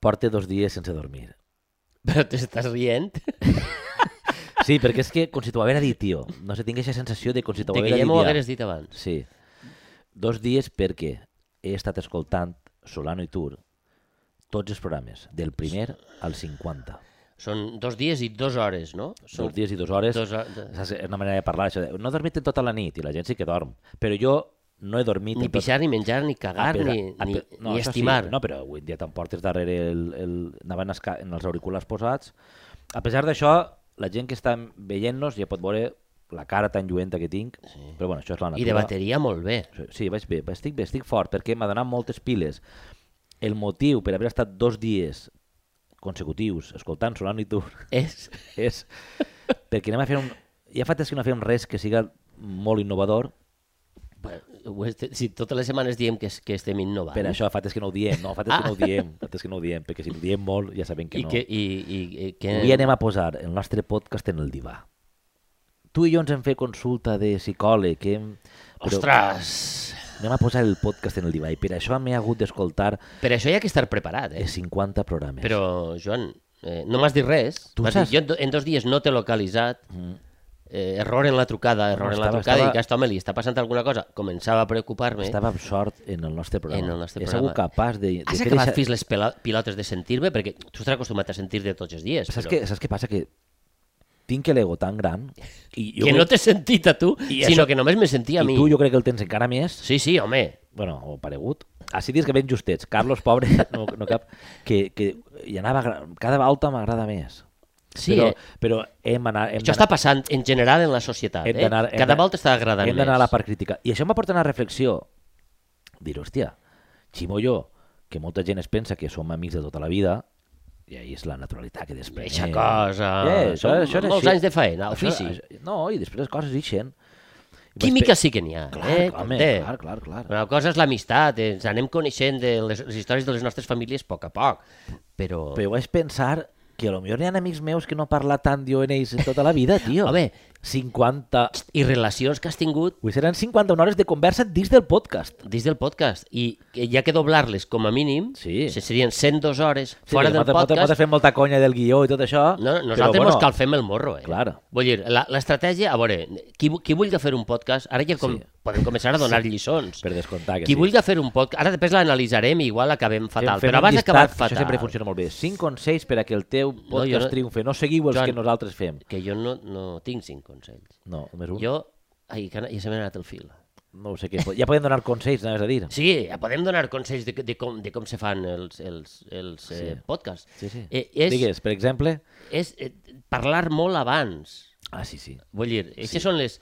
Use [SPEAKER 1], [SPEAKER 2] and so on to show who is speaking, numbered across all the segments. [SPEAKER 1] porta dos dies sense dormir.
[SPEAKER 2] Però t'estàs rient?
[SPEAKER 1] Sí, perquè és que com si t'ho haguera dit, tio. No sé, tinc aquesta sensació de com si t'ho
[SPEAKER 2] De que
[SPEAKER 1] haguera
[SPEAKER 2] ja
[SPEAKER 1] dit
[SPEAKER 2] m'ho
[SPEAKER 1] ja.
[SPEAKER 2] hagueres dit abans.
[SPEAKER 1] Sí. Dos dies perquè he estat escoltant Solano i Tour tots els programes, del primer al 50.
[SPEAKER 2] Són dos dies i dos hores, no? Són
[SPEAKER 1] Dos dies i dues hores.
[SPEAKER 2] Dos hores.
[SPEAKER 1] Saps? És una manera de parlar, això de, no he dormit en tota la nit, i la gent sí que dorm. Però jo no he dormit
[SPEAKER 2] Ni
[SPEAKER 1] en tota tot-
[SPEAKER 2] pixar, ni menjar, ni cagar,
[SPEAKER 1] Apera-
[SPEAKER 2] ni, ni,
[SPEAKER 1] ape-
[SPEAKER 2] ni
[SPEAKER 1] això
[SPEAKER 2] estimar.
[SPEAKER 1] Sí, no, però avui en dia t'emportes darrere el, el, anaven esca- en els auriculars posats. A pesar d'això, la gent que està veient-nos ja pot veure la cara tan lluenta que tinc, sí. però bueno, això és la natura.
[SPEAKER 2] I de bateria molt bé.
[SPEAKER 1] Sí, vaig bé, estic bé, estic fort, perquè m'ha donat moltes piles. El motiu per haver estat dos dies consecutius escoltant Solano i Tour
[SPEAKER 2] És...
[SPEAKER 1] és perquè anem a fer un... Ja fa temps que no fem res que siga molt innovador,
[SPEAKER 2] Bueno, ho est- Si totes les setmanes diem que, es- que estem innovant
[SPEAKER 1] Per això, fa temps que no ho diem, no, fa temps que no ho diem, fa temps que no ho diem, perquè si ho diem molt ja sabem que
[SPEAKER 2] Ah. i,
[SPEAKER 1] no.
[SPEAKER 2] que, eh, i, i, i que...
[SPEAKER 1] Avui anem a posar el nostre podcast en el divà. Tu i jo ens hem fet consulta de psicòleg, que hem... però
[SPEAKER 2] Ostres!
[SPEAKER 1] Anem a posar el podcast en el divà i per això m'he hagut d'escoltar
[SPEAKER 2] Per això hi ha que estar preparat,
[SPEAKER 1] eh,
[SPEAKER 2] eh?
[SPEAKER 1] 50 programes.
[SPEAKER 2] Però, Joan, eh, no m'has dit res.
[SPEAKER 1] Tu
[SPEAKER 2] M'has
[SPEAKER 1] saps- Mm.
[SPEAKER 2] Dit, jo en do- en dos dies no t'he localitzat. Eh, error en la trucada, error
[SPEAKER 1] No,
[SPEAKER 2] en la
[SPEAKER 1] estava-
[SPEAKER 2] trucada,
[SPEAKER 1] estava-
[SPEAKER 2] i que a aquest home li està passant alguna cosa. Començava a preocupar-me.
[SPEAKER 1] Estava amb sort en el nostre programa.
[SPEAKER 2] eh. En el nostre
[SPEAKER 1] He sigut
[SPEAKER 2] programa.
[SPEAKER 1] capaç de... de
[SPEAKER 2] Has
[SPEAKER 1] fer
[SPEAKER 2] acabat
[SPEAKER 1] eixa-
[SPEAKER 2] fins les pela- pilotes de sentir-me? Perquè tu estàs acostumat a sentir-te tots els dies.
[SPEAKER 1] Saps,
[SPEAKER 2] però...
[SPEAKER 1] què, saps què passa? Que tinc l'ego tan gran i, jo
[SPEAKER 2] que
[SPEAKER 1] crec-
[SPEAKER 2] no t'he sentit a tu,
[SPEAKER 1] I
[SPEAKER 2] sinó
[SPEAKER 1] això-
[SPEAKER 2] que només me sentia a
[SPEAKER 1] i
[SPEAKER 2] mi.
[SPEAKER 1] tu jo crec que el tens encara més
[SPEAKER 2] Sí, sí, home.
[SPEAKER 1] bueno, o paregut, així dius que ben justets, Carlos, pobre, no, no cap, que, que hi anava, gra- cada volta m'agrada més.
[SPEAKER 2] Sí,
[SPEAKER 1] però,
[SPEAKER 2] eh?
[SPEAKER 1] però hem anar, hem
[SPEAKER 2] Això està passant en general en la societat.
[SPEAKER 1] hem
[SPEAKER 2] Eh?
[SPEAKER 1] d'anar- hem de-
[SPEAKER 2] Cada volta està agradant
[SPEAKER 1] hem d'anar a la
[SPEAKER 2] més.
[SPEAKER 1] part crítica. I això em va portar a una reflexió. Dir, hòstia, ximo jo, que molta gent es pensa que som amics de tota la vida, i ahí és la naturalitat que després... Eh,
[SPEAKER 2] Eixa cosa, són molts anys de faena, ofici.
[SPEAKER 1] Això, això, no, i després les coses ixen. I vaig
[SPEAKER 2] Química
[SPEAKER 1] pe-
[SPEAKER 2] sí que n'hi ha.
[SPEAKER 1] Clar,
[SPEAKER 2] eh?
[SPEAKER 1] home,
[SPEAKER 2] Conté.
[SPEAKER 1] clar, clar, clar.
[SPEAKER 2] Una cosa és l'amistat, eh? ens anem coneixent de les, les històries de les nostres famílies a poc a poc, però...
[SPEAKER 1] Però vaig pensar que a lo millor hi ha amics meus que no parla tant d'ONGs tota la vida, tio.
[SPEAKER 2] Home.
[SPEAKER 1] 50...
[SPEAKER 2] I relacions que has tingut
[SPEAKER 1] Vull seran 51 hores de conversa dins del podcast.
[SPEAKER 2] dins del podcast, i que hi ha que doblar-les com a mínim,
[SPEAKER 1] Sí.
[SPEAKER 2] se serien 102 hores
[SPEAKER 1] que
[SPEAKER 2] fora del
[SPEAKER 1] nosaltres- Nosaltres
[SPEAKER 2] podcast...
[SPEAKER 1] fem molta conya del guió i tot això.
[SPEAKER 2] No,
[SPEAKER 1] però,
[SPEAKER 2] nosaltres bueno, ens calfem el morro, eh?
[SPEAKER 1] Clar.
[SPEAKER 2] Vull dir, la- l'estratègia... A veure, qui, vu- qui vulgui fer un podcast... Ara ja com,
[SPEAKER 1] Sí.
[SPEAKER 2] podem començar a donar lliçons.
[SPEAKER 1] Per descomptar que
[SPEAKER 2] Qui
[SPEAKER 1] sí.
[SPEAKER 2] vulgui fer un podcast... Ara després l'analitzarem i igual acabem
[SPEAKER 1] Fem-
[SPEAKER 2] fatal.
[SPEAKER 1] fem un
[SPEAKER 2] però abans
[SPEAKER 1] llistat,
[SPEAKER 2] acabar
[SPEAKER 1] que
[SPEAKER 2] fatal...
[SPEAKER 1] Això sempre funciona molt bé. 5 consells per a que el teu podcast
[SPEAKER 2] jo no-
[SPEAKER 1] triomfe. No seguiu els
[SPEAKER 2] Joan-
[SPEAKER 1] que nosaltres fem.
[SPEAKER 2] Que jo no, no tinc cinc consells.
[SPEAKER 1] No, només un.
[SPEAKER 2] Jo... Ai, que ja se m'ha anat el fil.
[SPEAKER 1] No ho sé què. Ja podem donar consells, anaves a dir.
[SPEAKER 2] Sí, ja podem donar consells de, de, com, de com se fan els, els, els sí. eh, podcasts.
[SPEAKER 1] Sí, sí.
[SPEAKER 2] Eh, és
[SPEAKER 1] Digues, per exemple...
[SPEAKER 2] és eh, parlar molt abans.
[SPEAKER 1] Ah, sí, sí.
[SPEAKER 2] Vull dir, aquestes sí. són les...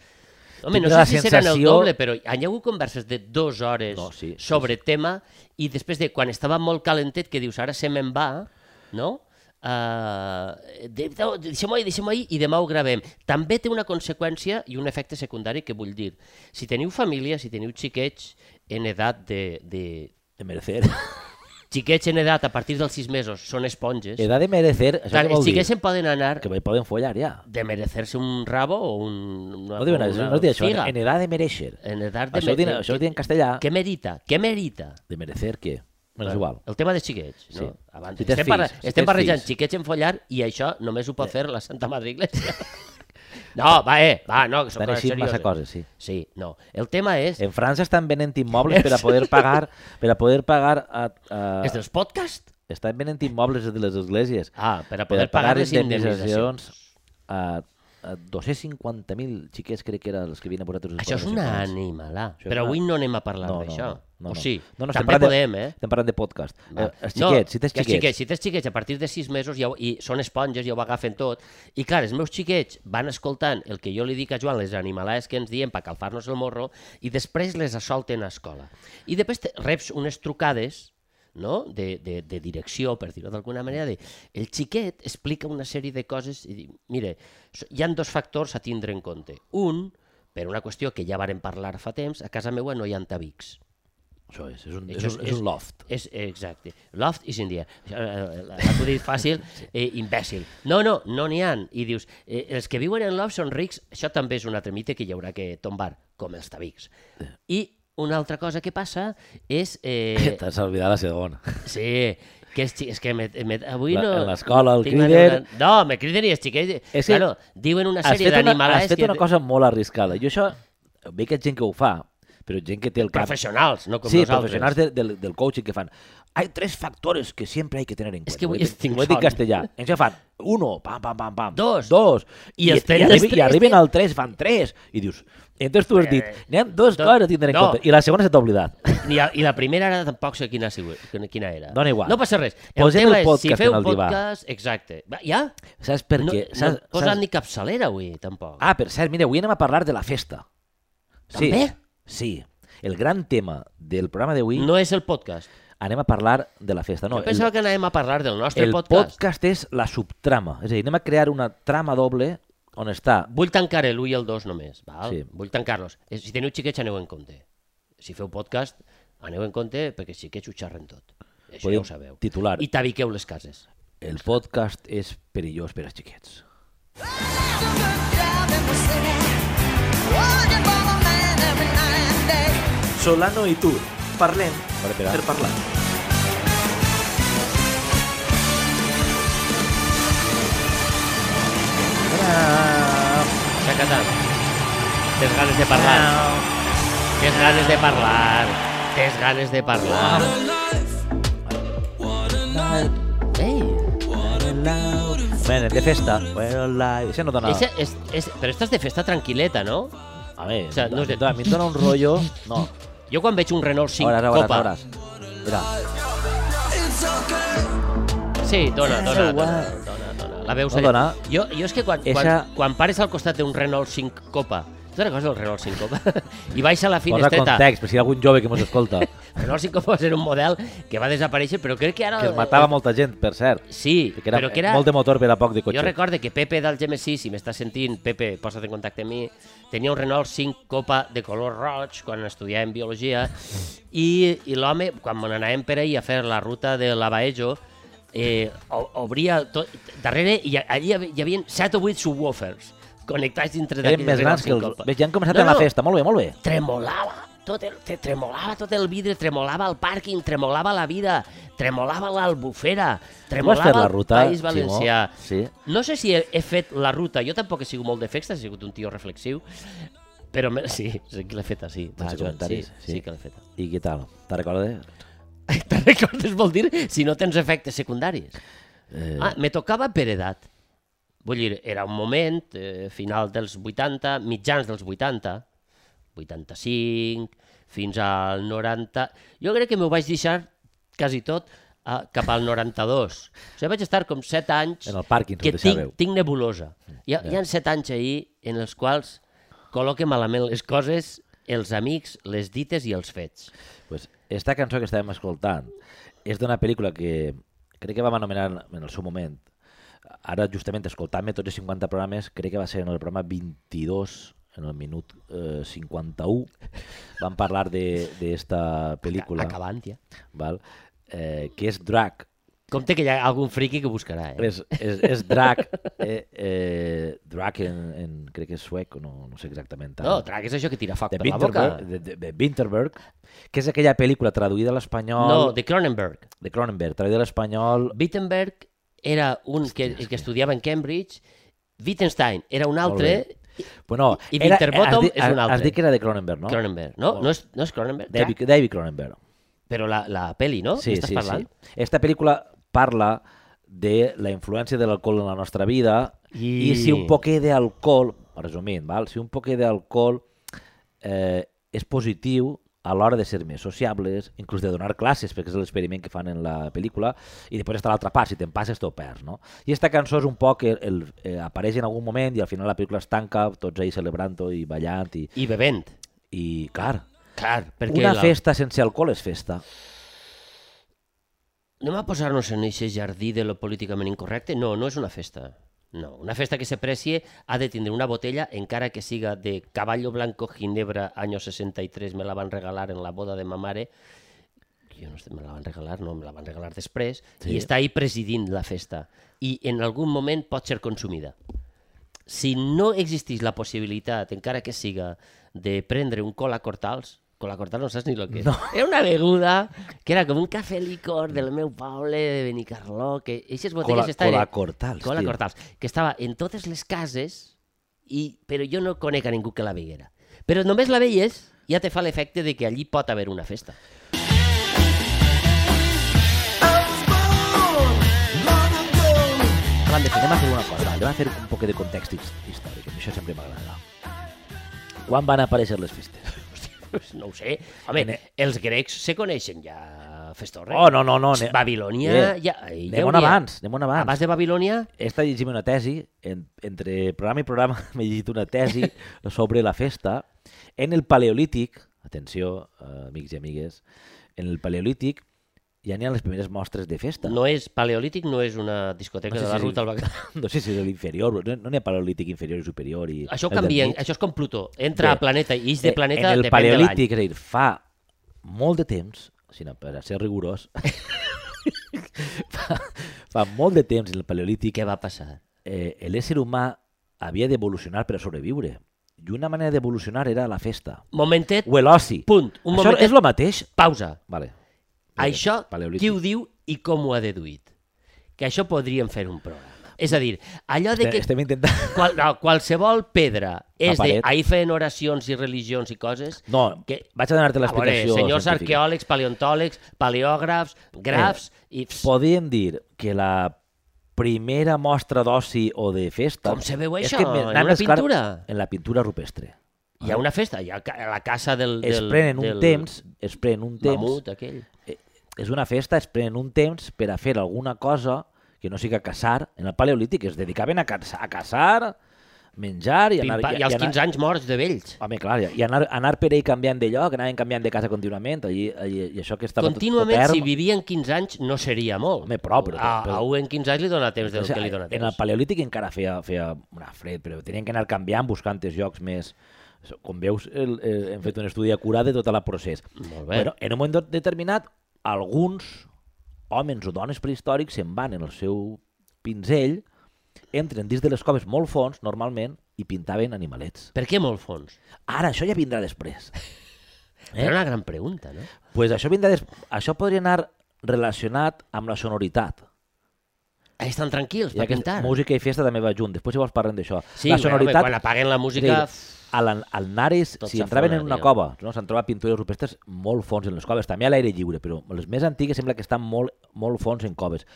[SPEAKER 2] Home,
[SPEAKER 1] Tinc
[SPEAKER 2] no
[SPEAKER 1] la
[SPEAKER 2] sé si seran el
[SPEAKER 1] sensació-
[SPEAKER 2] doble, però hi ha hagut converses de dues hores
[SPEAKER 1] No, sí, sí,
[SPEAKER 2] sobre tema i després de quan estava molt calentet que dius ara se me'n va, no? Uh, deixem-ho ahir, deixem-ho ahir i demà ho gravem. També té una conseqüència i un efecte secundari que vull dir. Si teniu família, si teniu xiquets en edat de... de...
[SPEAKER 1] De merecer.
[SPEAKER 2] Xiquets en edat a partir dels sis mesos són esponges.
[SPEAKER 1] He de merecer, això
[SPEAKER 2] Clar,
[SPEAKER 1] què vol
[SPEAKER 2] els
[SPEAKER 1] dir?
[SPEAKER 2] xiquets se'n poden anar
[SPEAKER 1] Que me poden follar, ja.
[SPEAKER 2] de merecerse un rabo o un, una,
[SPEAKER 1] No diuen
[SPEAKER 2] o
[SPEAKER 1] això,
[SPEAKER 2] una
[SPEAKER 1] no diuen això.
[SPEAKER 2] figa.
[SPEAKER 1] En edad de mereixer.
[SPEAKER 2] En edat Eh, de...
[SPEAKER 1] Això ho diuen- això ho diuen en castellà.
[SPEAKER 2] Què merita? Què merita?
[SPEAKER 1] De merecer, què? Bueno, és igual.
[SPEAKER 2] El tema dels xiquets. No?
[SPEAKER 1] Sí.
[SPEAKER 2] Abans,
[SPEAKER 1] Si tens
[SPEAKER 2] estem, parla,
[SPEAKER 1] fills, si
[SPEAKER 2] estem
[SPEAKER 1] tens
[SPEAKER 2] barrejant
[SPEAKER 1] fills. Eh.
[SPEAKER 2] xiquets en follar i això només ho pot fer la Santa Madre Iglesia. no, va, eh, va, no, que són
[SPEAKER 1] Estan
[SPEAKER 2] coses
[SPEAKER 1] així massa
[SPEAKER 2] serioses.
[SPEAKER 1] coses, sí.
[SPEAKER 2] Sí, no. El tema és...
[SPEAKER 1] En França estan venent immobles per a poder pagar... Per a poder pagar... A, a...
[SPEAKER 2] És dels podcasts?
[SPEAKER 1] Estan venent immobles de les esglésies.
[SPEAKER 2] Ah, per a
[SPEAKER 1] per
[SPEAKER 2] poder
[SPEAKER 1] a pagar
[SPEAKER 2] les indemnitzacions.
[SPEAKER 1] indemnitzacions a, a 250.000 xiquets, crec que eren els que havien posat els
[SPEAKER 2] Això és una animalà.
[SPEAKER 1] Això és
[SPEAKER 2] Però
[SPEAKER 1] una-
[SPEAKER 2] avui no anem a parlar
[SPEAKER 1] No, no,
[SPEAKER 2] d'això.
[SPEAKER 1] no, no.
[SPEAKER 2] O sí,
[SPEAKER 1] No, no, estem
[SPEAKER 2] també
[SPEAKER 1] parlant de-
[SPEAKER 2] podem, eh?
[SPEAKER 1] Estem parlant de podcast.
[SPEAKER 2] Va.
[SPEAKER 1] Eh, els xiquets, si tens
[SPEAKER 2] que els
[SPEAKER 1] xiquets.
[SPEAKER 2] Si tens xiquets, a partir de sis mesos ja ho, i són esponges, ja ho agafen tot. I clar, els meus xiquets van escoltant el que jo li dic a Joan, les animalades que ens diem per calfar-nos el morro, i després les assolten a escola. I després te- reps unes trucades no? de, de, de direcció, per dir-ho d'alguna manera, de... el xiquet explica una sèrie de coses i diu, mire, so- hi han dos factors a tindre en compte. Un, per una qüestió que ja varen parlar fa temps, a casa meua no hi ha tabics.
[SPEAKER 1] Això és, és, un, és,
[SPEAKER 2] Això
[SPEAKER 1] un, és un loft.
[SPEAKER 2] És, exacte. Loft is in the air. Això, eh, L'acudit fàcil, eh, imbècil. No, no, no n'hi han. I dius, eh, els que viuen en loft són rics, això també és un altre mite que hi haurà que tombar, com els tabics. I una altra cosa que passa és... Eh,
[SPEAKER 1] T'has oblidat la segona.
[SPEAKER 2] sí, Que és, xi- és que me, me, avui
[SPEAKER 1] La-
[SPEAKER 2] no...
[SPEAKER 1] en l'escola, el
[SPEAKER 2] tinc la
[SPEAKER 1] Criden-
[SPEAKER 2] neura- No, me criden i els xiquets...
[SPEAKER 1] És
[SPEAKER 2] És
[SPEAKER 1] que
[SPEAKER 2] que... Claro, diuen una
[SPEAKER 1] Has
[SPEAKER 2] sèrie
[SPEAKER 1] fet, una, has
[SPEAKER 2] d'animalades...
[SPEAKER 1] fet
[SPEAKER 2] que-
[SPEAKER 1] una cosa molt arriscada. Jo això, veig que hi ha gent que ho fa, però gent que té el cap...
[SPEAKER 2] Professionals, no com
[SPEAKER 1] sí,
[SPEAKER 2] nosaltres.
[SPEAKER 1] professionals de, del, del coaching que fan. Hay tres factores que siempre hay que tener en cuenta.
[SPEAKER 2] És que avui
[SPEAKER 1] Ho he dit-
[SPEAKER 2] estic
[SPEAKER 1] Ho he dit en
[SPEAKER 2] son.
[SPEAKER 1] castellà. En això fan uno, pam, pam, pam, pam.
[SPEAKER 2] Dos.
[SPEAKER 1] Dos. I,
[SPEAKER 2] I
[SPEAKER 1] I,
[SPEAKER 2] els
[SPEAKER 1] i,
[SPEAKER 2] tenen
[SPEAKER 1] arribi,
[SPEAKER 2] els
[SPEAKER 1] i
[SPEAKER 2] tres,
[SPEAKER 1] arriben
[SPEAKER 2] tio.
[SPEAKER 1] al tres, fan tres. I dius, entonces tu has dit, n'hi ha dos
[SPEAKER 2] do-
[SPEAKER 1] coses a tindre en
[SPEAKER 2] no.
[SPEAKER 1] compte. I la segona se t'ha oblidat.
[SPEAKER 2] I, I la primera ara tampoc sé quina, ha sigut, quina era.
[SPEAKER 1] Dona igual.
[SPEAKER 2] No passa res. El
[SPEAKER 1] Posem
[SPEAKER 2] tema
[SPEAKER 1] el
[SPEAKER 2] és, si
[SPEAKER 1] podcast
[SPEAKER 2] feu
[SPEAKER 1] en el divà.
[SPEAKER 2] podcast... Exacte. Va, ja?
[SPEAKER 1] Saps per
[SPEAKER 2] no,
[SPEAKER 1] què?
[SPEAKER 2] no
[SPEAKER 1] Saps,
[SPEAKER 2] hem posat
[SPEAKER 1] saps...
[SPEAKER 2] ni capçalera avui, tampoc.
[SPEAKER 1] Ah, per cert, mira, avui anem a parlar de la festa.
[SPEAKER 2] També?
[SPEAKER 1] Sí. El gran tema del programa d'avui no.
[SPEAKER 2] No és el podcast.
[SPEAKER 1] anem a parlar de la festa. No,
[SPEAKER 2] No, jo pensava
[SPEAKER 1] el,
[SPEAKER 2] que anàvem a parlar del nostre
[SPEAKER 1] el
[SPEAKER 2] podcast.
[SPEAKER 1] podcast és la subtrama. És a dir, anem a crear una trama doble on està
[SPEAKER 2] Vull tancar l'1 i el 2 només, val?
[SPEAKER 1] Sí.
[SPEAKER 2] Sí. Vull tancar-los. Eh, Si teniu xiquets, aneu en compte. Si feu podcast, aneu en compte perquè els xiquets ho xerren tot. Això
[SPEAKER 1] Podem
[SPEAKER 2] ja ho sabeu.
[SPEAKER 1] titular.
[SPEAKER 2] I tabiqueu les cases.
[SPEAKER 1] El podcast és perillós per als xiquets.
[SPEAKER 3] Solano i tu, parlem
[SPEAKER 1] Vale, espera.
[SPEAKER 3] per parlar.
[SPEAKER 2] Saca tant. Tens ganes de parlar. Tens ganes de parlar. Tens ganes de parlar. Ei,
[SPEAKER 1] Bueno, de festa. Bueno, la... Ese no dona...
[SPEAKER 2] no. és, és, però estàs de festa tranquil·leta, no?
[SPEAKER 1] A ver,
[SPEAKER 2] o sea, no
[SPEAKER 1] a,
[SPEAKER 2] sé.
[SPEAKER 1] mi- a mi em dona un rollo... No,
[SPEAKER 2] Jo quan veig un Renault 5
[SPEAKER 1] hores, hores,
[SPEAKER 2] Copa...
[SPEAKER 1] hores. Mira,
[SPEAKER 2] Sí, dona, dona, dona, dona, dona. La veus
[SPEAKER 1] No,
[SPEAKER 2] allà.
[SPEAKER 1] dona.
[SPEAKER 2] Jo, jo és que quan,
[SPEAKER 1] Eixa-
[SPEAKER 2] quan, quan pares al costat d'un Renault 5 Copa, tu te'n recordes del Renault 5 Copa? I baixa la
[SPEAKER 1] posa
[SPEAKER 2] finestreta.
[SPEAKER 1] context, per si hi ha algun jove que mos escolta. que
[SPEAKER 2] El Renault 5 Copa va ser un model que va desaparèixer, però crec que ara...
[SPEAKER 1] es matava molta gent, per cert.
[SPEAKER 2] Sí,
[SPEAKER 1] Que era,
[SPEAKER 2] però que era...
[SPEAKER 1] molt de motor, però poc de cotxe.
[SPEAKER 2] Jo recordo que Pepe del GM6, si m'està sentint, Pepe, posa't en contacte amb mi, tenia un Renault 5 Copa de color roig quan estudiàvem Biologia i, i l'home, quan me n'anàvem per ahir a fer la ruta de la Baejo, eh, o- obria tot, darrere i allí hi havia- hi havia 7 o 8 subwoofers connectats dintre d'aquell
[SPEAKER 1] Eren més grans que els...
[SPEAKER 2] Renault 5 Copa.
[SPEAKER 1] Ves, ja han començat
[SPEAKER 2] No,
[SPEAKER 1] no, no.
[SPEAKER 2] no,
[SPEAKER 1] la festa. Molt bé, molt bé.
[SPEAKER 2] Tremolava tot el, te tremolava tot el vidre, tremolava el pàrquing, tremolava la vida, tremolava l'albufera,
[SPEAKER 1] Vas
[SPEAKER 2] tremolava
[SPEAKER 1] fer la
[SPEAKER 2] el
[SPEAKER 1] ruta,
[SPEAKER 2] País Valencià.
[SPEAKER 1] Simó? Sí.
[SPEAKER 2] No sé si he, he fet la ruta, jo tampoc he sigut molt de festa, he sigut un tio reflexiu, però me... sí, sí que l'he feta, sí.
[SPEAKER 1] Sense
[SPEAKER 2] Va, Joan, sí,
[SPEAKER 1] comentaris,
[SPEAKER 2] sí.
[SPEAKER 1] sí.
[SPEAKER 2] sí que l'he feta.
[SPEAKER 1] I què tal? Te'n recordes?
[SPEAKER 2] Te'n recordes, vol dir, si no tens efectes secundaris.
[SPEAKER 1] Eh,
[SPEAKER 2] Ah, me tocava per edat. Vull dir, era un moment, eh, final dels 80, mitjans dels 80, 85, fins al 90... Jo crec que m'ho vaig deixar quasi tot a, cap al 92. O sigui, vaig estar com 7 anys
[SPEAKER 1] En el pàrquing,
[SPEAKER 2] que
[SPEAKER 1] us deixàveu.
[SPEAKER 2] tinc, tinc nebulosa. Hi ha, hi ha 7 anys ahir en els quals col·loque malament les coses, els amics, les dites i els fets.
[SPEAKER 1] Pues esta cançó que estàvem escoltant és d'una pel·lícula que crec que vam anomenar en el seu moment. Ara, justament, escoltant-me tots els 50 programes, crec que va ser en el programa 22, en el minut eh, 51, vam parlar d'esta de, esta pel·lícula,
[SPEAKER 2] Acabant, ja.
[SPEAKER 1] val? Eh, que és Drag.
[SPEAKER 2] Compte que hi ha algun friki que buscarà, eh?
[SPEAKER 1] És, és, és Drag, eh, eh, Drag en, en, crec que és suec, no, no sé exactament. ara.
[SPEAKER 2] No, tragues això que tira foc
[SPEAKER 1] de
[SPEAKER 2] per la boca.
[SPEAKER 1] Winterberg, de, de, de Winterberg, que és aquella pel·lícula traduïda a l'espanyol
[SPEAKER 2] No, de Cronenberg.
[SPEAKER 1] de Cronenberg, traduïda a l'espanyol
[SPEAKER 2] Wittenberg era un que, que estudiava en Cambridge, Wittgenstein era un altre,
[SPEAKER 1] Bueno,
[SPEAKER 2] I
[SPEAKER 1] has
[SPEAKER 2] Winterbottom
[SPEAKER 1] dit-
[SPEAKER 2] és un
[SPEAKER 1] Has
[SPEAKER 2] altre.
[SPEAKER 1] dit que era de Cronenberg, no?
[SPEAKER 2] Cronenberg, no? No és, no és Cronenberg?
[SPEAKER 1] David,
[SPEAKER 2] Crac?
[SPEAKER 1] David Cronenberg.
[SPEAKER 2] Però la, la peli, no?
[SPEAKER 1] Sí,
[SPEAKER 2] Oh, M'estàs
[SPEAKER 1] sí,
[SPEAKER 2] parlant?
[SPEAKER 1] sí. Esta pel·lícula parla de la influència de l'alcohol en la nostra vida i,
[SPEAKER 2] I-
[SPEAKER 1] i si un poquet d'alcohol, resumint, val? si un poquet d'alcohol eh, és positiu a l'hora de ser més sociables, inclús de donar classes, perquè és l'experiment que fan en la pel·lícula, i després està l'altra part, si te'n passes t'ho perds, no? I esta cançó és un poc, el, el, eh, apareix en algun moment i al final la pel·lícula es tanca, tots ells celebrant-ho i ballant, i,
[SPEAKER 2] I bevent.
[SPEAKER 1] i clar,
[SPEAKER 2] Clar, perquè
[SPEAKER 1] Una
[SPEAKER 2] la...
[SPEAKER 1] festa sense alcohol és festa.
[SPEAKER 2] Anem a posar-nos en aquest jardí de lo políticament incorrecte? No, no és una festa. No, una festa que se precie ha de tindre una botella, encara que siga de Caballo Blanco Ginebra, año 63, me la van regalar en la boda de ma mare. Jo no sé, me la van regalar, no, me la van regalar després.
[SPEAKER 1] Sí.
[SPEAKER 2] Sí. I està ahí presidint la festa. I en algun moment pot ser consumida. Si no existís la possibilitat, encara que siga, de prendre un cola cortals, Colacortà no saps ni el que és. No. Era una beguda que era com un cafè licor del meu poble de Benicarló, que aquestes botelles
[SPEAKER 1] Cola,
[SPEAKER 2] estaven...
[SPEAKER 1] cola cortals,
[SPEAKER 2] Cola
[SPEAKER 1] tio.
[SPEAKER 2] Cortals, que estava en totes les cases, i, però jo no conec a ningú que la veguera. Però només la veies ja te fa l'efecte de que allí pot haver una festa.
[SPEAKER 1] Anem a fer una cosa, va, anem a fer un poc de context his- històric, que això sempre m'agrada. Quan van aparèixer les festes?
[SPEAKER 2] Pues no ho sé. Home,
[SPEAKER 1] Ene-
[SPEAKER 2] els grecs se coneixen ja Festorre.
[SPEAKER 1] Oh, no, no, no. ne-
[SPEAKER 2] Babilònia...
[SPEAKER 1] Eh,
[SPEAKER 2] Ja, ai,
[SPEAKER 1] anem
[SPEAKER 2] ja
[SPEAKER 1] on
[SPEAKER 2] n'hi ha.
[SPEAKER 1] abans, anem on abans.
[SPEAKER 2] Abans de Babilònia,
[SPEAKER 1] He estat llegint una tesi, en, entre programa i programa m'he llegit una tesi sobre la festa. En el paleolític, atenció, eh, amics i amigues, en el paleolític ja n'hi ha les primeres mostres de festa.
[SPEAKER 2] no és paleolític, no és una discoteca
[SPEAKER 1] No
[SPEAKER 2] no
[SPEAKER 1] sé
[SPEAKER 2] sé de la
[SPEAKER 1] si-
[SPEAKER 2] ruta al Bacallà.
[SPEAKER 1] No sé si és l'inferior, no no n'hi ha paleolític inferior i superior. I
[SPEAKER 2] Això
[SPEAKER 1] el del
[SPEAKER 2] canvia,
[SPEAKER 1] mig.
[SPEAKER 2] això és com Plutó. Entra
[SPEAKER 1] Bé,
[SPEAKER 2] a planeta i ix de
[SPEAKER 1] Eh,
[SPEAKER 2] planeta
[SPEAKER 1] en el
[SPEAKER 2] depèn de l'any.
[SPEAKER 1] paleolític, és a dir, fa molt de temps, si no, per a ser rigorós, fa, fa molt de temps en el
[SPEAKER 2] I
[SPEAKER 1] paleolític
[SPEAKER 2] què va passar?
[SPEAKER 1] eh, l'ésser humà havia d'evolucionar per a sobreviure. I una manera d'evolucionar era la festa.
[SPEAKER 2] Momentet,
[SPEAKER 1] O l'oci.
[SPEAKER 2] punt. Un
[SPEAKER 1] Això
[SPEAKER 2] momentet,
[SPEAKER 1] és el mateix?
[SPEAKER 2] pausa.
[SPEAKER 1] Vale.
[SPEAKER 2] Això,
[SPEAKER 1] Paleolític.
[SPEAKER 2] qui ho diu i com ho ha deduït? Que això podríem fer un programa. És a dir, allò de
[SPEAKER 1] Estem,
[SPEAKER 2] que
[SPEAKER 1] eh, estem intentant...
[SPEAKER 2] qual, no, qualsevol pedra és de...
[SPEAKER 1] paret.
[SPEAKER 2] Ahir feien oracions i religions i coses...
[SPEAKER 1] No, que...
[SPEAKER 2] Que-
[SPEAKER 1] vaig a donar-te
[SPEAKER 2] A veure,
[SPEAKER 1] l'explicació.
[SPEAKER 2] senyors
[SPEAKER 1] científica.
[SPEAKER 2] arqueòlegs, paleontòlegs, paleògrafs, grafs...
[SPEAKER 1] Eh,
[SPEAKER 2] i pss,
[SPEAKER 1] Podríem dir que la primera mostra d'oci o de festa...
[SPEAKER 2] Com se veu
[SPEAKER 1] és
[SPEAKER 2] això?
[SPEAKER 1] que me-
[SPEAKER 2] En
[SPEAKER 1] anant
[SPEAKER 2] una
[SPEAKER 1] més clar,
[SPEAKER 2] pintura?
[SPEAKER 1] En la pintura rupestre.
[SPEAKER 2] Hi ha una festa, hi ha ca- la casa del...
[SPEAKER 1] es
[SPEAKER 2] del,
[SPEAKER 1] prenen un
[SPEAKER 2] del
[SPEAKER 1] temps, es prenen un temps, eh,
[SPEAKER 2] Mamut, aquell.
[SPEAKER 1] és una festa, es prenen un temps per a fer alguna cosa que no siga caçar. En el paleolític es dedicaven a caçar, a caçar menjar i anar... Ah,
[SPEAKER 2] Pimpa, I als 15 anys morts de vells.
[SPEAKER 1] Home, clar, i i anar, anar per ahí canviant de lloc, anaven canviant de casa contínuament, allí, allí, i això que estava tot-
[SPEAKER 2] Contínuament,
[SPEAKER 1] tot,
[SPEAKER 2] si
[SPEAKER 1] erm.
[SPEAKER 2] vivien 15 anys, no seria molt.
[SPEAKER 1] Home, però- però-
[SPEAKER 2] a,
[SPEAKER 1] però-
[SPEAKER 2] a un en 15 anys li dona temps del
[SPEAKER 1] O sigui,
[SPEAKER 2] que li dona
[SPEAKER 1] en el
[SPEAKER 2] temps.
[SPEAKER 1] paleolític encara feia, feia una fred, però tenien que anar canviant, buscant els llocs més... Com veus, el, el, hem fet un estudi acurat de tot el procés.
[SPEAKER 2] Molt bé.
[SPEAKER 1] Bueno, en un moment determinat, alguns homes o dones prehistòrics se'n van en el seu pinzell, entren dins de les coves molt fons, normalment, i pintaven animalets.
[SPEAKER 2] Per què molt fons?
[SPEAKER 1] Ara, això ja vindrà després.
[SPEAKER 2] Eh? Era una gran pregunta, no?
[SPEAKER 1] pues això, vindrà des... això podria anar relacionat amb la sonoritat.
[SPEAKER 2] Ah, Estan tranquils,
[SPEAKER 1] Ja
[SPEAKER 2] per
[SPEAKER 1] que
[SPEAKER 2] pintar.
[SPEAKER 1] música i festa també va junt. Després, si vols, parlem d'això.
[SPEAKER 2] Sí,
[SPEAKER 1] la
[SPEAKER 2] bueno,
[SPEAKER 1] sonoritat...
[SPEAKER 2] quan apaguen la música...
[SPEAKER 1] És a dir, al, al Nares,
[SPEAKER 2] Tot
[SPEAKER 1] si entraven en
[SPEAKER 2] s'afona,
[SPEAKER 1] una
[SPEAKER 2] tio.
[SPEAKER 1] cova, no? s'han trobat pintures rupestres molt fons en les coves, també a l'aire lliure, però les més antigues sembla que estan molt, molt fons en coves.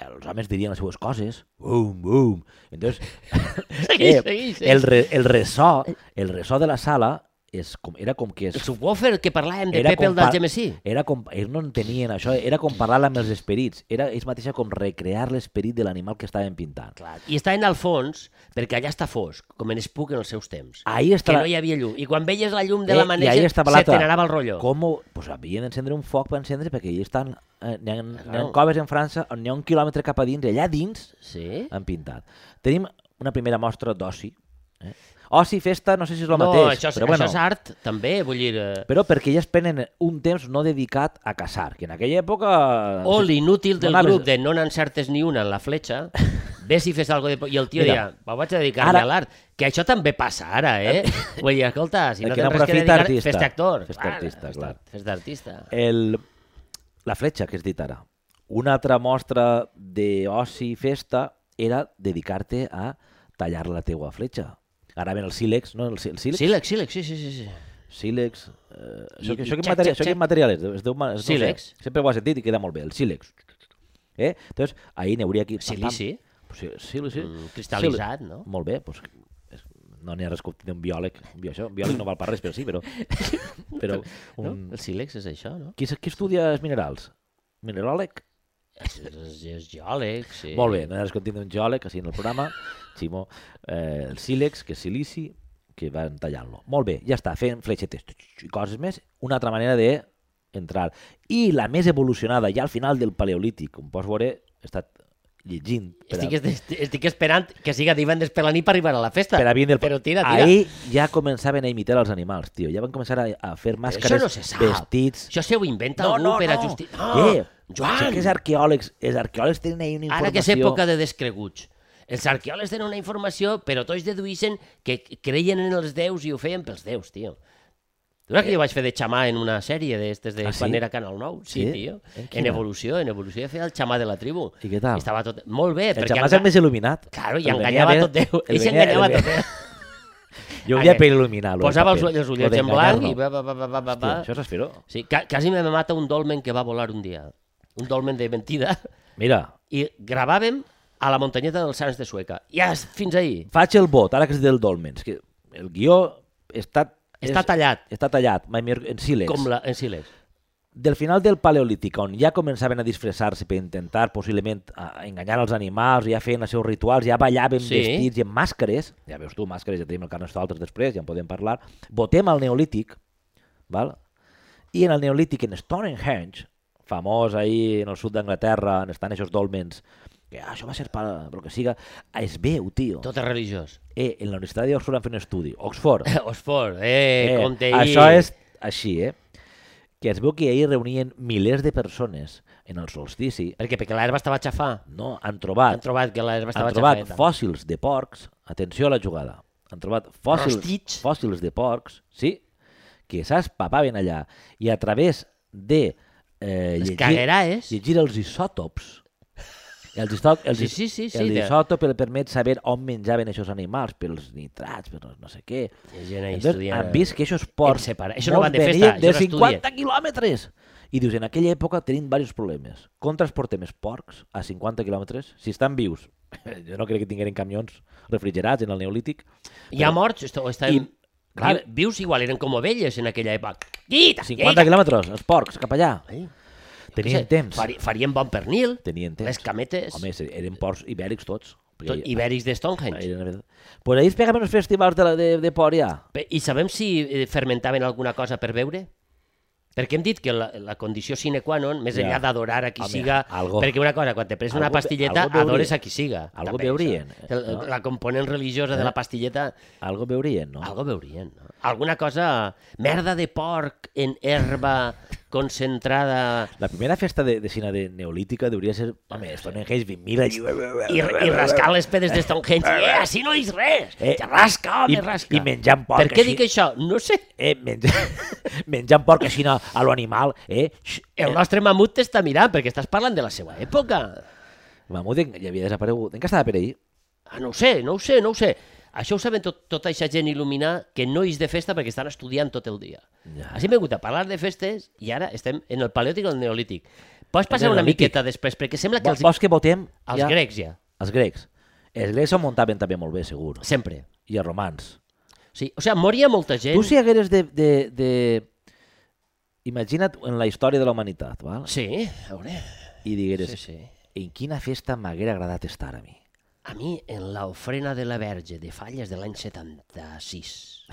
[SPEAKER 1] Els homes dirien les seues coses, bum, bum. Entonces, eh,
[SPEAKER 2] Segueix, segueix, segueix.
[SPEAKER 1] el, re, el ressò, el ressò de la sala és com, era com que...
[SPEAKER 2] El
[SPEAKER 1] Es,
[SPEAKER 2] subwoofer que parlàvem de
[SPEAKER 1] era
[SPEAKER 2] Pepe el
[SPEAKER 1] par-
[SPEAKER 2] del Gemesí.
[SPEAKER 1] Era com, ells no entenien això, era com parlar-la amb els esperits, era ells mateixa com recrear l'esperit de l'animal que estaven pintant.
[SPEAKER 2] Clar. I estaven al fons, perquè allà està fosc, com en Spook en els seus temps.
[SPEAKER 1] Ahí està
[SPEAKER 2] que
[SPEAKER 1] la-
[SPEAKER 2] no hi havia llum. I quan veies la llum de
[SPEAKER 1] Eh,
[SPEAKER 2] la
[SPEAKER 1] i ahí
[SPEAKER 2] manera,
[SPEAKER 1] estava l'altra.
[SPEAKER 2] se t'anava el rotllo.
[SPEAKER 1] Com ho... Pues havien d'encendre un foc per encendre, perquè allà estan... Eh, n'hi ha, n'hi ha
[SPEAKER 2] Claro.
[SPEAKER 1] coves en França on n'hi ha un quilòmetre cap a dins, allà dins
[SPEAKER 2] Sí?
[SPEAKER 1] han pintat. Tenim una primera mostra d'oci. Eh? Oci, festa, no sé si és el
[SPEAKER 2] no,
[SPEAKER 1] mateix.
[SPEAKER 2] això, és,
[SPEAKER 1] però,
[SPEAKER 2] això és art, també, vull dir... Eh...
[SPEAKER 1] però perquè ja es prenen un temps no dedicat a caçar, que en aquella època...
[SPEAKER 2] O l'inútil del
[SPEAKER 1] Anaves-
[SPEAKER 2] grup de no n'encertes ni una en la fletxa, ves i fes algo de... po- I el tio
[SPEAKER 1] Mira,
[SPEAKER 2] dirà, me'n vaig a dedicar-me
[SPEAKER 1] ara-
[SPEAKER 2] a l'art. Que això també passa ara, eh? Vull dir, escolta, si
[SPEAKER 1] El
[SPEAKER 2] no
[SPEAKER 1] que no
[SPEAKER 2] tens res que
[SPEAKER 1] aprofita,
[SPEAKER 2] dedicar,
[SPEAKER 1] artista.
[SPEAKER 2] fes-te actor.
[SPEAKER 1] Fes-te
[SPEAKER 2] Ara,
[SPEAKER 1] artista,
[SPEAKER 2] fes-te-
[SPEAKER 1] clar.
[SPEAKER 2] Fes-te artista.
[SPEAKER 1] El... La fletxa que has dit ara. Una altra mostra d'oci i festa era dedicar-te a tallar la teua fletxa. Ara ven el sílex, no? El, sí- el sílex?
[SPEAKER 2] Sílex, sílex, sí, sí, sí. sí.
[SPEAKER 1] sílex... Eh, això,
[SPEAKER 2] I-
[SPEAKER 1] que,
[SPEAKER 2] i
[SPEAKER 1] això, que
[SPEAKER 2] xac,
[SPEAKER 1] matèria,
[SPEAKER 2] xac,
[SPEAKER 1] això que
[SPEAKER 2] xac.
[SPEAKER 1] material és? Es deu, ma- es,
[SPEAKER 2] Sílex.
[SPEAKER 1] No sé, sempre ho has sentit i queda molt bé, el sílex. Eh? Entonces, ahir n'hi hauria aquí... pam, pam.
[SPEAKER 2] Silici,
[SPEAKER 1] Sí, sílici.
[SPEAKER 2] Mm, cristal·litzat, no?
[SPEAKER 1] Molt bé, doncs, és- no n'hi ha res que opini un biòleg. Un biòleg, això, un biòleg no val per res, però sí, però... però
[SPEAKER 2] no?
[SPEAKER 1] un...
[SPEAKER 2] El sílex és això, no?
[SPEAKER 1] qui, s- qui estudia els minerals? Mineròleg?
[SPEAKER 2] És, és, és geòleg, sí.
[SPEAKER 1] Molt bé, nosaltres continuem un geòleg, així en el programa, Ximo, eh, el sílex, que és silici, que van tallant-lo. Molt bé, ja està, fent fletxetes tx, tx, i coses més. Una altra manera de entrar. I la més evolucionada, ja al final del paleolític, com pots veure, he estat llegint. a-
[SPEAKER 2] Estic, estic, estic esperant que siga divendres per la nit per arribar a la festa.
[SPEAKER 1] per a vindre el...
[SPEAKER 2] Però tira, tira.
[SPEAKER 1] Ahir ja començaven a imitar els animals, tio. Ja van començar a, a fer màscares,
[SPEAKER 2] no se sap.
[SPEAKER 1] vestits...
[SPEAKER 2] Això se ho inventa
[SPEAKER 1] No,
[SPEAKER 2] algú
[SPEAKER 1] no,
[SPEAKER 2] per a
[SPEAKER 1] no.
[SPEAKER 2] justificar...
[SPEAKER 1] Eh,
[SPEAKER 2] Joan!
[SPEAKER 1] Sé que els arqueòlegs, els arqueòlegs tenen ahí una informació...
[SPEAKER 2] Ara que és època de descreguts. Els arqueòlegs tenen una informació, però tots deduïssen que creien en els déus i ho feien pels déus, tio. Tu saps que jo vaig fer de xamà en una sèrie d'estes de
[SPEAKER 1] Eh. Ah,
[SPEAKER 2] ah,
[SPEAKER 1] sí?
[SPEAKER 2] sí? quan era Canal 9? Sí,
[SPEAKER 1] Sí?
[SPEAKER 2] sí? tio.
[SPEAKER 1] Eh, quina?
[SPEAKER 2] En evolució, en evolució feia el xamà de la tribu.
[SPEAKER 1] I què tal?
[SPEAKER 2] estava tot... Molt bé,
[SPEAKER 1] El
[SPEAKER 2] Eh, perquè...
[SPEAKER 1] xamà és el més il·luminat.
[SPEAKER 2] Claro, i
[SPEAKER 1] El venia
[SPEAKER 2] enganyava
[SPEAKER 1] bé-
[SPEAKER 2] tot Déu.
[SPEAKER 1] el
[SPEAKER 2] I
[SPEAKER 1] venia-
[SPEAKER 2] s'enganyava
[SPEAKER 1] el
[SPEAKER 2] tot
[SPEAKER 1] venia-
[SPEAKER 2] Déu.
[SPEAKER 1] Jo ho havia
[SPEAKER 2] Aquell.
[SPEAKER 1] per il·luminar. lo del
[SPEAKER 2] Posava els
[SPEAKER 1] paper.
[SPEAKER 2] ull- els
[SPEAKER 1] Lo
[SPEAKER 2] ullets en blanc i
[SPEAKER 1] d'enganyar-lo.
[SPEAKER 2] va, va, va, va, va, va,
[SPEAKER 1] Hòstia,
[SPEAKER 2] va.
[SPEAKER 1] Això és Espiró.
[SPEAKER 2] Sí, ca quasi me mata un dolmen que va volar un dia. Un dolmen de mentida.
[SPEAKER 1] Mira,
[SPEAKER 2] I gravàvem a la muntanyeta dels Sants de Sueca. Ja, és- fins ahir.
[SPEAKER 1] faig el vot, ara que és del Dolmens, que el guió està...
[SPEAKER 2] Està
[SPEAKER 1] és-
[SPEAKER 2] tallat,
[SPEAKER 1] Està tallat, mai millor- en sílex.
[SPEAKER 2] com la, en silent.
[SPEAKER 1] Del final del Paleolític, on ja començaven a disfressar-se per intentar possiblement a a enganyar els animals, ja feien els seus rituals, ja ballaven
[SPEAKER 2] Sí.
[SPEAKER 1] sí. vestits i amb màscares, ja veus tu, màscares, ja tenim el Carnestoltes després, ja en podem parlar, votem al Neolític, val? i en el Neolític, en Stonehenge, famós ahir en el sud d'Anglaterra, on estan aquests dolmens, que ah, això va ser per el que siga, es veu, tio.
[SPEAKER 2] Tot és religiós.
[SPEAKER 1] Eh, en la Universitat d'Oxford han fet un estudi, Oxford.
[SPEAKER 2] Oxford, eh, eh compte ahir.
[SPEAKER 1] això és així, eh? Que es veu que ahir reunien milers de persones en el solstici.
[SPEAKER 2] Perquè, perquè l'herba estava a xafar.
[SPEAKER 1] No, han
[SPEAKER 2] Han
[SPEAKER 1] trobat,
[SPEAKER 2] trobat que l'herba estava
[SPEAKER 1] han
[SPEAKER 2] a
[SPEAKER 1] trobat
[SPEAKER 2] xafar.
[SPEAKER 1] fòssils de porcs. Atenció a la jugada. Han trobat fòssils,
[SPEAKER 2] Rostits?
[SPEAKER 1] fòssils de porcs, sí, que s'espapaven allà. I a través de eh,
[SPEAKER 2] Les
[SPEAKER 1] llegir,
[SPEAKER 2] cagueraes.
[SPEAKER 1] llegir els isòtops, els, istòc, els,
[SPEAKER 2] Sí,
[SPEAKER 1] is-
[SPEAKER 2] sí, sí, sí,
[SPEAKER 1] el
[SPEAKER 2] de-
[SPEAKER 1] isòtop el permet saber on menjaven aquests animals, pels nitrats, per no- no sé què.
[SPEAKER 2] Hi ha gent ahí
[SPEAKER 1] Entonces,
[SPEAKER 2] estudiant.
[SPEAKER 1] han vist que això és port.
[SPEAKER 2] En separa- això no
[SPEAKER 1] molts
[SPEAKER 2] van de festa,
[SPEAKER 1] venien
[SPEAKER 2] això
[SPEAKER 1] de
[SPEAKER 2] no
[SPEAKER 1] 50
[SPEAKER 2] estudien.
[SPEAKER 1] quilòmetres. I dius, en aquella època tenim diversos problemes. Com transportem els porcs a 50 quilòmetres? Si estan vius, jo no crec que tingueren camions refrigerats en el neolític.
[SPEAKER 2] Hi ha morts, esto, estan...
[SPEAKER 1] I- clar.
[SPEAKER 2] Clar, vius igual, eren com ovelles en aquella època. Quita,
[SPEAKER 1] 50 quilòmetres, els porcs, cap allà. Tenien temps.
[SPEAKER 2] Fari, farien bon pernil,
[SPEAKER 1] Tenien temps.
[SPEAKER 2] les cametes,
[SPEAKER 1] Home, se- eren porcs ibèrics tots. perquè
[SPEAKER 2] tot, ibèrics de Stonehenge.
[SPEAKER 1] Eren... Pues ahir es pegaven els festivals de, la, de, de por, ja.
[SPEAKER 2] Bé, I sabem si eh, fermentaven alguna cosa per beure? Perquè hem dit que la, la condició sine qua non, més
[SPEAKER 1] Ja.
[SPEAKER 2] enllà d'adorar a qui
[SPEAKER 1] Home,
[SPEAKER 2] siga...
[SPEAKER 1] algo-
[SPEAKER 2] Perquè una cosa, quan te prens una
[SPEAKER 1] algo be-
[SPEAKER 2] pastilleta,
[SPEAKER 1] algo beurien.
[SPEAKER 2] adores a qui siga.
[SPEAKER 1] Algo
[SPEAKER 2] també, això.
[SPEAKER 1] beurien, eh,
[SPEAKER 2] El-
[SPEAKER 1] no?
[SPEAKER 2] La component religiosa de la pastilleta
[SPEAKER 1] Algo veurien, no?
[SPEAKER 2] Algo veurien, no? Alguna cosa... Merda de porc en herba concentrada
[SPEAKER 1] La primera festa de, de cine de neolítica hauria ser... Home, Stonehenge, 20.000 allí...
[SPEAKER 2] i, i rascar les pedes de Stonehenge. Eh, així no és res!
[SPEAKER 1] Eh,
[SPEAKER 2] Eh, rasca, home,
[SPEAKER 1] i-
[SPEAKER 2] rasca!
[SPEAKER 1] i menjant porc
[SPEAKER 2] Per què
[SPEAKER 1] així.
[SPEAKER 2] dic això? No sé.
[SPEAKER 1] Eh, menja, menjant porc així a, a l'animal, eh? Xx,
[SPEAKER 2] El nostre mamut t'està mirant perquè estàs parlant de la seva època.
[SPEAKER 1] Mamut en- ja havia desaparegut. Encara estava per ahir.
[SPEAKER 2] Ah, no ho sé, no ho sé, no ho sé. Això ho saben tot, tota aquesta gent il·luminada que no és de festa perquè estan estudiant tot el dia.
[SPEAKER 1] Ja.
[SPEAKER 2] Així hem vingut a parlar de festes i ara estem en el paleolític o el neolític. Pots passar una
[SPEAKER 1] neolític.
[SPEAKER 2] miqueta després, perquè sembla Ah, que
[SPEAKER 1] Vo-
[SPEAKER 2] els,
[SPEAKER 1] Vols que votem?
[SPEAKER 2] els grecs ja,
[SPEAKER 1] Els grecs. Els grecs s'ho muntaven també molt bé, segur.
[SPEAKER 2] sempre.
[SPEAKER 1] I els romans.
[SPEAKER 2] Sí, o sigui, moria molta gent.
[SPEAKER 1] Tu si hagueres de... de, de... Imagina't en la història de la humanitat, val?
[SPEAKER 2] Sí, a veure.
[SPEAKER 1] I digueres,
[SPEAKER 2] Sí, sí.
[SPEAKER 1] en quina festa m'haguera agradat estar a mi?
[SPEAKER 2] A mi, en l'ofrena de la Verge de Falles de l'any 76,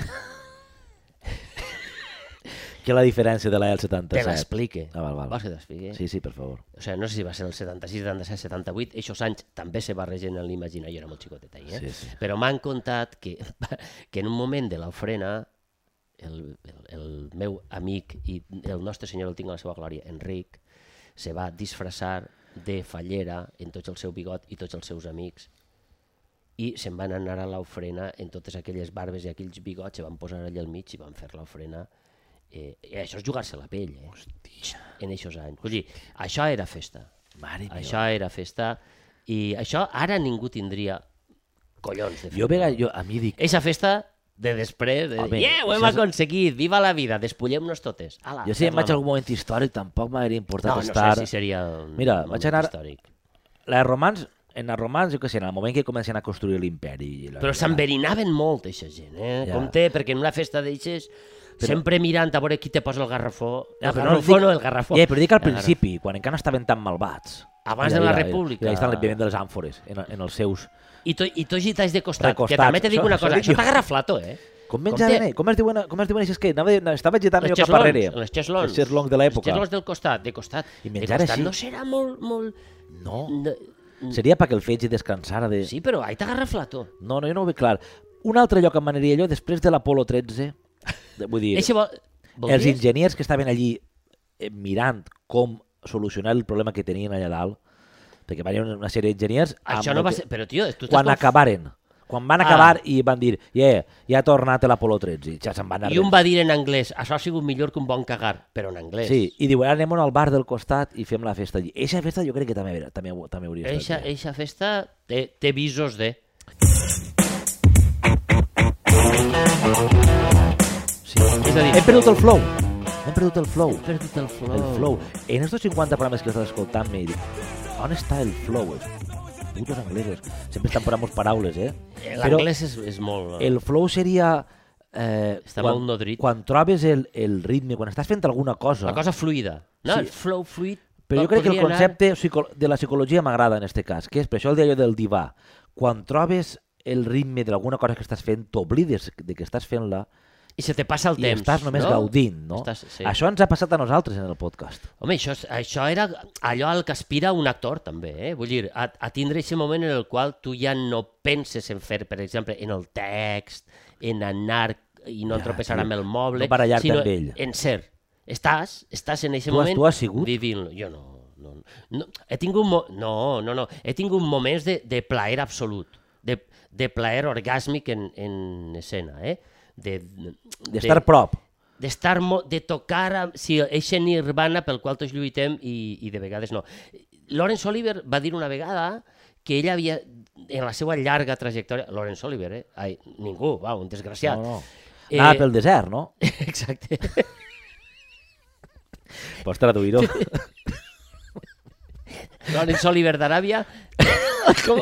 [SPEAKER 1] Què és la diferència de la del 77?
[SPEAKER 2] te l'explique.
[SPEAKER 1] Ah, val, val.
[SPEAKER 2] Vols que t'expliqui?
[SPEAKER 1] Sí, sí, per favor.
[SPEAKER 2] O sigui, no sé si va ser el 76, 77, 78, aquests anys també se barregen en l'imaginar, jo era molt xicotet ahir, eh?
[SPEAKER 1] Sí, sí.
[SPEAKER 2] però m'han contat que, que en un moment de l'ofrena el, el, el meu amic i el nostre senyor el tinc a la seva glòria, Enric, se va disfressar de fallera en tot el seu bigot i tots els seus amics i se'n van anar a l'ofrena en totes aquelles barbes i aquells bigots se van posar allà al mig i van fer l'ofrena eh, i això és jugar-se la pell eh? en aquests anys Vull dir, això era festa
[SPEAKER 1] Mare meva.
[SPEAKER 2] això era festa i això ara ningú tindria collons de fer
[SPEAKER 1] Jo, a vegades, jo, a mi dic,
[SPEAKER 2] Eixa festa de després, de...
[SPEAKER 1] Home,
[SPEAKER 2] Home, yeah, ho hem
[SPEAKER 1] això és-
[SPEAKER 2] aconseguit, viva la vida, despullem-nos totes. Ala,
[SPEAKER 1] jo si em vaig a
[SPEAKER 2] ferla-la.
[SPEAKER 1] algun moment històric tampoc m'hauria importat
[SPEAKER 2] Ah, No, no
[SPEAKER 1] estar...
[SPEAKER 2] sé si seria un
[SPEAKER 1] Mira,
[SPEAKER 2] moment
[SPEAKER 1] vaig anar-
[SPEAKER 2] històric.
[SPEAKER 1] La romans, en els romans, jo què sé, en el moment que comencen a construir l'imperi... i la-
[SPEAKER 2] Però s'enverinaven molt, eixa gent, eh?
[SPEAKER 1] Ja.
[SPEAKER 2] Ja. Compte, perquè en una festa d'eixes, sempre mirant a veure qui te posa el garrafó. El
[SPEAKER 1] Ja, però
[SPEAKER 2] garrafó
[SPEAKER 1] dic-
[SPEAKER 2] no, el garrafó.
[SPEAKER 1] Ja, Eh, però dic al
[SPEAKER 2] El garrafó.
[SPEAKER 1] principi, quan encara estaven tan malvats.
[SPEAKER 2] Abans
[SPEAKER 1] I
[SPEAKER 2] de la
[SPEAKER 1] i i
[SPEAKER 2] República.
[SPEAKER 1] I ahí estan l'enviament de les àmfores, en, en els seus...
[SPEAKER 2] I, to, i tots i talls de costat,
[SPEAKER 1] De costat,
[SPEAKER 2] que també te dic
[SPEAKER 1] això-
[SPEAKER 2] una
[SPEAKER 1] això
[SPEAKER 2] cosa,
[SPEAKER 1] dic
[SPEAKER 2] això
[SPEAKER 1] jo.
[SPEAKER 2] t'ha garraflato, eh?
[SPEAKER 1] Com
[SPEAKER 2] Compte,
[SPEAKER 1] menjaven, eh? Com es diuen, com es diuen aixes que... Anava, de- estava agitant
[SPEAKER 2] els
[SPEAKER 1] jo cap
[SPEAKER 2] xeslons,
[SPEAKER 1] darrere.
[SPEAKER 2] els xeslons.
[SPEAKER 1] Els xeslons de
[SPEAKER 2] Els
[SPEAKER 1] l'època.
[SPEAKER 2] xeslons del costat, de costat.
[SPEAKER 1] I
[SPEAKER 2] de
[SPEAKER 1] menjar
[SPEAKER 2] costat.
[SPEAKER 1] així.
[SPEAKER 2] No serà molt... molt...
[SPEAKER 1] No.
[SPEAKER 2] no.
[SPEAKER 1] Seria perquè el fetge descansara de...
[SPEAKER 2] Sí, però ahí t'agarra tot.
[SPEAKER 1] No, no, jo no ho veig clar. Un altre lloc em m'aniria jo després de l'Apolo 13, de- vull dir...
[SPEAKER 2] Eixe vol...
[SPEAKER 1] els
[SPEAKER 2] voldries?
[SPEAKER 1] enginyers que estaven allí eh, mirant com solucionar el problema que tenien allà dalt, perquè van haver una sèrie d'enginyers... amb
[SPEAKER 2] Això no
[SPEAKER 1] el
[SPEAKER 2] va
[SPEAKER 1] que-
[SPEAKER 2] ser... Però, tio, tu t'has
[SPEAKER 1] Quan
[SPEAKER 2] conf-
[SPEAKER 1] acabaren Quan van acabar ah. i van dir, yeah, ja ha tornat l'Apolo 13, ja se'n van anar.
[SPEAKER 2] I un va dir en anglès, això ha sigut millor que un bon cagar, però en anglès.
[SPEAKER 1] Sí, i diu, ara anem al bar del costat i fem la festa allí. Eixa festa jo crec que també, era- també, ho- també hauria
[SPEAKER 2] Eixa,
[SPEAKER 1] estat. bé.
[SPEAKER 2] eixa festa té, té visos de...
[SPEAKER 1] Sí.
[SPEAKER 2] És a dir-
[SPEAKER 1] Hem perdut el flow. Hem perdut el flow.
[SPEAKER 2] He perdut el flow.
[SPEAKER 1] El flow. En estos 50 programes que estàs escoltant m'he dit, on està el flow? Els putos anglesos. Sempre estan parant molts paraules, eh? Però
[SPEAKER 2] L'anglès és, és molt...
[SPEAKER 1] el flow seria... Eh,
[SPEAKER 2] Està
[SPEAKER 1] quan,
[SPEAKER 2] molt nodrit.
[SPEAKER 1] Quan trobes el, el ritme, quan estàs fent alguna cosa...
[SPEAKER 2] La cosa fluida. No?
[SPEAKER 1] Sí.
[SPEAKER 2] El flow fluid...
[SPEAKER 1] Però jo crec que el
[SPEAKER 2] podria anar-
[SPEAKER 1] concepte psico- de la psicologia m'agrada en este cas, que és per això el d'allò del divà. Quan trobes el ritme d'alguna cosa que estàs fent, t'oblides de que estàs fent-la
[SPEAKER 2] I se te passa el
[SPEAKER 1] i
[SPEAKER 2] temps,
[SPEAKER 1] estàs només
[SPEAKER 2] no?
[SPEAKER 1] gaudint, no?
[SPEAKER 2] Estàs, sí. això...
[SPEAKER 1] Això ens ha passat a nosaltres en el podcast.
[SPEAKER 2] Home, això, és- això era allò al que aspira un actor, també, eh? Vull dir, a, a tindre aquest moment en el qual tu ja no penses en fer, per exemple, en el text, en anar i no ja, tropeçar
[SPEAKER 1] tio,
[SPEAKER 2] amb el moble,
[SPEAKER 1] no barallar-te
[SPEAKER 2] sinó
[SPEAKER 1] amb ell.
[SPEAKER 2] en ser. Estàs, estàs en aquest
[SPEAKER 1] Tu has-
[SPEAKER 2] moment
[SPEAKER 1] tu has sigut?
[SPEAKER 2] vivint-lo. Jo no, no, no. He tingut, mo no, no, no. He tingut moments de, de plaer absolut, de, de plaer orgàsmic en, en escena, eh? De-
[SPEAKER 1] D'estar prop.
[SPEAKER 2] d'estar mo- de tocar amb, sí, eixe nirvana pel qual tots lluitem i, i de vegades no. Lawrence Oliver va dir una vegada que ell havia, en la seva llarga trajectòria... Lawrence Oliver, eh? Ai, ningú, va, un desgraciat.
[SPEAKER 1] No, no.
[SPEAKER 2] Eh,
[SPEAKER 1] Anava pel desert, no?
[SPEAKER 2] Exacte.
[SPEAKER 1] Pots traduir-ho.
[SPEAKER 2] Lawrence Oliver d'Aràbia... Com,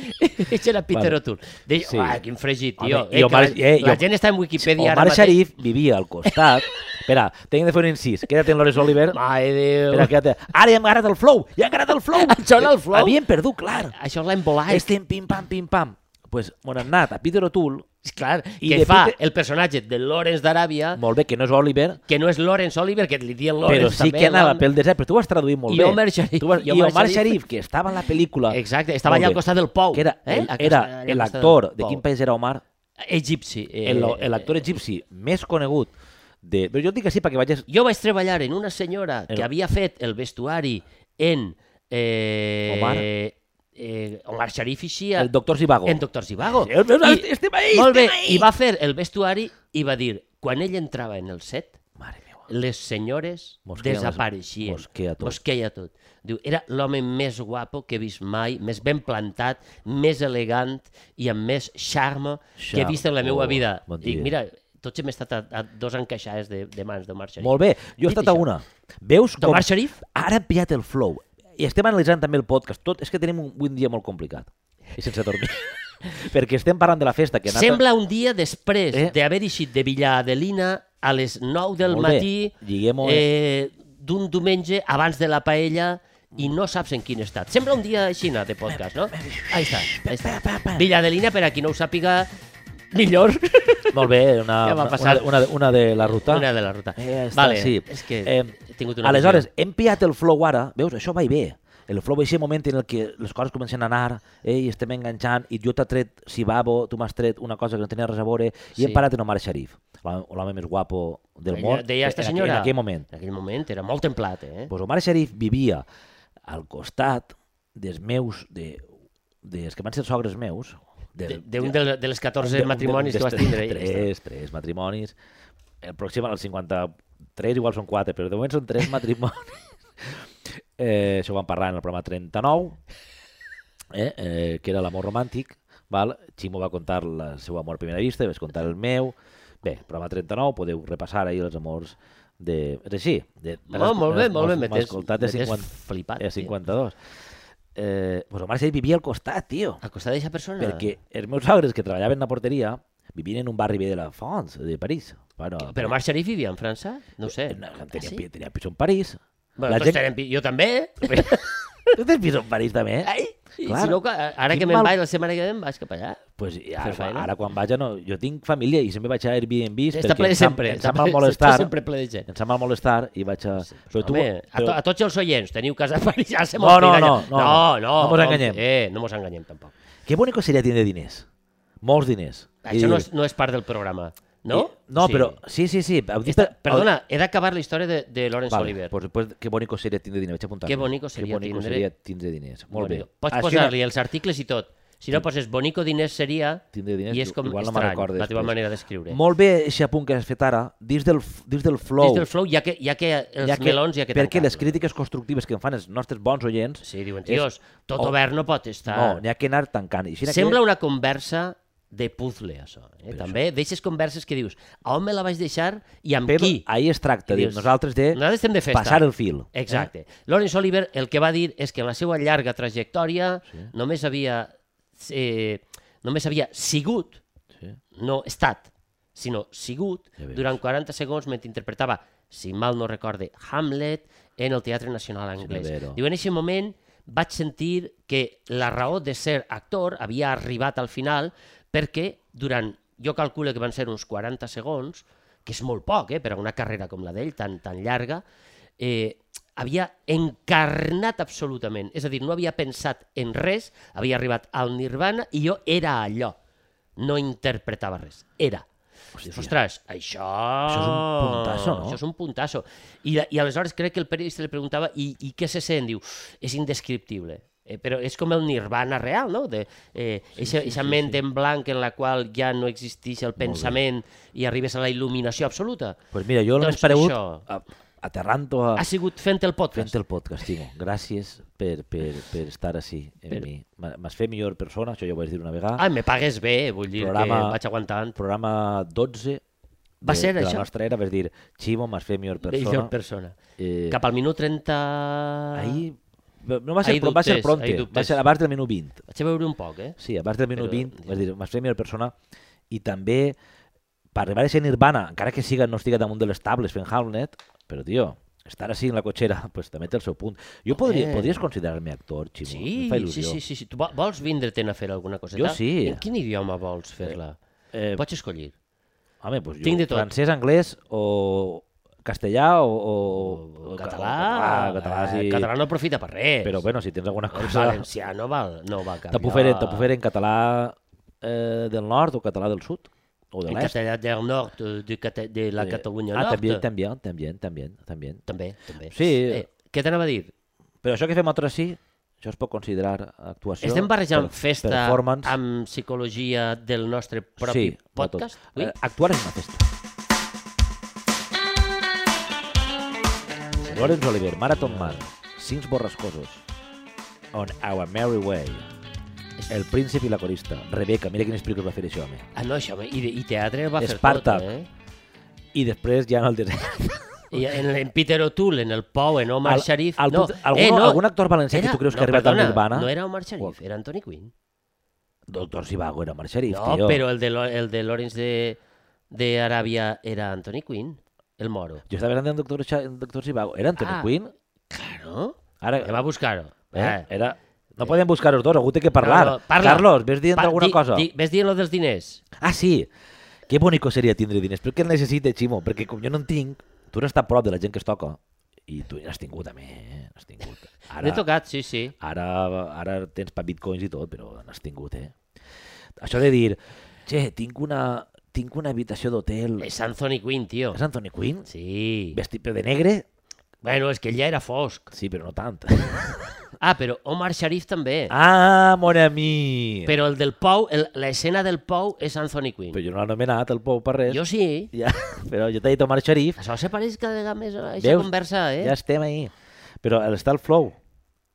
[SPEAKER 2] Eixe era Peter
[SPEAKER 1] Vale.
[SPEAKER 2] O'Toole. Deia,
[SPEAKER 1] Sí.
[SPEAKER 2] sí. ah, quin fregit, tio.
[SPEAKER 1] Home, i
[SPEAKER 2] eh, que
[SPEAKER 1] Omar-
[SPEAKER 2] la,
[SPEAKER 1] eh, i
[SPEAKER 2] la
[SPEAKER 1] Om-
[SPEAKER 2] gent està en
[SPEAKER 1] Omar
[SPEAKER 2] Wikipedia ara mateix.
[SPEAKER 1] Sharif vivia al costat. Espera, tenim de fer un incís. Queda't en Lores Oliver.
[SPEAKER 2] Mare de Déu.
[SPEAKER 1] Espera, queda't... Ara ja hem agarrat el flow! Ja hem agarrat el flow!
[SPEAKER 2] Això era el flow?
[SPEAKER 1] Havíem perdut, clar.
[SPEAKER 2] Això l'ha embolat.
[SPEAKER 1] Estem pim-pam, pim-pam. pues, on han anat? A Peter O'Toole,
[SPEAKER 2] És clar,
[SPEAKER 1] I
[SPEAKER 2] que
[SPEAKER 1] de
[SPEAKER 2] fa
[SPEAKER 1] Peter-
[SPEAKER 2] el personatge de Lawrence d'Aràbia
[SPEAKER 1] molt bé, que no és Oliver,
[SPEAKER 2] que no és Lawrence Oliver, que li diuen Lawrence
[SPEAKER 1] però sí
[SPEAKER 2] també.
[SPEAKER 1] que anava
[SPEAKER 2] l'home.
[SPEAKER 1] pel desert, però tu ho has traduït molt
[SPEAKER 2] I
[SPEAKER 1] bé.
[SPEAKER 2] Omar Sharif.
[SPEAKER 1] Tu ho has-
[SPEAKER 2] I
[SPEAKER 1] I
[SPEAKER 2] Omar
[SPEAKER 1] Omar
[SPEAKER 2] Sharif.
[SPEAKER 1] Sharif, que estava en la pel·lícula.
[SPEAKER 2] Exacte, estava
[SPEAKER 1] Molt
[SPEAKER 2] allà al
[SPEAKER 1] bé.
[SPEAKER 2] costat del pou.
[SPEAKER 1] Que era,
[SPEAKER 2] eh?
[SPEAKER 1] el,
[SPEAKER 2] Al costat-
[SPEAKER 1] era
[SPEAKER 2] allà al costat
[SPEAKER 1] l'actor,
[SPEAKER 2] del
[SPEAKER 1] de quin
[SPEAKER 2] pou.
[SPEAKER 1] país era Omar?
[SPEAKER 2] Egipci. Eh,
[SPEAKER 1] El- L'actor egipci més conegut de... Però jo et dic que sí perquè vagis...
[SPEAKER 2] Jo vaig treballar en una senyora
[SPEAKER 1] El-
[SPEAKER 2] que havia fet el vestuari en... Eh,
[SPEAKER 1] Omar?
[SPEAKER 2] Eh, Omar Sharif i
[SPEAKER 1] El doctor Zivago.
[SPEAKER 2] en Doctor Zivago.
[SPEAKER 1] Sí, el- el-
[SPEAKER 2] I-
[SPEAKER 1] estem ahí,
[SPEAKER 2] molt bé,
[SPEAKER 1] estem ahí.
[SPEAKER 2] i va fer el vestuari i va dir, quan ell entrava en el set,
[SPEAKER 1] Mare meva.
[SPEAKER 2] les senyores
[SPEAKER 1] Mosqueia les-
[SPEAKER 2] desapareixien.
[SPEAKER 1] mosqueia tot.
[SPEAKER 2] Mosqueia tot. Diu, era l'home més guapo que he vist mai, més ben plantat, més elegant i amb més charme que he
[SPEAKER 1] Charme.
[SPEAKER 2] vist en la
[SPEAKER 1] Oh,
[SPEAKER 2] meva vida.
[SPEAKER 1] bon
[SPEAKER 2] Dic,
[SPEAKER 1] dia.
[SPEAKER 2] mira, tots hem estat a, a dos encaixades de, de mans de Doncs, Marc Sharif.
[SPEAKER 1] Molt bé, jo he
[SPEAKER 2] Dit
[SPEAKER 1] estat a
[SPEAKER 2] això.
[SPEAKER 1] una. Veus
[SPEAKER 2] De
[SPEAKER 1] com...
[SPEAKER 2] Omar Sharif?
[SPEAKER 1] Ara hem pillat el flow. I estem analitzant també el podcast. Tot, és que tenim un, un dia molt complicat. I sense dormir. perquè estem parlant de la festa que...
[SPEAKER 2] Sembla un dia després
[SPEAKER 1] Eh?
[SPEAKER 2] eh? d'haver eixit de Villadelina a les 9 del
[SPEAKER 1] Molt bé.
[SPEAKER 2] matí
[SPEAKER 1] Lliguem-ho,
[SPEAKER 2] eh, d'un diumenge abans de la paella i no saps en quin estat. Sembla un dia així de podcast, no? Ahí està, ahí
[SPEAKER 1] Pa, pa,
[SPEAKER 2] està.
[SPEAKER 1] pa.
[SPEAKER 2] Villadelina, per a qui no ho sàpiga, millor.
[SPEAKER 1] Molt bé, una,
[SPEAKER 2] Ja m'ha
[SPEAKER 1] una, una,
[SPEAKER 2] passat.
[SPEAKER 1] una, una de la ruta.
[SPEAKER 2] Una de la ruta.
[SPEAKER 1] Eh, està,
[SPEAKER 2] vale,
[SPEAKER 1] sí.
[SPEAKER 2] és que
[SPEAKER 1] Eh,
[SPEAKER 2] he tingut una
[SPEAKER 1] Aleshores, hem pillat el flow ara, veus, això va i ve. El flow va ser moment en el que les coses comencen a anar eh, i estem enganxant i jo t'ha tret Sibabo, tu m'has tret una cosa que no tenia res a veure i
[SPEAKER 2] Sí.
[SPEAKER 1] hem parat en Omar Sharif, l'home l'home més guapo del
[SPEAKER 2] Ella-
[SPEAKER 1] món eh,
[SPEAKER 2] deia esta
[SPEAKER 1] en, aqu-
[SPEAKER 2] senyora.
[SPEAKER 1] en aquell moment.
[SPEAKER 2] En aquell moment era molt templat, eh?
[SPEAKER 1] Pues Omar Sharif vivia al costat dels meus, de, dels que van ser sogres meus, del,
[SPEAKER 2] D'un de, de les 14 matrimonis que vas tindre. ja està.
[SPEAKER 1] Tres, tres matrimonis. El pròxim, el 53, igual són quatre, però de moment són tres matrimonis. Eh, això ho vam parlar en el programa 39, eh, eh, que era l'amor romàntic. Val? Ximo va contar el seu amor a primera vista, vaig contar el meu. Bé, programa 39, podeu repassar ahir els amors de... És així. De,
[SPEAKER 2] Molt, molt bé, molt bé, me
[SPEAKER 1] M'has
[SPEAKER 2] tens,
[SPEAKER 1] escoltat de
[SPEAKER 2] me tens
[SPEAKER 1] 50,
[SPEAKER 2] flipat.
[SPEAKER 1] de
[SPEAKER 2] tio.
[SPEAKER 1] 52. Eh, pues Omar Seix vivia al costat, tio.
[SPEAKER 2] Al costat d'aquesta persona?
[SPEAKER 1] Perquè els meus sogres que treballaven en la porteria vivien en un barri bé de la Fons, de París. Bueno,
[SPEAKER 2] Però Marc Sharif vivia en França? No ho sé.
[SPEAKER 1] eh, no, tenia,
[SPEAKER 2] Ah, sí?
[SPEAKER 1] pi- tenia pis en París.
[SPEAKER 2] Bueno,
[SPEAKER 1] la
[SPEAKER 2] tots
[SPEAKER 1] gent...
[SPEAKER 2] tenen pi- Jo també.
[SPEAKER 1] Tu tens pis en París també?
[SPEAKER 2] Ai, i
[SPEAKER 1] Clar.
[SPEAKER 2] si no, ca- ara que
[SPEAKER 1] Quin
[SPEAKER 2] me'n
[SPEAKER 1] mal-
[SPEAKER 2] vaig la setmana que ve, em vaig cap allà.
[SPEAKER 1] Pues ara,
[SPEAKER 2] Fer faena.
[SPEAKER 1] ara quan vaig, no, jo tinc família i sempre vaig a Airbnb
[SPEAKER 2] Està ple de sempre.
[SPEAKER 1] em
[SPEAKER 2] està
[SPEAKER 1] sap mal
[SPEAKER 2] ple-
[SPEAKER 1] molestar.
[SPEAKER 2] Està sempre ple de gent.
[SPEAKER 1] Em sap mal molestar i vaig a... Però tu,
[SPEAKER 2] Home, a, to,
[SPEAKER 1] però,
[SPEAKER 2] a tots els oients, teniu casa per allà, se
[SPEAKER 1] No,
[SPEAKER 2] m'ho
[SPEAKER 1] no,
[SPEAKER 2] tira
[SPEAKER 1] no,
[SPEAKER 2] allà.
[SPEAKER 1] no,
[SPEAKER 2] no,
[SPEAKER 1] no mos
[SPEAKER 2] home,
[SPEAKER 1] enganyem.
[SPEAKER 2] Eh, no mos enganyem tampoc.
[SPEAKER 1] que bonico seria tindre diners. Molts diners. I
[SPEAKER 2] Ah, Això no
[SPEAKER 1] dir-
[SPEAKER 2] és, no és part del programa, no?
[SPEAKER 1] I, no, però... Sí, sí, sí. Heu dit-
[SPEAKER 2] Esta, perdona, he d'acabar la història de, de Lawrence
[SPEAKER 1] Vale,
[SPEAKER 2] Oliver.
[SPEAKER 1] Pues, pues, que bonico seria tindre diners. Vaig apuntar.
[SPEAKER 2] Que bonico seria
[SPEAKER 1] que bonico
[SPEAKER 2] tindre-
[SPEAKER 1] seria tindre diners. Molt bé.
[SPEAKER 2] Pots
[SPEAKER 1] Això era-
[SPEAKER 2] posar-li els articles i tot. Si no poses bonico diners seria...
[SPEAKER 1] Tindré diners,
[SPEAKER 2] I és com
[SPEAKER 1] igual no me'n
[SPEAKER 2] estrany,
[SPEAKER 1] recordo
[SPEAKER 2] la teva
[SPEAKER 1] després.
[SPEAKER 2] manera d'escriure.
[SPEAKER 1] Molt bé, aquest apunt que has fet ara, dins del, f- dins del flow,
[SPEAKER 2] Dins del flow, ja que, ja que els
[SPEAKER 1] ja que,
[SPEAKER 2] melons ja que
[SPEAKER 1] perquè
[SPEAKER 2] tancar-los.
[SPEAKER 1] les crítiques constructives que en fan els nostres bons oients,
[SPEAKER 2] Sí, diuen,
[SPEAKER 1] és-
[SPEAKER 2] tios, tot
[SPEAKER 1] o-
[SPEAKER 2] obert no pot estar.
[SPEAKER 1] no, n'hi ha que anar tancant. I així n'hi ha
[SPEAKER 2] Sembla
[SPEAKER 1] que...
[SPEAKER 2] una conversa de puzzle, això. Eh? També, deixes converses que dius, a on me la vaig deixar i amb
[SPEAKER 1] Però
[SPEAKER 2] qui?
[SPEAKER 1] ahir es tracta,
[SPEAKER 2] I
[SPEAKER 1] diu,
[SPEAKER 2] dius,
[SPEAKER 1] nosaltres de
[SPEAKER 2] Nosaltres estem de festa.
[SPEAKER 1] passar el fil.
[SPEAKER 2] Exacte. Eh? Lawrence Oliver el que va dir és que en la seva llarga trajectòria sí. només havia eh, només havia sigut,
[SPEAKER 1] Sí.
[SPEAKER 2] no estat, sinó sigut,
[SPEAKER 1] Ja veus.
[SPEAKER 2] durant 40 segons mentre interpretava, si mal no recorde, Hamlet en el Teatre Nacional Anglès.
[SPEAKER 1] Severo.
[SPEAKER 2] Diu, en aquest moment vaig sentir que la raó de ser actor havia arribat al final perquè durant, jo calculo que van ser uns 40 segons, que és molt poc eh, per a una carrera com la d'ell, tan, tan llarga, eh, havia encarnat absolutament. És a dir, no havia pensat en res, havia arribat al nirvana i jo era allò. No interpretava res. Era. Dius, ostres, això...
[SPEAKER 1] Això és un puntasso, no?
[SPEAKER 2] Això és un puntasso. I, la- i aleshores crec que el periodista li preguntava i, i què se sent? Diu, és indescriptible. Eh, però és com el nirvana real, no? De, eh, sí, eixa, eixa ment en blanc en la qual ja no existeix el pensament i arribes a la il·luminació absoluta.
[SPEAKER 1] Pues mira, jo
[SPEAKER 2] Doncs
[SPEAKER 1] l'he paregut
[SPEAKER 2] això.
[SPEAKER 1] a- aterrant-ho a...
[SPEAKER 2] Ha sigut fent el podcast.
[SPEAKER 1] Fent el podcast, Timo. Gràcies per, per, per estar així amb
[SPEAKER 2] Per-
[SPEAKER 1] mi. M'ha- M'has fet millor persona, això ja ho vaig dir una vegada.
[SPEAKER 2] Ah, me pagues bé, vull dir
[SPEAKER 1] Programa-
[SPEAKER 2] que vaig aguantant.
[SPEAKER 1] Programa 12
[SPEAKER 2] Va
[SPEAKER 1] de,
[SPEAKER 2] ser
[SPEAKER 1] de
[SPEAKER 2] això?
[SPEAKER 1] la nostra era, vas dir, Ximo, m'has fet millor persona.
[SPEAKER 2] Millor persona.
[SPEAKER 1] Eh,
[SPEAKER 2] Cap al minut 30...
[SPEAKER 1] Ahir... No va ser,
[SPEAKER 2] Ahir
[SPEAKER 1] però va ser
[SPEAKER 2] dubtes,
[SPEAKER 1] pronte,
[SPEAKER 2] ahir
[SPEAKER 1] va
[SPEAKER 2] dubtes.
[SPEAKER 1] ser abans del minut 20.
[SPEAKER 2] Vaig a veure un poc, eh?
[SPEAKER 1] Sí, abans del minut
[SPEAKER 2] Però-
[SPEAKER 1] 20, vas dir, m'has fet millor persona. I també, per arribar a ser Nirvana, encara que siga, no estiga damunt de les tables fent Hamlet, però, tio, estar així en la cotxera, pues, també té el seu punt. Jo podria, podries considerar-me actor, Ximo?
[SPEAKER 2] Sí,
[SPEAKER 1] Em fa
[SPEAKER 2] sí,
[SPEAKER 1] il·lusió.
[SPEAKER 2] sí, sí, sí. Tu vo- vols vindre-te'n a fer alguna coseta?
[SPEAKER 1] Jo sí.
[SPEAKER 2] En quin idioma vols fer-la?
[SPEAKER 1] Eh,
[SPEAKER 2] Pots escollir.
[SPEAKER 1] Home, doncs jo,
[SPEAKER 2] Tinc de tot.
[SPEAKER 1] francès, anglès o castellà o... o, o
[SPEAKER 2] Català,
[SPEAKER 1] eh, Català, català, sí.
[SPEAKER 2] eh, català no aprofita per res.
[SPEAKER 1] Però, bueno, si tens alguna
[SPEAKER 2] el
[SPEAKER 1] cosa...
[SPEAKER 2] valencià no val, no val cap.
[SPEAKER 1] Te puc fer, te puc fer en català eh, del nord o català del sud o de
[SPEAKER 2] En
[SPEAKER 1] l'est.
[SPEAKER 2] castellà del nord, eh, de, Cata- de la
[SPEAKER 1] Eh,
[SPEAKER 2] Catalunya
[SPEAKER 1] Ah,
[SPEAKER 2] Nord.
[SPEAKER 1] també, també, també, també, també.
[SPEAKER 2] També, també.
[SPEAKER 1] Sí.
[SPEAKER 2] Eh, què t'anava a dir?
[SPEAKER 1] Però això que fem altres sí, això es pot considerar actuació.
[SPEAKER 2] Estem barrejant
[SPEAKER 1] per-
[SPEAKER 2] festa
[SPEAKER 1] performance.
[SPEAKER 2] amb psicologia del nostre propi
[SPEAKER 1] sí, de tot.
[SPEAKER 2] podcast? Ui,
[SPEAKER 1] Eh, actuar és una festa. Lawrence Oliver, Marathon Man, Cincs borrascosos, On Our Merry Way, El príncip i la corista, Rebeca, mira quines pel·lícules va fer això, home.
[SPEAKER 2] Ah, no, això, i, i teatre va fer
[SPEAKER 1] Spartak.
[SPEAKER 2] tot, eh?
[SPEAKER 1] I després ja en el desert.
[SPEAKER 2] I en, en Peter O'Toole, en el Pau, en Omar
[SPEAKER 1] Al-
[SPEAKER 2] Sharif...
[SPEAKER 1] algú-
[SPEAKER 2] no,
[SPEAKER 1] algun-
[SPEAKER 2] eh, no,
[SPEAKER 1] algun actor valencià que tu creus que ha arribat a
[SPEAKER 2] perdona,
[SPEAKER 1] Nirvana?
[SPEAKER 2] No era Omar Sharif,
[SPEAKER 1] Qual?
[SPEAKER 2] era Anthony Quinn.
[SPEAKER 1] Doctor Zivago era Omar Sharif,
[SPEAKER 2] No,
[SPEAKER 1] tio.
[SPEAKER 2] però el de, Lo- el de Lawrence de, de Aràbia era Anthony Quinn, el moro.
[SPEAKER 1] Jo estava mirant en Doctor, Sha- en Doctor Zivago. Era Anthony
[SPEAKER 2] Ah.
[SPEAKER 1] Quinn?
[SPEAKER 2] Claro.
[SPEAKER 1] Ara,
[SPEAKER 2] Anem a buscar-ho.
[SPEAKER 1] eh?
[SPEAKER 2] Eh?
[SPEAKER 1] era... No podem buscar els dos, algú té que parlar.
[SPEAKER 2] No, no, parla.
[SPEAKER 1] Carlos, ves dient
[SPEAKER 2] Pa-
[SPEAKER 1] alguna
[SPEAKER 2] di-
[SPEAKER 1] cosa?
[SPEAKER 2] Di, ves dient lo dels diners.
[SPEAKER 1] Ah, sí. Que bonico seria tindre diners. Però què en necessite, Ximo? Perquè com jo no en tinc, tu n'has estat prop de la gent que es toca. I tu n'has tingut, a més. N'has tingut.
[SPEAKER 2] N'he tocat, sí, sí.
[SPEAKER 1] ara, ara tens pa bitcoins i tot, però n'has tingut, eh? Això de dir, che, tinc una, tinc una habitació d'hotel. És...
[SPEAKER 2] És Anthony Quinn, tio.
[SPEAKER 1] Anthony Quinn?
[SPEAKER 2] Sí.
[SPEAKER 1] Vestit però de negre?
[SPEAKER 2] Bueno, és que ell ja era fosc.
[SPEAKER 1] Sí, però no tant.
[SPEAKER 2] Ah, però Omar Sharif també.
[SPEAKER 1] ah, mon ami! Però,
[SPEAKER 2] Però el del Pou, el- l'escena del Pou és Anthony Quinn.
[SPEAKER 1] però jo no l'he anomenat, el Pou, per res.
[SPEAKER 2] Jo sí.
[SPEAKER 1] Ja, però jo t'he dit Omar Sharif.
[SPEAKER 2] Això s'apareix cada vegada més a aquesta
[SPEAKER 1] Veus?
[SPEAKER 2] conversa, eh?
[SPEAKER 1] Ja estem ahí. Però està el flow.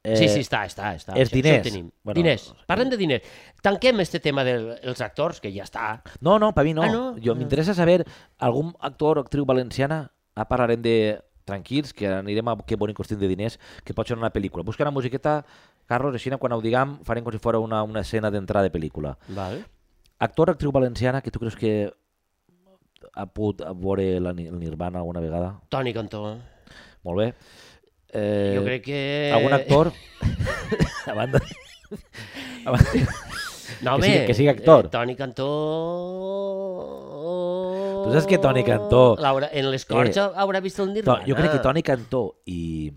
[SPEAKER 1] Eh,
[SPEAKER 2] Sí, sí, està, està. està.
[SPEAKER 1] els
[SPEAKER 2] Això- això ho
[SPEAKER 1] diners.
[SPEAKER 2] tenim.
[SPEAKER 1] Bueno,
[SPEAKER 2] diners. Parlem de diners. Tanquem este tema dels els actors, que ja està.
[SPEAKER 1] No, no, per mi no.
[SPEAKER 2] Ah, no?
[SPEAKER 1] Jo m'interessa saber algun actor o actriu valenciana. A parlarem de tranquils, que anirem a que bonic costum de diners, que pot ser una pel·lícula. Busca una musiqueta, Carlos, així quan ho diguem farem com si fos una, una escena d'entrada de pel·lícula.
[SPEAKER 2] Val.
[SPEAKER 1] Actor o actriu valenciana que tu creus que ha pogut veure la, Ni- el Nirvana alguna vegada?
[SPEAKER 2] Toni Cantó.
[SPEAKER 1] Molt bé. Eh,
[SPEAKER 2] Jo crec que...
[SPEAKER 1] Algun actor? a banda... A banda... que
[SPEAKER 2] No, home,
[SPEAKER 1] sigui- que sigui actor.
[SPEAKER 2] eh, Toni Cantó...
[SPEAKER 1] Tu saps que Toni Cantó-
[SPEAKER 2] Laura, en l'escorxa eh, haurà vist el
[SPEAKER 1] To,
[SPEAKER 2] Nirvana.
[SPEAKER 1] jo crec que Toni Cantó i,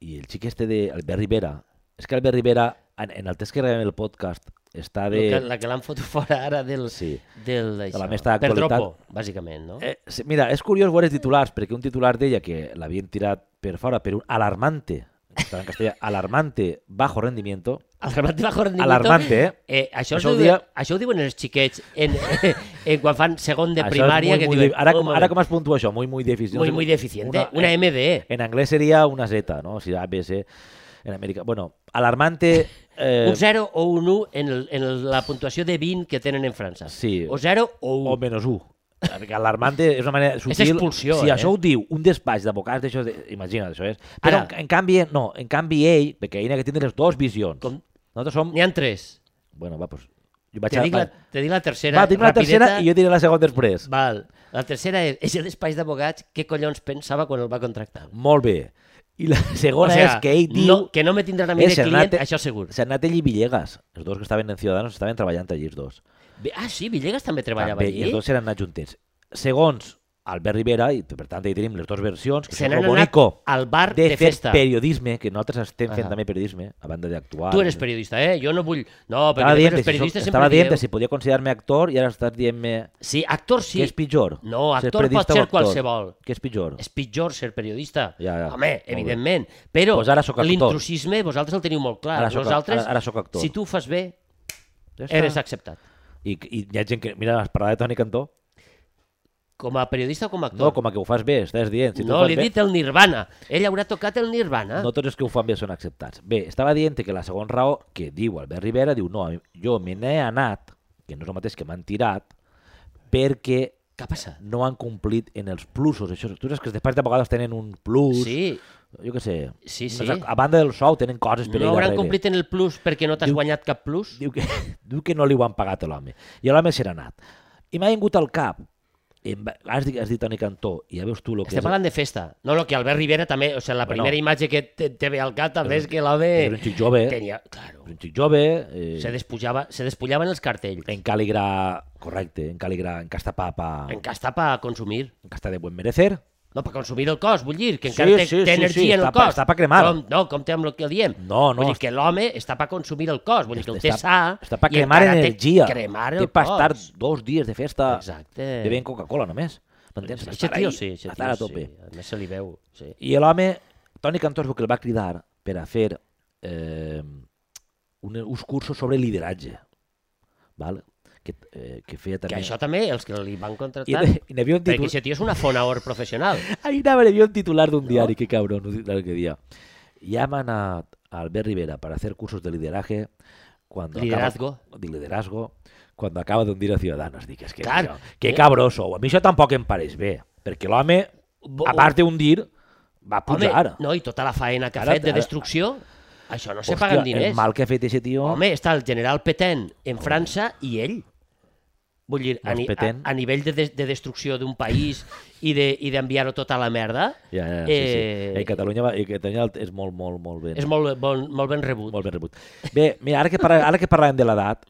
[SPEAKER 1] i el xic este de Albert Rivera, és que Albert Rivera, en, en el temps que gravem el podcast, està
[SPEAKER 2] El
[SPEAKER 1] de...
[SPEAKER 2] Que, la que l'han fotut fora ara del...
[SPEAKER 1] Sí.
[SPEAKER 2] del
[SPEAKER 1] De la
[SPEAKER 2] d'això.
[SPEAKER 1] mesta
[SPEAKER 2] per
[SPEAKER 1] actualitat.
[SPEAKER 2] dropo, bàsicament, no?
[SPEAKER 1] Eh, sí, mira, és curiós veure els titulars, perquè un titular deia que l'havien tirat per fora per un alarmante està en castellà, alarmante bajo rendimiento,
[SPEAKER 2] Alarmante bajo rendimiento.
[SPEAKER 1] Alarmante, eh?
[SPEAKER 2] eh
[SPEAKER 1] Això
[SPEAKER 2] això, això,
[SPEAKER 1] ho
[SPEAKER 2] ho diuen,
[SPEAKER 1] dia-
[SPEAKER 2] això ho diuen els xiquets en, en quan fan segon de
[SPEAKER 1] Això és
[SPEAKER 2] primària.
[SPEAKER 1] muy,
[SPEAKER 2] que
[SPEAKER 1] muy
[SPEAKER 2] diuen, "Oh,
[SPEAKER 1] de- Ara, com,
[SPEAKER 2] "Un
[SPEAKER 1] ara
[SPEAKER 2] moment,
[SPEAKER 1] com es puntua això? Muy, muy deficiente.
[SPEAKER 2] Muy, muy deficiente. Una, E.
[SPEAKER 1] eh,
[SPEAKER 2] MDE.
[SPEAKER 1] En anglès seria una Z, ¿no? O sigui, A, B, C, en Amèrica. Bueno, alarmante... Eh,
[SPEAKER 2] un 0 o un 1 en, el, en el- la puntuació de 20 que tenen en França.
[SPEAKER 1] Sí.
[SPEAKER 2] O 0 o
[SPEAKER 1] o
[SPEAKER 2] 1.
[SPEAKER 1] menys 1. Perquè alarmante és una manera sutil.
[SPEAKER 2] expulsió,
[SPEAKER 1] si
[SPEAKER 2] eh?
[SPEAKER 1] això ho diu un despatx d'avocats, d'això, de... imagina't, això és. Però,
[SPEAKER 2] Ara.
[SPEAKER 1] en, en, canvi, no, en canvi ell, perquè ell ha de tindre les dues visions.
[SPEAKER 2] Com-
[SPEAKER 1] Nosaltres som...
[SPEAKER 2] N'hi ha 3.
[SPEAKER 1] Bueno, va, pues, jo vaig
[SPEAKER 2] Te
[SPEAKER 1] a...
[SPEAKER 2] dic,
[SPEAKER 1] Va,
[SPEAKER 2] la, te dic la tercera.
[SPEAKER 1] va dic la
[SPEAKER 2] rapideta.
[SPEAKER 1] tercera i jo diré la segona després.
[SPEAKER 2] Val. La tercera és, és el despatx d'abogats, què collons pensava quan el va contractar?
[SPEAKER 1] Molt bé. I la segona és que ell diu...
[SPEAKER 2] no, que no me tindran a mi de
[SPEAKER 1] Ese,
[SPEAKER 2] client,
[SPEAKER 1] Nate-
[SPEAKER 2] això segur.
[SPEAKER 1] Sernatel i Villegas, els dos que estaven en Ciudadanos, estaven treballant allí els dos.
[SPEAKER 2] Bé, Ah, sí, Villegas també treballava
[SPEAKER 1] També, I els
[SPEAKER 2] allí.
[SPEAKER 1] dos eren anat juntets. Segons Albert Rivera, i per tant hi tenim les dues versions, que
[SPEAKER 2] Se
[SPEAKER 1] són
[SPEAKER 2] n'han
[SPEAKER 1] lo
[SPEAKER 2] anat
[SPEAKER 1] bonico
[SPEAKER 2] al bar
[SPEAKER 1] de,
[SPEAKER 2] de,
[SPEAKER 1] fer
[SPEAKER 2] festa.
[SPEAKER 1] periodisme, que nosaltres estem fent
[SPEAKER 2] Ahà.
[SPEAKER 1] també periodisme, a banda d'actuar.
[SPEAKER 2] Tu eres periodista, eh? Jo no vull... No, perquè
[SPEAKER 1] Estava
[SPEAKER 2] després
[SPEAKER 1] dient,
[SPEAKER 2] els periodistes
[SPEAKER 1] si,
[SPEAKER 2] sempre
[SPEAKER 1] estava dient
[SPEAKER 2] dieu...
[SPEAKER 1] si podia considerar-me actor i ara estàs dient-me
[SPEAKER 2] Sí, actor sí.
[SPEAKER 1] que és pitjor.
[SPEAKER 2] No,
[SPEAKER 1] Ser
[SPEAKER 2] actor pot
[SPEAKER 1] periodista o
[SPEAKER 2] ser
[SPEAKER 1] actor?
[SPEAKER 2] qualsevol.
[SPEAKER 1] Què és pitjor?
[SPEAKER 2] és pitjor ser periodista.
[SPEAKER 1] Ja, ja.
[SPEAKER 2] Home,
[SPEAKER 1] Molt bé.
[SPEAKER 2] evidentment. Però
[SPEAKER 1] Doncs ara sóc actor.
[SPEAKER 2] l'intrusisme vosaltres el teniu molt clar.
[SPEAKER 1] Ara sóc-
[SPEAKER 2] vosaltres,
[SPEAKER 1] ara- ara sóc actor.
[SPEAKER 2] Si tu ho fas bé,
[SPEAKER 1] Ja està.
[SPEAKER 2] eres acceptat.
[SPEAKER 1] I, I hi ha gent que... Mira, has parlat de Toni Cantó?
[SPEAKER 2] Com a periodista o com a actor?
[SPEAKER 1] No, com a que ho fas bé, estàs dient. Si tu ho
[SPEAKER 2] no
[SPEAKER 1] fas
[SPEAKER 2] li he
[SPEAKER 1] bé,
[SPEAKER 2] dit ah. el Nirvana. Ell haurà tocat el Nirvana.
[SPEAKER 1] no tots els que ho fan bé són acceptats. Bé, estava dient que la segona raó que diu Albert Rivera, diu, no, a mi- jo me n'he anat, que no és el mateix que m'han tirat, perquè
[SPEAKER 2] Què ha passat?
[SPEAKER 1] no han complit en els plusos. Això, tu saps que els despatxos de vegades tenen un plus,
[SPEAKER 2] Sí,
[SPEAKER 1] jo què sé,
[SPEAKER 2] Sí,
[SPEAKER 1] unes
[SPEAKER 2] sí.
[SPEAKER 1] ac- a banda del sou tenen coses per
[SPEAKER 2] no
[SPEAKER 1] ell
[SPEAKER 2] hauran
[SPEAKER 1] darrere.
[SPEAKER 2] complit en el plus perquè no t'has
[SPEAKER 1] Diu-
[SPEAKER 2] guanyat cap plus?
[SPEAKER 1] Diu que, diu que no li ho han pagat a l'home. I l'home se n'ha anat. I m'ha vingut al cap. Em va- Has dit, has dit Toni Cantó, i ja veus tu el que
[SPEAKER 2] Estem
[SPEAKER 1] és...
[SPEAKER 2] parlant de festa. No, no, que Albert Rivera també... O sigui, la
[SPEAKER 1] Bueno.
[SPEAKER 2] primera imatge que te, te ve al cap també és que l'home...
[SPEAKER 1] Era un xic jove,
[SPEAKER 2] Tenia... Claro.
[SPEAKER 1] era un xic jove, eh,
[SPEAKER 2] Se, despujava, se despullaven els cartells.
[SPEAKER 1] en càligra, correcte, en càligra, en castapapa,
[SPEAKER 2] En
[SPEAKER 1] en,
[SPEAKER 2] què està per consumir?
[SPEAKER 1] casta de buen merecer.
[SPEAKER 2] No, per consumir el cos, vull dir,
[SPEAKER 1] Sí,
[SPEAKER 2] que encara té,
[SPEAKER 1] sí,
[SPEAKER 2] té
[SPEAKER 1] sí,
[SPEAKER 2] energia
[SPEAKER 1] sí,
[SPEAKER 2] en el
[SPEAKER 1] està pa-
[SPEAKER 2] cos.
[SPEAKER 1] està pa cremar.
[SPEAKER 2] Com, no, com té amb el que diem.
[SPEAKER 1] No, no,
[SPEAKER 2] Vull dir que l'home està per consumir el cos, vull dir que el té sa
[SPEAKER 1] està per
[SPEAKER 2] i
[SPEAKER 1] cremar
[SPEAKER 2] encara té
[SPEAKER 1] energia.
[SPEAKER 2] cremar
[SPEAKER 1] té
[SPEAKER 2] el
[SPEAKER 1] per estar
[SPEAKER 2] cos.
[SPEAKER 1] dos dies de festa
[SPEAKER 2] Exacte.
[SPEAKER 1] bevent Coca-Cola només. M'entens?
[SPEAKER 2] Aquest
[SPEAKER 1] Estar
[SPEAKER 2] tio
[SPEAKER 1] ahí,
[SPEAKER 2] sí, aquest
[SPEAKER 1] estar a
[SPEAKER 2] tio
[SPEAKER 1] tope.
[SPEAKER 2] sí. A més se li veu, sí.
[SPEAKER 1] I l'home, Toni Cantó, és el que el va cridar per a fer eh, un, uns cursos sobre lideratge. Val? Que, eh, que feia
[SPEAKER 2] Que
[SPEAKER 1] també...
[SPEAKER 2] això també, els que li van
[SPEAKER 1] I,
[SPEAKER 2] contractar...
[SPEAKER 1] i n'hi havia un
[SPEAKER 2] Perquè
[SPEAKER 1] títol...
[SPEAKER 2] aquest tio és una fonaor professional.
[SPEAKER 1] Ahir anava, n'hi havia un titular d'un diari, que cabrón, el que dia. Llaman a a Albert Rivera para hacer cursos de lideraje cuando acaba-
[SPEAKER 2] Liderazgo.
[SPEAKER 1] de liderazgo cuando acaba de hundir a Ciudadanos. Dic, és que,
[SPEAKER 2] Clar.
[SPEAKER 1] mira, que cabró sou. A mi això tampoc em pareix bé, perquè l'home,
[SPEAKER 2] Bo-
[SPEAKER 1] a part d'hundir, va
[SPEAKER 2] Home,
[SPEAKER 1] pujar.
[SPEAKER 2] no, i tota la faena que ha
[SPEAKER 1] Ara-
[SPEAKER 2] fet de
[SPEAKER 1] ara-
[SPEAKER 2] destrucció, això no se
[SPEAKER 1] Hòstia,
[SPEAKER 2] paguen diners.
[SPEAKER 1] El mal que ha fet aquest tio...
[SPEAKER 2] Oh. Home, està el general Petén en França i ell. Vull dir, a,
[SPEAKER 1] Els
[SPEAKER 2] ni- a,
[SPEAKER 1] Petén.
[SPEAKER 2] a nivell de, des- de destrucció d'un país i de- i d'enviar-ho de, tot a la merda,
[SPEAKER 1] Ja, ja, sí,
[SPEAKER 2] eh,
[SPEAKER 1] sí. Eh, Catalunya, va- eh, Catalunya és molt, molt, molt ben,
[SPEAKER 2] és molt, bon, molt ben rebut.
[SPEAKER 1] molt ben rebut. Bé, mira, ara que, parla, ara que parlàvem de l'edat,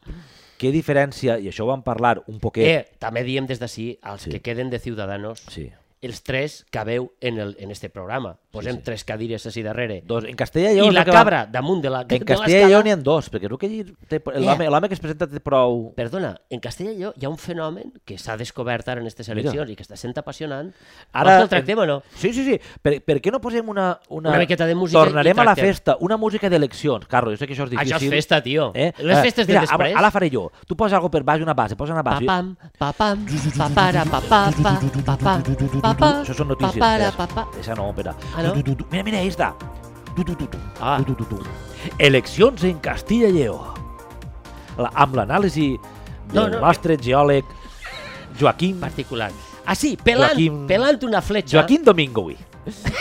[SPEAKER 1] què diferència, i això ho vam parlar un poquet...
[SPEAKER 2] Eh, també diem des d'ací, als
[SPEAKER 1] Sí.
[SPEAKER 2] que queden de Ciudadanos,
[SPEAKER 1] Sí.
[SPEAKER 2] els tres que veu en, el, en este programa. Posem
[SPEAKER 1] sí.
[SPEAKER 2] tres cadires així darrere.
[SPEAKER 1] Dos, en castellà
[SPEAKER 2] I
[SPEAKER 1] jo...
[SPEAKER 2] la cabra damunt de la
[SPEAKER 1] En
[SPEAKER 2] de Eh.
[SPEAKER 1] castellà
[SPEAKER 2] l'escala.
[SPEAKER 1] jo n'hi ha dos, perquè és el que allí té- l'home l'home que es presenta té prou...
[SPEAKER 2] Perdona, en castellà jo hi ha un fenomen que s'ha descobert ara en aquestes
[SPEAKER 1] Mira.
[SPEAKER 2] eleccions i que està sent apassionant.
[SPEAKER 1] Ara-
[SPEAKER 2] Ara que el tractem o no?
[SPEAKER 1] Sí, sí, sí. Per, per què no posem una... Una,
[SPEAKER 2] Una miqueta de música
[SPEAKER 1] Tornarem
[SPEAKER 2] i
[SPEAKER 1] a la
[SPEAKER 2] tractem.
[SPEAKER 1] festa. Una música d'eleccions. Carlos, jo sé que això és difícil.
[SPEAKER 2] Això és festa, tio.
[SPEAKER 1] Eh?
[SPEAKER 2] Les
[SPEAKER 1] Eh,
[SPEAKER 2] festes de
[SPEAKER 1] mira,
[SPEAKER 2] després...
[SPEAKER 1] Ara, ara faré jo. Tu posa alguna per baix, una base, posa una base.
[SPEAKER 4] Papam, papam, papara, papà, pa, papà, papà.
[SPEAKER 1] Això són notícies.
[SPEAKER 4] Papara,
[SPEAKER 1] espera.
[SPEAKER 4] papà.
[SPEAKER 1] Esa no, espera.
[SPEAKER 4] Ah, no?
[SPEAKER 1] Tu, tu, tu. Mira, mira, esta. Tu, tu, tu, tu.
[SPEAKER 2] Ah.
[SPEAKER 1] Tu, tu, tu, tu. Eleccions en Castilla i Lleó. La, amb l'anàlisi
[SPEAKER 2] No, eh.
[SPEAKER 1] del
[SPEAKER 2] no.
[SPEAKER 1] nostre geòleg Joaquim,
[SPEAKER 2] particular. Ah, sí, pelant,
[SPEAKER 1] Joaquim-
[SPEAKER 2] Joaquim... pelant una fletxa.
[SPEAKER 1] Joaquim Domingoi.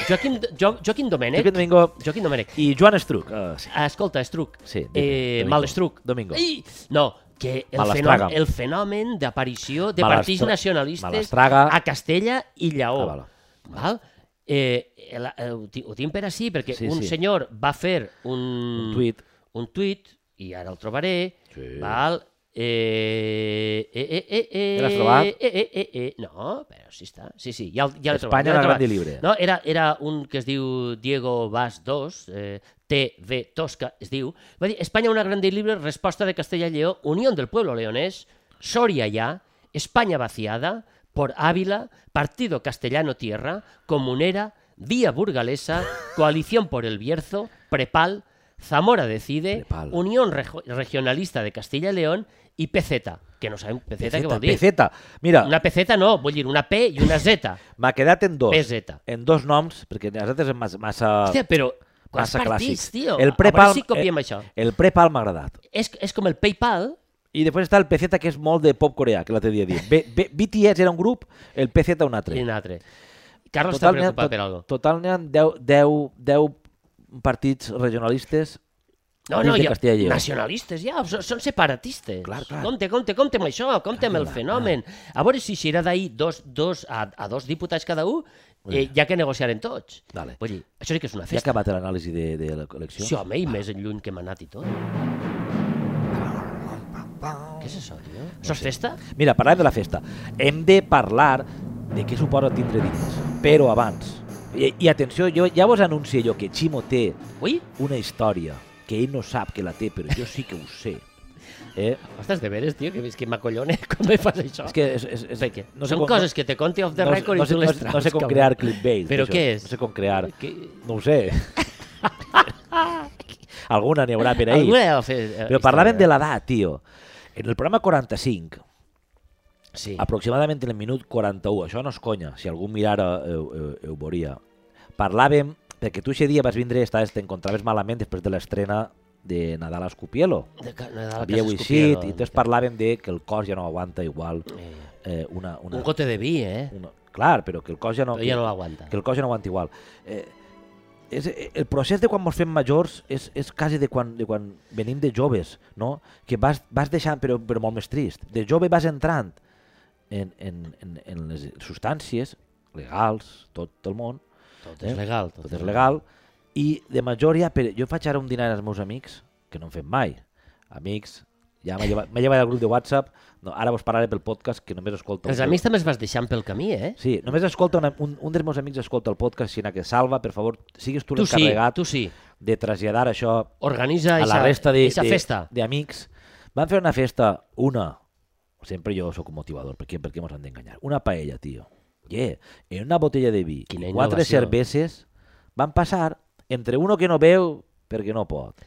[SPEAKER 2] Joaquim, jo, Joaquim Domènech.
[SPEAKER 1] Joaquim Domingo
[SPEAKER 2] Joaquim Domènech.
[SPEAKER 1] i Joan Estruc. Uh, sí.
[SPEAKER 2] Escolta, Estruc.
[SPEAKER 1] Sí, dime,
[SPEAKER 2] eh,
[SPEAKER 1] Domingo.
[SPEAKER 2] Malestruc.
[SPEAKER 1] Domingo.
[SPEAKER 2] I... No, que el,
[SPEAKER 1] Malastraga.
[SPEAKER 2] fenomen, el fenomen d'aparició de Ah,
[SPEAKER 1] Malastra-
[SPEAKER 2] partits nacionalistes
[SPEAKER 1] Malastraga.
[SPEAKER 2] a Castella i Lleó.
[SPEAKER 1] Ah, val.
[SPEAKER 2] val? Eh, el, eh, ho, ti- ho tinc per així, perquè
[SPEAKER 1] Sí,
[SPEAKER 2] sí, un
[SPEAKER 1] sí.
[SPEAKER 2] sí. senyor va fer un...
[SPEAKER 1] Un tuit.
[SPEAKER 2] un tuit, i ara el trobaré,
[SPEAKER 1] Sí.
[SPEAKER 2] val? Eh, eh, eh, eh, eh,
[SPEAKER 1] Ja l'has trobat?
[SPEAKER 2] Eh, eh, eh, eh, no, però sí està. Sí, sí, ja, el- ja l'he trobat.
[SPEAKER 1] Espanya,
[SPEAKER 2] ja l'he
[SPEAKER 1] la gran
[SPEAKER 2] trobat.
[SPEAKER 1] i lliure.
[SPEAKER 2] No, era, era un que es diu Diego Vaz II, eh, TV Tosca, es diu. Va dir, Espanya una gran i libre, resposta de Castella i Lleó, Unió del Pueblo Leonés, Soria ya, España vaciada, por Ávila, Partido Castellano Tierra, Comunera, Vía Burgalesa, Coalición por el Bierzo, Prepal, Zamora Decide,
[SPEAKER 1] Prepal.
[SPEAKER 2] Unión Rejo- Regionalista de Castilla y León y PZ, que no sabem PZ, què vol dir.
[SPEAKER 1] Peceta. Mira,
[SPEAKER 2] Una PZ no, vull dir una P i una Z.
[SPEAKER 1] m'ha quedat en dos.
[SPEAKER 2] PZ.
[SPEAKER 1] En dos noms, perquè els altres són mas- massa...
[SPEAKER 2] Hòstia, però quants
[SPEAKER 1] Ah, massa
[SPEAKER 2] partits,
[SPEAKER 1] clàssics.
[SPEAKER 2] tio?
[SPEAKER 1] El
[SPEAKER 2] A veure
[SPEAKER 1] Prepal,
[SPEAKER 2] si copiem
[SPEAKER 1] eh,
[SPEAKER 2] això.
[SPEAKER 1] el Prepal m'ha agradat.
[SPEAKER 2] És, és com el PayPal,
[SPEAKER 1] I després està el PZ, que és molt de pop coreà, que l'altre dia dit. B, B, BTS era un grup, el PZ un altre.
[SPEAKER 2] i un altre. Carlos està
[SPEAKER 1] Total, n'hi ha-
[SPEAKER 2] preocupat
[SPEAKER 1] tot-
[SPEAKER 2] per alguna
[SPEAKER 1] Total n'hi ha 10, 10, 10 partits regionalistes
[SPEAKER 2] No, no,
[SPEAKER 1] dins de
[SPEAKER 2] ja,
[SPEAKER 1] Castella i Lleó.
[SPEAKER 2] nacionalistes ja, so- són separatistes.
[SPEAKER 1] Clar, clar.
[SPEAKER 2] Compte, compte, compte amb això, compte amb el fenomen. A veure si serà d'ahir dos, dos, a, a dos diputats cada un, eh, ja que negociaren tots.
[SPEAKER 1] Vale.
[SPEAKER 2] Vull dir, això sí que és una
[SPEAKER 1] Ja ha
[SPEAKER 2] festa.
[SPEAKER 1] acabat l'anàlisi de, de l'elecció?
[SPEAKER 2] Sí, home, i més en lluny que hem anat i tot. Què és això, tio? Això és festa?
[SPEAKER 1] Mira, parlem de la festa. Hem de parlar de què suposa tindre diners, però abans. I, i atenció, jo ja vos anuncio jo que Ximo té
[SPEAKER 2] Ui,
[SPEAKER 1] una història que ell no sap que la té, però jo sí que ho sé. Eh?
[SPEAKER 2] ostres, de veres, tio, que, que m'acollone quan me fas això.
[SPEAKER 1] És que és, és, és,
[SPEAKER 2] Perquè
[SPEAKER 1] no sé
[SPEAKER 2] són
[SPEAKER 1] com-
[SPEAKER 2] coses que te conti off the
[SPEAKER 1] no, sé-
[SPEAKER 2] record
[SPEAKER 1] no,
[SPEAKER 2] i
[SPEAKER 1] sé,
[SPEAKER 2] tu
[SPEAKER 1] no,
[SPEAKER 2] les
[SPEAKER 1] sé-
[SPEAKER 2] traus.
[SPEAKER 1] no sé com
[SPEAKER 2] cabrón.
[SPEAKER 1] crear clickbait.
[SPEAKER 2] Però
[SPEAKER 1] d'això.
[SPEAKER 2] què és?
[SPEAKER 1] No sé com crear.
[SPEAKER 2] Que-
[SPEAKER 1] No ho sé. Alguna n'hi haurà per ahir.
[SPEAKER 2] Alguna deu fer, eh,
[SPEAKER 1] Però parlàvem de
[SPEAKER 2] història.
[SPEAKER 1] l'edat, tio. En el programa 45,
[SPEAKER 2] Sí.
[SPEAKER 1] aproximadament en el minut 41, això no és conya, si algú mirara eh, eh, ho veuria, parlàvem, perquè tu aquest dia vas vindre, estaves, t'encontraves malament després de l'estrena de Nadal a Escopielo.
[SPEAKER 2] De, ca- de, de la
[SPEAKER 1] Havia
[SPEAKER 2] casa
[SPEAKER 1] eixit,
[SPEAKER 2] Escopiero.
[SPEAKER 1] i entonces parlàvem de que el cos ja no aguanta igual
[SPEAKER 2] Eh,
[SPEAKER 1] eh, una, una,
[SPEAKER 2] Un gote de vi, eh?
[SPEAKER 1] una... Clar, però que el cos ja no...
[SPEAKER 2] Però ja no l'aguanta.
[SPEAKER 1] que el cos ja no aguanta igual. Eh, és, eh, el procés de quan ens fem majors és, és quasi de quan, de quan venim de joves, no? que vas, vas deixant, però, però molt més trist. De jove vas entrant en, en, en, en les substàncies legals, tot el món,
[SPEAKER 2] Tot és legal.
[SPEAKER 1] tot és legal, i de major ja... Per, jo faig ara un dinar als meus amics, que no en fem mai. Amics, ja m'he llevat, m'he llevat del grup de WhatsApp, no, ara vos parlaré pel podcast que només escolto...
[SPEAKER 2] Els
[SPEAKER 1] el-
[SPEAKER 2] amics també es vas deixant pel camí, eh?
[SPEAKER 1] Sí, només escolta, una, un, un dels meus amics escolta el podcast, Xina, que salva, per favor, sigues tu
[SPEAKER 2] Tu sí,
[SPEAKER 1] l'encarregat
[SPEAKER 2] tu sí.
[SPEAKER 1] de traslladar això
[SPEAKER 2] Organitza
[SPEAKER 1] a la
[SPEAKER 2] eixa-
[SPEAKER 1] resta de-
[SPEAKER 2] eixa
[SPEAKER 1] de-
[SPEAKER 2] festa.
[SPEAKER 1] d'amics. Van fer una festa, una, sempre jo sóc un motivador, perquè, perquè mos han d'enganyar, una paella, tio. Yeah. En una botella de vi
[SPEAKER 2] Quina
[SPEAKER 1] i quatre
[SPEAKER 2] innovació.
[SPEAKER 1] cerveses van passar entre uno que no veu perquè no pot,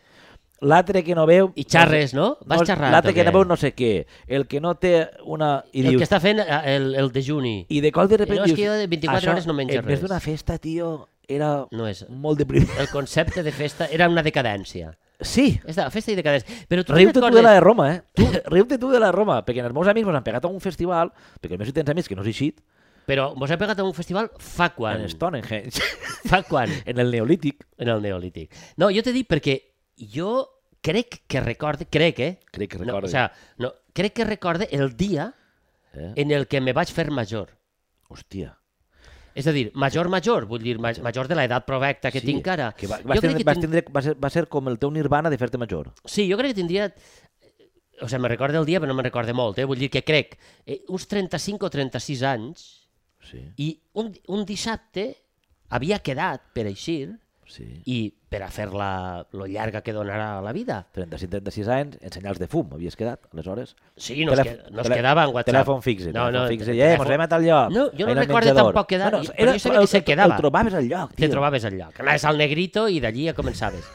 [SPEAKER 1] l'altre que no veu...
[SPEAKER 2] I xarres, no? Vas
[SPEAKER 1] no,
[SPEAKER 2] xerrant,
[SPEAKER 1] L'altre
[SPEAKER 2] o
[SPEAKER 1] que
[SPEAKER 2] què?
[SPEAKER 1] no veu no sé què, el que no té una... I
[SPEAKER 2] El
[SPEAKER 1] dius,
[SPEAKER 2] que està fent eh, el, el dejuni.
[SPEAKER 1] i de cop de repente...
[SPEAKER 2] Eh, No, és
[SPEAKER 1] dius,
[SPEAKER 2] que jo de 24
[SPEAKER 1] això,
[SPEAKER 2] hores no menjo
[SPEAKER 1] en més
[SPEAKER 2] res.
[SPEAKER 1] d'una festa, tio, era
[SPEAKER 2] No és...
[SPEAKER 1] molt deprimit.
[SPEAKER 2] El concepte de festa era una decadència.
[SPEAKER 1] Sí,
[SPEAKER 2] Esta, festa i decadència. Però tu
[SPEAKER 1] riu-te tu de
[SPEAKER 2] te'n recordes-
[SPEAKER 1] la de Roma, eh? Tu, riu-te tu de la de Roma, perquè els meus amics mos han pegat a un festival, perquè només si tens amics que no és així,
[SPEAKER 2] Però vos he pegat a un festival fa quan?
[SPEAKER 1] en Stonehenge,
[SPEAKER 2] Fa quan?
[SPEAKER 1] en el Neolític,
[SPEAKER 2] En el Neolític. No, jo t'he dit perquè jo crec que recorde, crec, eh?
[SPEAKER 1] crec que
[SPEAKER 2] No, o
[SPEAKER 1] recordo.
[SPEAKER 2] sea, no, crec que recorde el dia
[SPEAKER 1] eh?
[SPEAKER 2] en el que me vaig fer major.
[SPEAKER 1] Hòstia.
[SPEAKER 2] És a dir, major, major, vull dir, ma- major de l'edat provecta que
[SPEAKER 1] sí,
[SPEAKER 2] tinc ara.
[SPEAKER 1] Que va, vas
[SPEAKER 2] jo,
[SPEAKER 1] tindre,
[SPEAKER 2] crec que
[SPEAKER 1] vas
[SPEAKER 2] tinc-
[SPEAKER 1] tindre, va, ser, va ser com el teu nirvana de fer-te major.
[SPEAKER 2] Sí, jo crec que tindria... O sigui, me recorda el dia, però no me'n recorda molt, eh? Vull dir que crec eh, uns 35 o 36 anys
[SPEAKER 1] Sí,
[SPEAKER 2] i un, un dissabte havia quedat per eixir
[SPEAKER 1] sí.
[SPEAKER 2] i per a fer-la lo llarga que donarà la vida.
[SPEAKER 1] 35-36 anys, en senyals de fum, havies quedat, aleshores.
[SPEAKER 2] Sí, no, es,
[SPEAKER 1] Telèfon-
[SPEAKER 2] que, no es
[SPEAKER 1] telè-
[SPEAKER 2] quedava en WhatsApp.
[SPEAKER 1] Telèfon fixe.
[SPEAKER 2] No, no,
[SPEAKER 1] telèfon fixe.
[SPEAKER 2] te-
[SPEAKER 1] Eh,
[SPEAKER 2] telèfon-
[SPEAKER 1] mos veiem a tal lloc.
[SPEAKER 2] No, jo no
[SPEAKER 1] Ahí al
[SPEAKER 2] recordo
[SPEAKER 1] menjador.
[SPEAKER 2] tampoc quedar,
[SPEAKER 1] Bueno,
[SPEAKER 2] i- però jo sabia
[SPEAKER 1] el-
[SPEAKER 2] que se
[SPEAKER 1] el-
[SPEAKER 2] quedava.
[SPEAKER 1] El trobaves al lloc,
[SPEAKER 2] Te
[SPEAKER 1] tio.
[SPEAKER 2] trobaves al lloc. Anaves al negrito i d'allí ja començaves.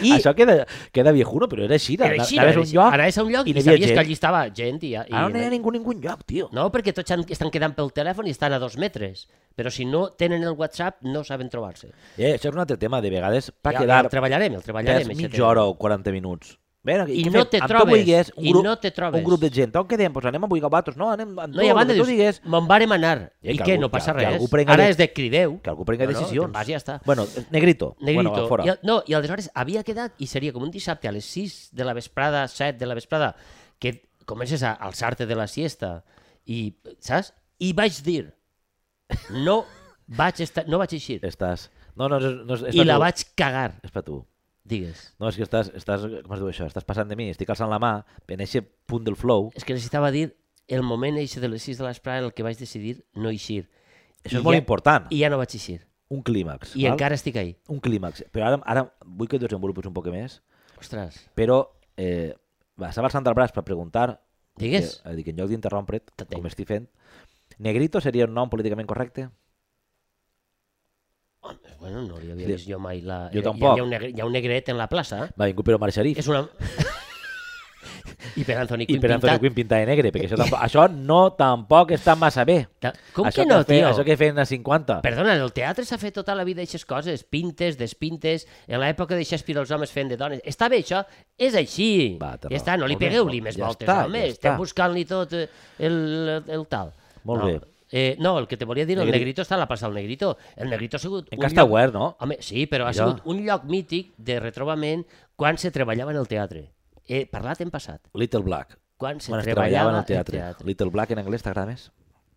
[SPEAKER 1] I... Això queda, queda viejuno, però era així.
[SPEAKER 2] Era així, era
[SPEAKER 1] anaves a un
[SPEAKER 2] així.
[SPEAKER 1] lloc,
[SPEAKER 2] Ara és un lloc i,
[SPEAKER 1] n'hi havia
[SPEAKER 2] sabies
[SPEAKER 1] gent.
[SPEAKER 2] que allí estava gent i... i
[SPEAKER 1] Ara no hi ha ningú ningú lloc, tio.
[SPEAKER 2] No, perquè tots han- estan quedant pel telèfon i estan a dos metres. Però si no tenen el WhatsApp, no saben trobar-se.
[SPEAKER 1] Eh, això és un altre tema, de vegades, per
[SPEAKER 2] Ja- ja
[SPEAKER 1] quedar
[SPEAKER 2] El treballarem, el
[SPEAKER 1] tres
[SPEAKER 2] treballarem. aquest
[SPEAKER 1] mitja
[SPEAKER 2] tema.
[SPEAKER 1] hora o 40 minuts. Bé, què-
[SPEAKER 2] I
[SPEAKER 1] què
[SPEAKER 2] no
[SPEAKER 1] fem?
[SPEAKER 2] te
[SPEAKER 1] Amb
[SPEAKER 2] trobes,
[SPEAKER 1] Tu vulguis, un
[SPEAKER 2] i
[SPEAKER 1] grup,
[SPEAKER 2] no te trobes.
[SPEAKER 1] Un grup de gent. On quedem? Pues anem a Buiga Batos. No, anem amb
[SPEAKER 2] No, i a banda
[SPEAKER 1] que tu
[SPEAKER 2] dius,
[SPEAKER 1] digues.
[SPEAKER 2] me'n vàrem anar.
[SPEAKER 1] Eh,
[SPEAKER 2] I
[SPEAKER 1] que
[SPEAKER 2] què,
[SPEAKER 1] algú-
[SPEAKER 2] no passa
[SPEAKER 1] que- que
[SPEAKER 2] res.
[SPEAKER 1] algú prenga
[SPEAKER 2] Ara
[SPEAKER 1] de-
[SPEAKER 2] és de crideu.
[SPEAKER 1] Que algú prengui
[SPEAKER 2] No, no,
[SPEAKER 1] decisions.
[SPEAKER 2] te'n vas i ja està.
[SPEAKER 1] Bueno, eh, Negrito.
[SPEAKER 2] Negrito.
[SPEAKER 1] Bueno, fora.
[SPEAKER 2] I, el- no, i aleshores havia quedat, i seria com un dissabte a les 6 de la vesprada, 7 de la vesprada, que comences a alçar-te de la siesta, i, saps? I vaig dir, no vaig, estar, no vaig eixir.
[SPEAKER 1] Estàs... No, no, no, Eh, no és, és
[SPEAKER 2] I
[SPEAKER 1] per
[SPEAKER 2] la
[SPEAKER 1] tu.
[SPEAKER 2] vaig cagar,
[SPEAKER 1] És per tu.
[SPEAKER 2] digues.
[SPEAKER 1] No, és que estàs, estàs, com es diu això? Estàs passant de mi, estic alçant la mà, en aquest punt del flow.
[SPEAKER 2] És que necessitava dir el moment eixe de les 6 de l'esprada en el que vaig decidir no eixir.
[SPEAKER 1] Això
[SPEAKER 2] I
[SPEAKER 1] és molt
[SPEAKER 2] ja-
[SPEAKER 1] important.
[SPEAKER 2] I ja no vaig eixir.
[SPEAKER 1] Un clímax.
[SPEAKER 2] I
[SPEAKER 1] val?
[SPEAKER 2] encara estic ahí.
[SPEAKER 1] Un clímax. Però ara, ara vull que ho desenvolupis un poc més,
[SPEAKER 2] Ostres,
[SPEAKER 1] però eh, va, estava alçant el braç per preguntar,
[SPEAKER 2] digues.
[SPEAKER 1] que, eh, dic, en lloc d'interrompre't,
[SPEAKER 2] T'atenc.
[SPEAKER 1] com estic fent, Negrito seria un nom políticament correcte?
[SPEAKER 2] Home, bueno, no li havia
[SPEAKER 1] Sí.
[SPEAKER 2] vist jo mai la...
[SPEAKER 1] Jo
[SPEAKER 2] hi ha-
[SPEAKER 1] tampoc.
[SPEAKER 2] Hi ha, un negre, hi ha un negret en la plaça.
[SPEAKER 1] Va vingut però Mar Xerif
[SPEAKER 2] És una... I per Anthony
[SPEAKER 1] i
[SPEAKER 2] Quinn
[SPEAKER 1] per Antoni Quim pintar de negre, perquè això, tampoc, això no tampoc està massa bé.
[SPEAKER 2] Ta- Com
[SPEAKER 1] això
[SPEAKER 2] que no,
[SPEAKER 1] fe-
[SPEAKER 2] tio?
[SPEAKER 1] Això que feien a 50.
[SPEAKER 2] Perdona, el teatre s'ha fet tota la vida aquestes coses, pintes, despintes, en l'època de Shakespeare els homes fent de dones. Està bé això? És així.
[SPEAKER 1] Va, té
[SPEAKER 2] ja
[SPEAKER 1] raó.
[SPEAKER 2] està, no li
[SPEAKER 1] Molt bé,
[SPEAKER 2] pegueu-li
[SPEAKER 1] molt-
[SPEAKER 2] més
[SPEAKER 1] ja
[SPEAKER 2] voltes,
[SPEAKER 1] està,
[SPEAKER 2] home,
[SPEAKER 1] ja
[SPEAKER 2] estem
[SPEAKER 1] està.
[SPEAKER 2] buscant-li tot eh, el, el tal.
[SPEAKER 1] Molt
[SPEAKER 2] no.
[SPEAKER 1] bé.
[SPEAKER 2] Eh, no, el que te volia dir, el
[SPEAKER 1] Negri-
[SPEAKER 2] Negrito està a la plaça del Negrito. El Negrito ha sigut... un
[SPEAKER 1] Encara està
[SPEAKER 2] lloc-
[SPEAKER 1] obert, no?
[SPEAKER 2] Home, sí, però ha
[SPEAKER 1] Mira.
[SPEAKER 2] sigut un lloc mític de retrobament quan se treballava en el teatre. He parlat en passat.
[SPEAKER 1] Little Black.
[SPEAKER 2] Quan se
[SPEAKER 1] Quan es
[SPEAKER 2] treballava
[SPEAKER 1] treballava en el teatre.
[SPEAKER 2] al teatre.
[SPEAKER 1] Little Black en anglès t'agrada més?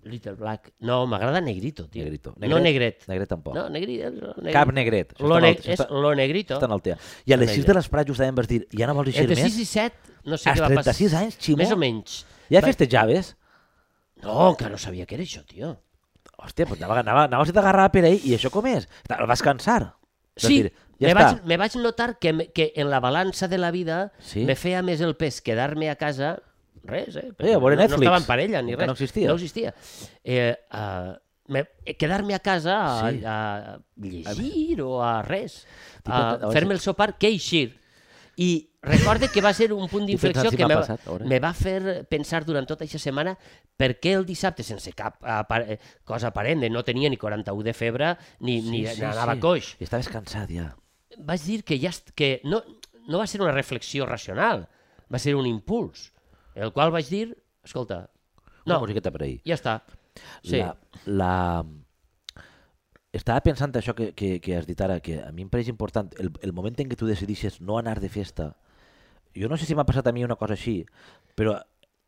[SPEAKER 2] Little Black. No, m'agrada Negrito, tio.
[SPEAKER 1] Negrito.
[SPEAKER 2] No Negret.
[SPEAKER 1] Negret tampoc.
[SPEAKER 2] No, negrito. negrito.
[SPEAKER 1] Cap negret. Això està
[SPEAKER 2] Lo
[SPEAKER 1] en el-
[SPEAKER 2] ne
[SPEAKER 1] això
[SPEAKER 2] és
[SPEAKER 1] està-
[SPEAKER 2] lo negrito.
[SPEAKER 1] Està en el teatre. I a les
[SPEAKER 2] Negret.
[SPEAKER 1] 6 de l'esprà justament vas dir, ja no vols eixir
[SPEAKER 2] Entre
[SPEAKER 1] més?
[SPEAKER 2] 6 i 7, no sé
[SPEAKER 1] Als
[SPEAKER 2] què va passar.
[SPEAKER 1] 36 anys, Ximo?
[SPEAKER 2] Més o menys.
[SPEAKER 1] Ja
[SPEAKER 2] Va-
[SPEAKER 1] festejaves?
[SPEAKER 2] No, encara no sabia què era això, tio.
[SPEAKER 1] Hòstia, pues anava, anava, anaves a t'agarrar per ahir i això com és? El vas cansar? Vas
[SPEAKER 2] Sí,
[SPEAKER 1] dir,
[SPEAKER 2] ja me,
[SPEAKER 1] ja
[SPEAKER 2] vaig,
[SPEAKER 1] està.
[SPEAKER 2] me vaig notar que, me- que en la balança de la vida
[SPEAKER 1] Sí?
[SPEAKER 2] me feia més el pes quedar-me a casa res, eh?
[SPEAKER 1] Eh, a veure
[SPEAKER 2] no, no
[SPEAKER 1] Netflix.
[SPEAKER 2] estava en parella ni
[SPEAKER 1] Encara
[SPEAKER 2] res.
[SPEAKER 1] no existia.
[SPEAKER 2] No existia. Eh, uh, me, eh, quedar-me a casa a,
[SPEAKER 1] Sí.
[SPEAKER 2] a llegir o a res,
[SPEAKER 1] T'he
[SPEAKER 2] a
[SPEAKER 1] pensat- a veure
[SPEAKER 2] fer-me el sopar, que eixir. I recorde que va ser un punt
[SPEAKER 1] T'he
[SPEAKER 2] d'inflexió
[SPEAKER 1] pensat si
[SPEAKER 2] que
[SPEAKER 1] m'ha
[SPEAKER 2] me,
[SPEAKER 1] passat, a veure.
[SPEAKER 2] me va fer pensar durant tota aquesta setmana per què el dissabte, sense cap apa eh, cosa aparent, de no tenia ni 41 de febre ni, ni anava coix,
[SPEAKER 1] I estaves cansat ja.
[SPEAKER 2] vas dir que ja est- que no, no va ser una reflexió racional, va ser un impuls, el qual vaig dir, escolta,
[SPEAKER 1] Una
[SPEAKER 2] no,
[SPEAKER 1] musiqueta per ahir.
[SPEAKER 2] ja està. Sí,
[SPEAKER 1] La, la... Estava pensant això que, que, que has dit ara, que a mi em pareix important, el, el moment en què tu decidixes no anar de festa, jo no sé si m'ha passat a mi una cosa així, però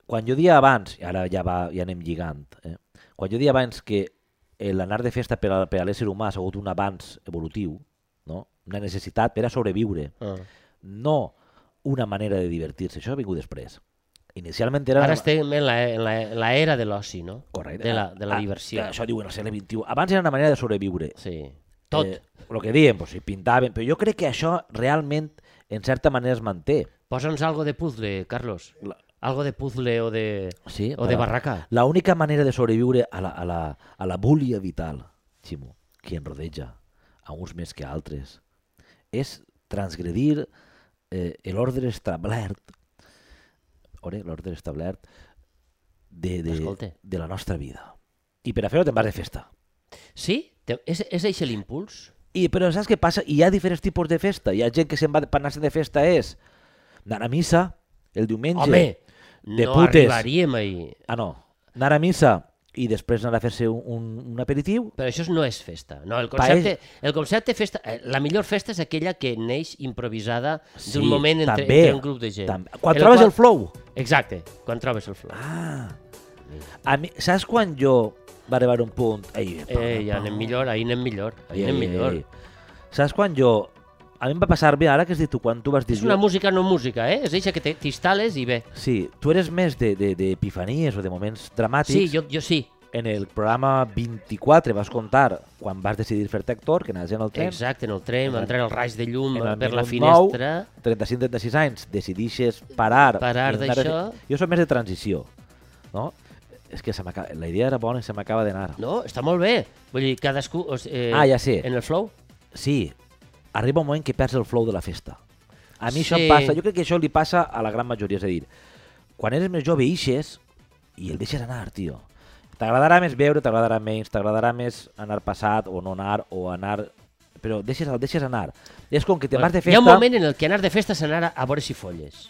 [SPEAKER 1] quan jo dia abans, i ara ja, va, ja anem lligant, eh? quan jo dia abans que eh, l'anar de festa per a, per a l'ésser humà ha sigut un avanç evolutiu, no? una necessitat per a sobreviure,
[SPEAKER 2] Ah.
[SPEAKER 1] no una manera de divertir-se, això ha vingut després. Inicialment era...
[SPEAKER 2] Ara
[SPEAKER 1] una-
[SPEAKER 2] estem en la, en la, en la era de l'oci, no?
[SPEAKER 1] Correcte.
[SPEAKER 2] De la, de la
[SPEAKER 1] Ah,
[SPEAKER 2] diversió.
[SPEAKER 1] Això diuen al segle XXI. Abans era una manera de sobreviure.
[SPEAKER 2] Sí, tot.
[SPEAKER 1] Eh, el que diem, pues, si pintaven... Però jo crec que això realment, en certa manera, es manté.
[SPEAKER 2] Posa'ns algo de puzzle, Carlos.
[SPEAKER 1] La-
[SPEAKER 2] Algo de puzzle o de,
[SPEAKER 1] Sí,
[SPEAKER 2] o de
[SPEAKER 1] però-
[SPEAKER 2] barraca.
[SPEAKER 1] L'única manera de sobreviure a la, a la, a la búlia vital, Ximo, que en rodeja, a uns més que a altres, és transgredir eh, l'ordre establert ore, l'ordre establert de, de,
[SPEAKER 2] Escolta.
[SPEAKER 1] de la nostra vida. I per a fer-ho te'n vas de festa.
[SPEAKER 2] Sí? Te- És, és eixe l'impuls?
[SPEAKER 1] I, però saps què passa? Hi ha diferents tipus de festa. Hi ha gent que se'n va per anar-se de festa és anar a missa el diumenge.
[SPEAKER 2] Home,
[SPEAKER 1] de
[SPEAKER 2] no
[SPEAKER 1] putes.
[SPEAKER 2] arribaríem ahir.
[SPEAKER 1] Ah, no. Anar a missa i després anar a fer-se un, un, un aperitiu.
[SPEAKER 2] Però això no és festa. No, el
[SPEAKER 1] Paella.
[SPEAKER 2] concepte, el concepte festa, eh, la millor festa és aquella que neix improvisada
[SPEAKER 1] Sí,
[SPEAKER 2] d'un moment entre,
[SPEAKER 1] també,
[SPEAKER 2] entre un grup de gent.
[SPEAKER 1] Tam... Quan
[SPEAKER 2] En
[SPEAKER 1] trobes
[SPEAKER 2] qual-
[SPEAKER 1] el flow.
[SPEAKER 2] Exacte, quan trobes el flow. Ah,
[SPEAKER 1] A mi, saps quan jo va arribar un punt... Ei, pa,
[SPEAKER 2] eh, ja
[SPEAKER 1] pa,
[SPEAKER 2] anem millor, ahir anem millor,
[SPEAKER 1] ei,
[SPEAKER 2] ahir anem
[SPEAKER 1] ei,
[SPEAKER 2] millor.
[SPEAKER 1] ei. Saps quan jo... A mi em va passar bé ara que has dit tu, quan tu vas dir...
[SPEAKER 2] És una
[SPEAKER 1] jo-
[SPEAKER 2] música no música, eh? És eixa que te- t'instal·les i bé.
[SPEAKER 1] Sí, tu eres més d'epifanies de, de epifanies o de moments dramàtics.
[SPEAKER 2] Sí, jo, jo sí.
[SPEAKER 1] En el programa 24 vas contar quan vas decidir fer-te actor, que anaves en el tren.
[SPEAKER 2] Exacte, en el tren,
[SPEAKER 1] En el-
[SPEAKER 2] entrar al raig de llum
[SPEAKER 1] En el
[SPEAKER 2] per la
[SPEAKER 1] minut nou,
[SPEAKER 2] finestra...
[SPEAKER 1] 35-36 anys, decidixes parar.
[SPEAKER 2] Parar
[SPEAKER 1] i anar a-
[SPEAKER 2] d'això.
[SPEAKER 1] Jo sóc més de transició, no? És que se m'acaba... La idea era bona i se m'acaba d'anar.
[SPEAKER 2] No, està molt bé. Vull dir, cadascú... o sigui, Eh,
[SPEAKER 1] Ah, ja sé.
[SPEAKER 2] En el flow?
[SPEAKER 1] Sí, arriba un moment que perds el flow de la festa. A mi això
[SPEAKER 2] Sí.
[SPEAKER 1] em passa, jo crec que això li passa a la gran majoria, és a dir, quan eres més jove ixes i el deixes anar, tio. T'agradarà més veure, t'agradarà menys, t'agradarà més anar passat o no anar, o anar... Però deixes, el deixes anar. És com que te'n vas de festa,
[SPEAKER 2] Hi ha un moment en el que anar de festa és anar a, a veure si folles.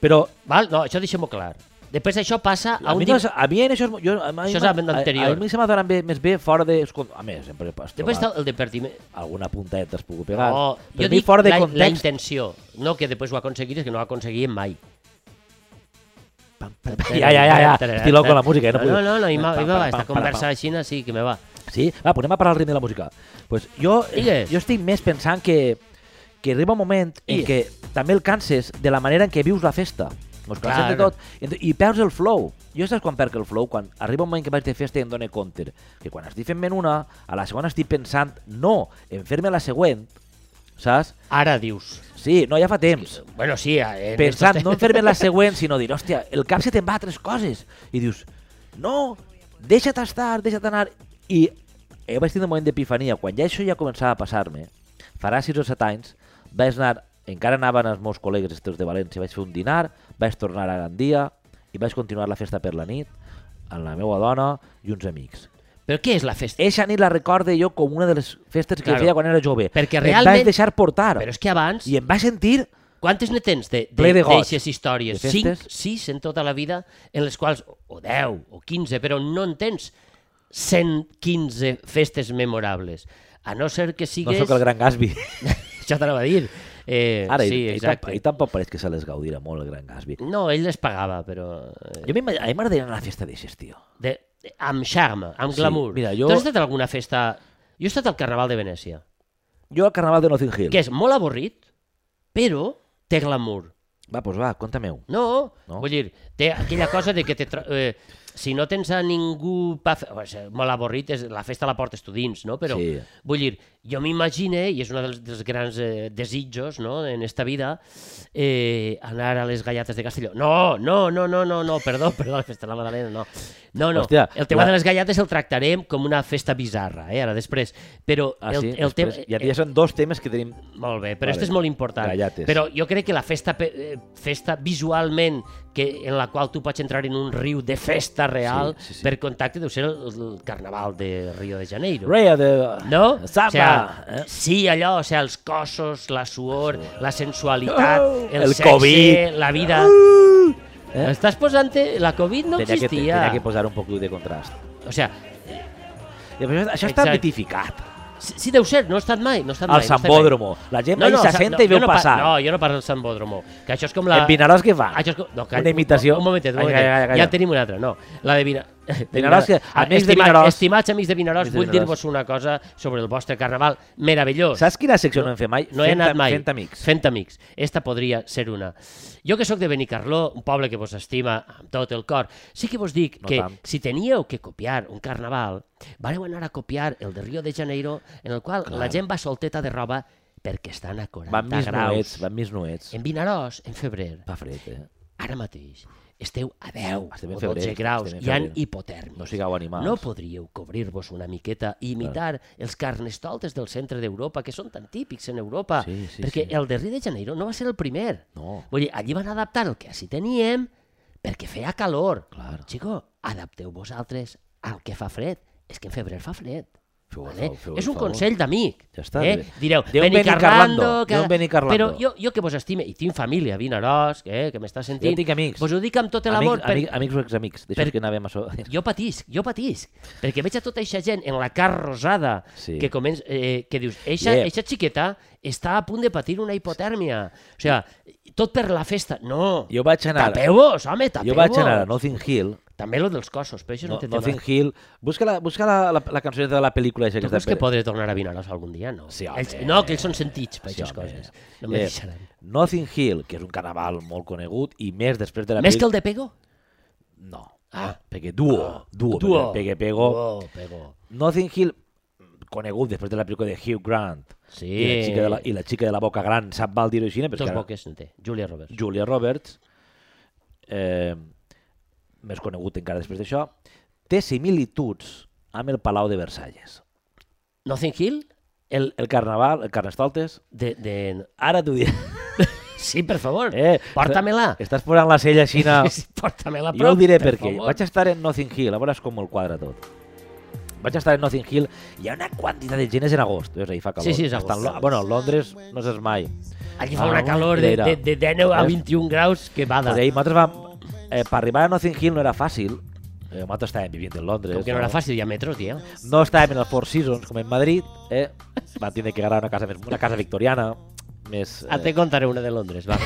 [SPEAKER 1] però
[SPEAKER 2] Val? No, això deixem-ho clar. Després això passa a
[SPEAKER 1] A
[SPEAKER 2] un...
[SPEAKER 1] mi, no,
[SPEAKER 2] dim-
[SPEAKER 1] és- a mi en això... és- Jo, a mi
[SPEAKER 2] Això és
[SPEAKER 1] m'ha-
[SPEAKER 2] amb l'anterior.
[SPEAKER 1] A, a mi se m'ha donat bé, més bé fora de... escol- A més, sempre has trobat
[SPEAKER 2] Després està el divertiment.
[SPEAKER 1] alguna punteta has pogut pegar.
[SPEAKER 2] Oh,
[SPEAKER 1] però a
[SPEAKER 2] jo
[SPEAKER 1] mi
[SPEAKER 2] dic
[SPEAKER 1] fora de
[SPEAKER 2] la, la
[SPEAKER 1] context...
[SPEAKER 2] intenció, no que després ho aconseguires, que no ho aconseguíem mai.
[SPEAKER 1] Ja, ja, ja, ja. Estic loco amb la música, eh?
[SPEAKER 2] No,
[SPEAKER 1] no,
[SPEAKER 2] no,
[SPEAKER 1] puc-
[SPEAKER 2] no, no i m'ha-
[SPEAKER 1] Pam,
[SPEAKER 2] i m'ha-
[SPEAKER 1] pam,
[SPEAKER 2] esta
[SPEAKER 1] pam,
[SPEAKER 2] conversa
[SPEAKER 1] pam,
[SPEAKER 2] de Xina sí que me va.
[SPEAKER 1] pam. Sí? Va, anem a parar el ritme de la música. Pues jo, eh,
[SPEAKER 2] Digues.
[SPEAKER 1] jo estic més pensant que, que arriba un moment en
[SPEAKER 2] Digues.
[SPEAKER 1] què també el canses de la manera en què vius la festa. Mos cansem de
[SPEAKER 2] Clar.
[SPEAKER 1] tot. I ento- I perds el flow. Jo saps quan perc el flow? Quan arriba un moment que vaig de festa i em dono compte que quan estic fent-me'n una, a la segona estic pensant no, en fer-me la següent, saps?
[SPEAKER 2] Ara dius.
[SPEAKER 1] Sí, no, ja fa temps.
[SPEAKER 2] Bueno, sí, eh, en
[SPEAKER 1] Pensant,
[SPEAKER 2] estos
[SPEAKER 1] no en fer-me la següent, sinó dir, hòstia, el cap se te'n va a tres coses. I dius, no, deixa't estar, deixa't anar. I jo vaig tenir un moment d'epifania, quan ja això ja començava a passar-me, farà 6 o 7 anys, vaig anar, encara anaven els meus col·legues estos de València, vaig fer un dinar, vaig tornar a Gandia i vaig continuar la festa per la nit amb la meva dona i uns amics.
[SPEAKER 2] Però què és la festa?
[SPEAKER 1] Eixa nit la recorde jo com una de les festes que claro,
[SPEAKER 2] Claro.
[SPEAKER 1] feia quan era jove.
[SPEAKER 2] Perquè
[SPEAKER 1] Em
[SPEAKER 2] realment-
[SPEAKER 1] vaig deixar portar.
[SPEAKER 2] Però és que abans...
[SPEAKER 1] I em va sentir
[SPEAKER 2] Quantes ne tens de, de,
[SPEAKER 1] Ple de goig.
[SPEAKER 2] d'eixes històries?
[SPEAKER 1] De
[SPEAKER 2] Cinc,
[SPEAKER 1] festes.
[SPEAKER 2] sis en tota la vida, en les quals, o deu, o quinze, però no en tens 115 festes memorables. A no ser que
[SPEAKER 1] No
[SPEAKER 2] sigues...
[SPEAKER 1] sóc el gran Gatsby.
[SPEAKER 2] Això t'anava a dir. Eh,
[SPEAKER 1] Ara,
[SPEAKER 2] sí,
[SPEAKER 1] ell,
[SPEAKER 2] exacte.
[SPEAKER 1] ell, tampoc pareix que se les gaudira molt, el gran Gatsby.
[SPEAKER 2] No, ell les pagava, però... eh,
[SPEAKER 1] Jo m'imag- a mi m'agradaria anar a una festa d'aixes, tio.
[SPEAKER 2] De, de, amb xarma, amb
[SPEAKER 1] Sí,
[SPEAKER 2] glamour.
[SPEAKER 1] mira, jo-
[SPEAKER 2] Tu has estat a alguna festa... Jo he estat al Carnaval de Venècia,
[SPEAKER 1] Jo al carnaval de Notting Hill.
[SPEAKER 2] que és molt avorrit, però té glamour.
[SPEAKER 1] Va, doncs va, conta-me-ho.
[SPEAKER 2] No, no,
[SPEAKER 1] No?
[SPEAKER 2] vull dir, té aquella cosa de que te tra... eh, si no tens a ningú... Pa... fe- O sigui, molt avorrit, és... la festa la portes tu dins, no? Però,
[SPEAKER 1] Sí.
[SPEAKER 2] vull dir, jo m'imagine, i és un dels, dels grans eh, desitjos no? en esta vida, eh, anar a les galletes de Castelló. No, no, no, no, no, no perdó, perdó, la festa de la Madalena, no. No, no, Hòstia,
[SPEAKER 1] Hòstia,
[SPEAKER 2] el tema
[SPEAKER 1] la-
[SPEAKER 2] de les galletes el tractarem com una festa bizarra, eh, ara després. Però
[SPEAKER 1] Ah,
[SPEAKER 2] el,
[SPEAKER 1] sí?
[SPEAKER 2] el eh, tema...
[SPEAKER 1] Després, ja, ja són dos temes que tenim...
[SPEAKER 2] Molt bé,
[SPEAKER 1] Vale.
[SPEAKER 2] però vale. este és molt important.
[SPEAKER 1] Galletes.
[SPEAKER 2] Però jo crec que la festa, pe- eh, festa visualment que, en la qual tu pots entrar en un riu de festa real
[SPEAKER 1] Sí, sí, sí.
[SPEAKER 2] per contacte deu ser el, el carnaval de Rio de Janeiro.
[SPEAKER 1] Raya de... Samba!
[SPEAKER 2] No? O sea,
[SPEAKER 1] eh?
[SPEAKER 2] Sí, allò, o sea, els cossos, la suor, la sensualitat,
[SPEAKER 1] Oh!
[SPEAKER 2] el,
[SPEAKER 1] El
[SPEAKER 2] sexe,
[SPEAKER 1] Covid. Oh!
[SPEAKER 2] la vida...
[SPEAKER 1] Eh?
[SPEAKER 2] Estàs posant-te... La Covid no
[SPEAKER 1] tenia, que,
[SPEAKER 2] existia.
[SPEAKER 1] tenia que posar un poc de contrast.
[SPEAKER 2] O sea,
[SPEAKER 1] I això, això està
[SPEAKER 2] Exacte.
[SPEAKER 1] mitificat.
[SPEAKER 2] sí, sí, deu ser, no he estat mai. No he estat
[SPEAKER 1] Al
[SPEAKER 2] mai, no he estat mai.
[SPEAKER 1] Sambódromo. La gent no, no, s'assenta
[SPEAKER 2] sa-
[SPEAKER 1] i veu
[SPEAKER 2] jo no pa-
[SPEAKER 1] passar.
[SPEAKER 2] No, jo no parlo del Sambódromo, que això és com la...
[SPEAKER 1] La... En Vinaròs què fa?
[SPEAKER 2] Ah, Això és com... No,
[SPEAKER 1] Una imitació.
[SPEAKER 2] Un, un momentet, un
[SPEAKER 1] Ai,
[SPEAKER 2] momentet.
[SPEAKER 1] calla, calla,
[SPEAKER 2] Ja
[SPEAKER 1] calla.
[SPEAKER 2] en tenim una altra, no. La de Vina... de
[SPEAKER 1] Vinaròs, que-
[SPEAKER 2] Ah,
[SPEAKER 1] amics de
[SPEAKER 2] estima-
[SPEAKER 1] Vinaròs.
[SPEAKER 2] Estimats amics de Vinaròs,
[SPEAKER 1] Amics de
[SPEAKER 2] vull
[SPEAKER 1] Vinaròs.
[SPEAKER 2] dir-vos una cosa sobre el vostre carnaval meravellós.
[SPEAKER 1] Saps quina secció no, no hem fet mai?
[SPEAKER 2] No he
[SPEAKER 1] Fent
[SPEAKER 2] anat
[SPEAKER 1] am-
[SPEAKER 2] mai.
[SPEAKER 1] Fent amics.
[SPEAKER 2] Fent amics. Esta podria ser una. Jo que sóc de Benicarló, un poble que vos estima amb tot el cor, sí que vos dic
[SPEAKER 1] No
[SPEAKER 2] que
[SPEAKER 1] tant.
[SPEAKER 2] si teníeu que copiar un carnaval, vareu anar a copiar el de Rio de Janeiro, en el qual la gent va solteta de roba perquè estan a 40
[SPEAKER 1] Van mis
[SPEAKER 2] graus.
[SPEAKER 1] nuets, van mis nuets.
[SPEAKER 2] En Vinaròs, en febrer,
[SPEAKER 1] Fa fred, eh?
[SPEAKER 2] ara mateix esteu a 10
[SPEAKER 1] Estem en
[SPEAKER 2] o 12
[SPEAKER 1] febrer,
[SPEAKER 2] graus
[SPEAKER 1] estem en
[SPEAKER 2] i han
[SPEAKER 1] febrer.
[SPEAKER 2] hipotèrmics.
[SPEAKER 1] No sigueu animals.
[SPEAKER 2] No podríeu cobrir-vos una miqueta i imitar els carnestoltes del centre d'Europa, que són tan típics en Europa,
[SPEAKER 1] Sí, sí, sí.
[SPEAKER 2] perquè el de Rio de Janeiro no va ser el primer.
[SPEAKER 1] No.
[SPEAKER 2] Vull dir, allí van adaptar el que així teníem perquè feia calor.
[SPEAKER 1] Clar.
[SPEAKER 2] Chico, adapteu vosaltres al que fa fred. És que en febrer fa fred.
[SPEAKER 1] Feu el
[SPEAKER 2] vale?
[SPEAKER 1] favor, feu el
[SPEAKER 2] és un
[SPEAKER 1] favor.
[SPEAKER 2] consell d'amic.
[SPEAKER 1] Ja està,
[SPEAKER 2] Eh?
[SPEAKER 1] bé.
[SPEAKER 2] Direu,
[SPEAKER 1] Déu Benicarlando,
[SPEAKER 2] Benicarlando...
[SPEAKER 1] Déu Benicarlando.
[SPEAKER 2] Però jo, jo que vos estime, i tinc família, a Vinaròs, eh, que m'està sentint...
[SPEAKER 1] Jo tinc amics.
[SPEAKER 2] Vos ho dic amb tot l'amor.
[SPEAKER 1] Amics,
[SPEAKER 2] Per...
[SPEAKER 1] amics, amics o examics, d'això
[SPEAKER 2] per-
[SPEAKER 1] que anàvem a... So...
[SPEAKER 2] Jo patisc, jo patisc. Perquè veig a tota aquesta gent en la car rosada
[SPEAKER 1] Sí.
[SPEAKER 2] que, comença, eh, que dius, eixa,
[SPEAKER 1] Yeah.
[SPEAKER 2] eixa xiqueta està a punt de patir una hipotèrmia. O sigui, tot per la festa. No,
[SPEAKER 1] Jo vaig anar...
[SPEAKER 2] tapeu-vos, home, tapeu-vos.
[SPEAKER 1] Jo vaig anar a Notting Hill
[SPEAKER 2] També lo dels cossos, però això no,
[SPEAKER 1] No,
[SPEAKER 2] té
[SPEAKER 1] Notting
[SPEAKER 2] tema.
[SPEAKER 1] Hill. Busca la, busca la, la, la cançoneta de la pel·lícula.
[SPEAKER 2] Tu creus que podré tornar a Vinaròs algun dia? No.
[SPEAKER 1] Sí, home.
[SPEAKER 2] Ells, no, que ells són sentits per
[SPEAKER 1] Sí,
[SPEAKER 2] aquestes
[SPEAKER 1] home.
[SPEAKER 2] coses. No me
[SPEAKER 1] Eh,
[SPEAKER 2] deixaran.
[SPEAKER 1] Nothing Hill, que és un carnaval molt conegut, i més després de la
[SPEAKER 2] Més que el de Pego?
[SPEAKER 1] pel·lícula... No.
[SPEAKER 2] Ah.
[SPEAKER 1] Perquè duo, duo,
[SPEAKER 2] Duo.
[SPEAKER 1] perquè pego...
[SPEAKER 2] Duo, Pego.
[SPEAKER 1] Nothing Hill, conegut després de la pel·lícula de Hugh Grant.
[SPEAKER 2] Sí.
[SPEAKER 1] I la xica de la, i la, xica de la boca gran sap mal dir-ho així, perquè
[SPEAKER 2] Dos
[SPEAKER 1] ara-
[SPEAKER 2] boques en té. Julia Roberts.
[SPEAKER 1] Julia Roberts, eh, més conegut encara després d'això, té similituds amb el Palau de Versalles.
[SPEAKER 2] Nothing Hill? El,
[SPEAKER 1] El carnaval, el carnestoltes,
[SPEAKER 2] de, de...
[SPEAKER 1] ara t'ho diré.
[SPEAKER 2] Sí, per favor.
[SPEAKER 1] Eh,
[SPEAKER 2] Porta-me-la.
[SPEAKER 1] Estàs posant la sella així... a-
[SPEAKER 2] Porta-me-la
[SPEAKER 1] Jo ho diré
[SPEAKER 2] per
[SPEAKER 1] perquè
[SPEAKER 2] favor.
[SPEAKER 1] vaig estar en Nothing Hill, a veure com el quadra tot. Vaig estar en Nothing Hill i hi ha una quantitat de gent és en agost, veus, ahir fa calor.
[SPEAKER 2] Sí, sí, és
[SPEAKER 1] Està en
[SPEAKER 2] agost.
[SPEAKER 1] Lo- Bueno, Londres no saps mai.
[SPEAKER 2] Allí fa
[SPEAKER 1] Ah,
[SPEAKER 2] una calor de,
[SPEAKER 1] era.
[SPEAKER 2] de, de 19 a
[SPEAKER 1] Eh?
[SPEAKER 2] 21 graus que bada.
[SPEAKER 1] Perquè ahir nosaltres vam... Eh, per arribar a Nothing Hill no era fàcil, eh, nosaltres estàvem vivint en Londres.
[SPEAKER 2] Com que no era fàcil, hi ha metros, tio.
[SPEAKER 1] No estàvem en el Four Seasons, com en Madrid, eh? Van tindre que agarrar una casa, més, una casa victoriana, més... eh,
[SPEAKER 2] Ah, te contaré una de Londres, va.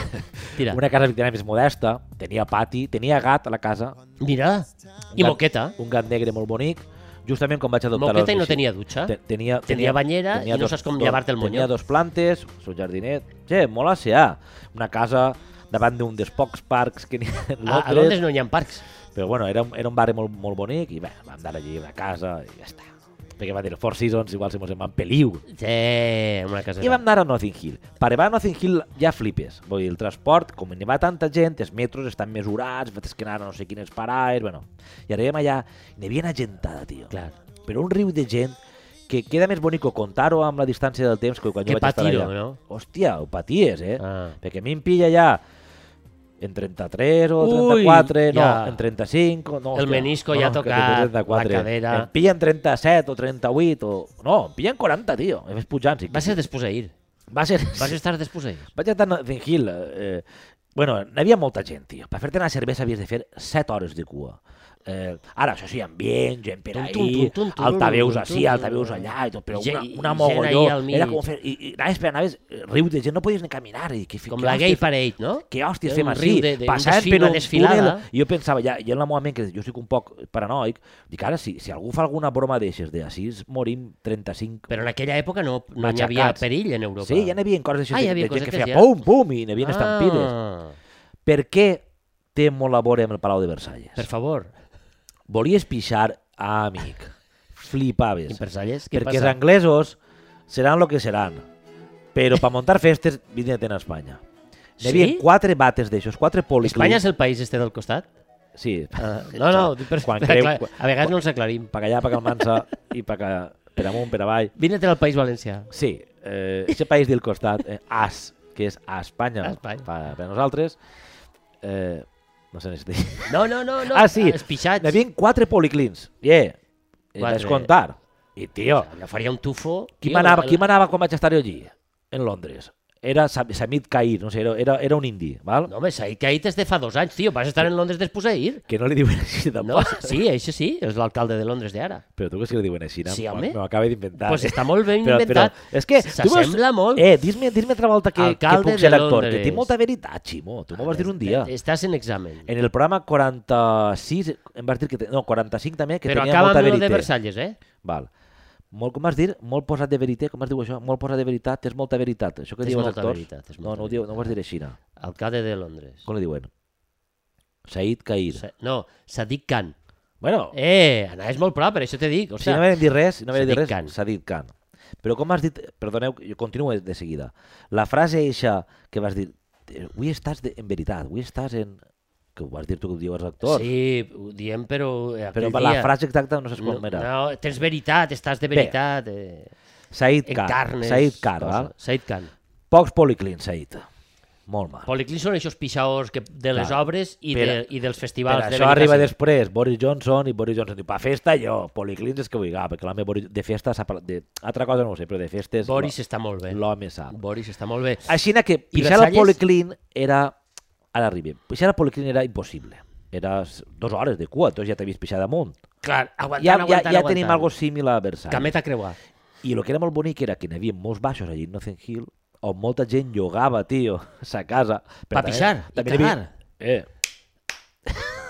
[SPEAKER 2] Tira.
[SPEAKER 1] una casa victoriana més modesta, tenia pati, tenia gat a la casa,
[SPEAKER 2] Mira. I
[SPEAKER 1] gat-
[SPEAKER 2] moqueta.
[SPEAKER 1] un gat negre molt bonic, justament quan vaig adoptar
[SPEAKER 2] Moqueta i no
[SPEAKER 1] Missy.
[SPEAKER 2] tenia dutxa.
[SPEAKER 1] tota Te- Tenia,
[SPEAKER 2] banyera i no
[SPEAKER 1] dos-
[SPEAKER 2] saps com
[SPEAKER 1] dos-
[SPEAKER 2] llevar-te el moño.
[SPEAKER 1] Tenia dos plantes, el jardinet... Che, molt aseà. Una casa davant d'un dels pocs parcs que n'hi ha a
[SPEAKER 2] Ah, A, a Londres no hi ha parcs.
[SPEAKER 1] Però bueno, era, un- era un barri molt, molt bonic i bé, vam anar allí a una casa i ja està. Perquè va dir Four Seasons, igual si mos en van peliu.
[SPEAKER 2] Sí, una casa.
[SPEAKER 1] I vam anar a Nothing Hill. Per arribar a Nothing Hill ja flipes. Vull dir, el transport, com n'hi va tanta gent, els metros estan mesurats, vas que anar a no sé quines parades, bueno. I arribem allà, n'hi havia una gentada, tio
[SPEAKER 2] Clar.
[SPEAKER 1] però un riu de gent que queda més bonic contar-ho amb la distància del temps que quan
[SPEAKER 2] Que
[SPEAKER 1] jo vaig estar
[SPEAKER 2] patir-ho,
[SPEAKER 1] allà.
[SPEAKER 2] no?
[SPEAKER 1] Hòstia, ho paties, eh?
[SPEAKER 2] Ah.
[SPEAKER 1] Perquè a mi em pilla ja en 33 o
[SPEAKER 2] Ui,
[SPEAKER 1] 34, no,
[SPEAKER 2] ja.
[SPEAKER 1] en 35... No,
[SPEAKER 2] El
[SPEAKER 1] hòstia,
[SPEAKER 2] menisco ja ha
[SPEAKER 1] que
[SPEAKER 2] tocat,
[SPEAKER 1] en 34.
[SPEAKER 2] la cadera.
[SPEAKER 1] Em pilla en 37 o 38 o... No, em pilla en 40, tio. He vist pujant. Sí.
[SPEAKER 2] Va ser després ahir.
[SPEAKER 1] Va ser...
[SPEAKER 2] Vas estar després ahir.
[SPEAKER 1] Vaig estar a Notting Hill. Eh, bueno, n'hi havia molta gent, tio. Per fer-te una cervesa havies de fer 7 hores de cua. Eh, ara, això sí, ambient, gent per
[SPEAKER 2] Tum,
[SPEAKER 1] ahí,
[SPEAKER 2] tum, tum, tum, tum,
[SPEAKER 1] altaveus
[SPEAKER 2] tum, tum,
[SPEAKER 1] ací,
[SPEAKER 2] tum.
[SPEAKER 1] altaveus allà i tot, però
[SPEAKER 2] Gent-
[SPEAKER 1] una,
[SPEAKER 2] i
[SPEAKER 1] una
[SPEAKER 2] gent
[SPEAKER 1] mogolló.
[SPEAKER 2] ahí al mig.
[SPEAKER 1] Era com fer... I, i anaves per anaves eh, riu de gent, no podies ni caminar. I, que,
[SPEAKER 2] Com
[SPEAKER 1] que
[SPEAKER 2] la
[SPEAKER 1] hòsties-
[SPEAKER 2] gay parade, no?
[SPEAKER 1] que hòsties
[SPEAKER 2] Era
[SPEAKER 1] fem
[SPEAKER 2] un
[SPEAKER 1] així,
[SPEAKER 2] riu de- de- un
[SPEAKER 1] passant
[SPEAKER 2] desfile,
[SPEAKER 1] per
[SPEAKER 2] una
[SPEAKER 1] un
[SPEAKER 2] desfilada.
[SPEAKER 1] túnel, i jo pensava, ja, jo en la meva ment, que jo estic un poc paranoic, dic, ara, si, si algú fa alguna broma d'aixes, de així morim 35
[SPEAKER 2] Però en aquella època no, no hi havia
[SPEAKER 1] Matxacats.
[SPEAKER 2] perill en Europa.
[SPEAKER 1] Sí, ja n'hi havia coses així,
[SPEAKER 2] Ah, hi
[SPEAKER 1] de-
[SPEAKER 2] havia
[SPEAKER 1] de gent
[SPEAKER 2] coses
[SPEAKER 1] que
[SPEAKER 2] que
[SPEAKER 1] feia
[SPEAKER 2] ja-
[SPEAKER 1] pum, pum, i n'hi havia estampides.
[SPEAKER 2] Ah,
[SPEAKER 1] Per què té molt a veure amb el Palau de Versalles?
[SPEAKER 2] per favor.
[SPEAKER 1] Volies pixar a amic.
[SPEAKER 2] I
[SPEAKER 1] Flipaves.
[SPEAKER 2] per Salles, què
[SPEAKER 1] Perquè els
[SPEAKER 2] passa?
[SPEAKER 1] anglesos seran el que seran. Però per muntar festes vinien a Espanya. N'hi havia
[SPEAKER 2] Sí?
[SPEAKER 1] quatre bates d'aixos, quatre policlins.
[SPEAKER 2] Espanya és el país este del costat?
[SPEAKER 1] Sí,
[SPEAKER 2] Ah, no, no, dic per,
[SPEAKER 1] Quan
[SPEAKER 2] per
[SPEAKER 1] creu-
[SPEAKER 2] aclar- a vegades no els aclarim.
[SPEAKER 1] per allà, per Calmansa, i per, ca- per amunt, per avall.
[SPEAKER 2] Vine't al País Valencià.
[SPEAKER 1] Sí, eh, ese país del costat, eh, AS, que és a Espanya,
[SPEAKER 2] A Espanya.
[SPEAKER 1] Per, per nosaltres, eh, no sé si estic...
[SPEAKER 2] No, no, no, no.
[SPEAKER 1] Ah, sí.
[SPEAKER 2] Els pixats.
[SPEAKER 1] N'hi havien quatre policlins. Yeah. I
[SPEAKER 2] Quatre.
[SPEAKER 1] vaig comptar. I, tio,
[SPEAKER 2] Jo faria un tufo.
[SPEAKER 1] qui
[SPEAKER 2] tio,
[SPEAKER 1] manava,
[SPEAKER 2] el-
[SPEAKER 1] qui manava quan vaig estar jo allí? En Londres. Era Sam- Samit Kair, no sé, era, era, era un indi, val?
[SPEAKER 2] No, home, Said Kaid és de fa dos anys, tio. Vas estar en Londres després d'ahir.
[SPEAKER 1] Que no li diuen així tampoc.
[SPEAKER 2] No, sí, això sí, és l'alcalde de Londres d'ara.
[SPEAKER 1] Però tu creus que li diuen així? Em no?
[SPEAKER 2] Sí,
[SPEAKER 1] M'ho-
[SPEAKER 2] home.
[SPEAKER 1] M'ho acabes d'inventar. eh?
[SPEAKER 2] Pues està molt ben
[SPEAKER 1] però,
[SPEAKER 2] inventat.
[SPEAKER 1] Però, és que... tu veus-
[SPEAKER 2] S'assembla molt.
[SPEAKER 1] Eh, dis-me dis altra volta que, que
[SPEAKER 2] Alcalde
[SPEAKER 1] puc ser
[SPEAKER 2] de
[SPEAKER 1] actor, que té
[SPEAKER 2] Londres.
[SPEAKER 1] molta veritat, Ximo. Tu m'ho vas dir un dia.
[SPEAKER 2] Estàs en examen.
[SPEAKER 1] En el programa 46, em vas dir que... te- No, 45 també, que
[SPEAKER 2] Però
[SPEAKER 1] tenia
[SPEAKER 2] acaba
[SPEAKER 1] molta
[SPEAKER 2] amb el de
[SPEAKER 1] veritat.
[SPEAKER 2] Versalles, eh?
[SPEAKER 1] Val. Molt, com vas dir? Molt posat de veritat, com es diu això? Molt posat de veritat, tens molta veritat. Això que
[SPEAKER 2] Tens
[SPEAKER 1] diuen els
[SPEAKER 2] molta
[SPEAKER 1] actors.
[SPEAKER 2] veritat, tens
[SPEAKER 1] no,
[SPEAKER 2] molta
[SPEAKER 1] no ho, diu, no ho vas dir així, no.
[SPEAKER 2] Alcalde de Londres.
[SPEAKER 1] Com li diuen? Said Kair.
[SPEAKER 2] Sa- No, Sadiq Khan.
[SPEAKER 1] Bueno, eh,
[SPEAKER 2] Eh, anaves molt prop, per això t'he dit. O
[SPEAKER 1] si no
[SPEAKER 2] sigui,
[SPEAKER 1] m'havien dit res, si no m'havien dit res,
[SPEAKER 2] Sadiq Khan.
[SPEAKER 1] Said Khan. Però com has dit... Perdoneu, jo continuo de seguida. La frase eixa que vas dir... eh, Avui estàs de, en veritat, avui estàs en... Que ho vas dir tu que ho diu els actors.
[SPEAKER 2] sí, ho diem, però...
[SPEAKER 1] però
[SPEAKER 2] eh, aquell
[SPEAKER 1] per la
[SPEAKER 2] dia-
[SPEAKER 1] frase exacta no saps
[SPEAKER 2] No,
[SPEAKER 1] com era.
[SPEAKER 2] no, tens veritat, estàs de veritat. Eh,
[SPEAKER 1] Said Khan.
[SPEAKER 2] encarnes.
[SPEAKER 1] Said Khan,
[SPEAKER 2] coses.
[SPEAKER 1] val?
[SPEAKER 2] Said Khan.
[SPEAKER 1] Pocs policlins, Said. Molt mal.
[SPEAKER 2] Policlins són aquests pixaors que, de les
[SPEAKER 1] Clar.
[SPEAKER 2] obres i,
[SPEAKER 1] Per-
[SPEAKER 2] de, i dels
[SPEAKER 1] Per
[SPEAKER 2] festivals. de
[SPEAKER 1] això arriba
[SPEAKER 2] Benicàssim.
[SPEAKER 1] després Boris Johnson i Boris Johnson diu, pa festa jo, policlins és que vull, ah, perquè l'home Boris- de festa sap... De... Altra cosa no ho sé, però de festes
[SPEAKER 2] Boris
[SPEAKER 1] l'ho-
[SPEAKER 2] està molt bé.
[SPEAKER 1] l'home sap.
[SPEAKER 2] Boris està molt bé.
[SPEAKER 1] Així que pixar al
[SPEAKER 2] Versalles?
[SPEAKER 1] policlin era... Ara arribem. Pixar al policlin era impossible. Era s- dues hores de cua, tu ja t'havies pixat damunt.
[SPEAKER 2] Clar, aguantant,
[SPEAKER 1] Ja, ja,
[SPEAKER 2] aguantant,
[SPEAKER 1] ja
[SPEAKER 2] aguantant.
[SPEAKER 1] tenim algo similar a Versalles.
[SPEAKER 2] Camet a creuar.
[SPEAKER 1] I el que era molt bonic era que n'hi havia molts baixos allí a Notting Hill on molta gent llogava, tio, a sa casa. Però
[SPEAKER 2] Pa
[SPEAKER 1] també-
[SPEAKER 2] pixar i
[SPEAKER 1] també n'hi havia-
[SPEAKER 2] cagar.
[SPEAKER 1] Eh,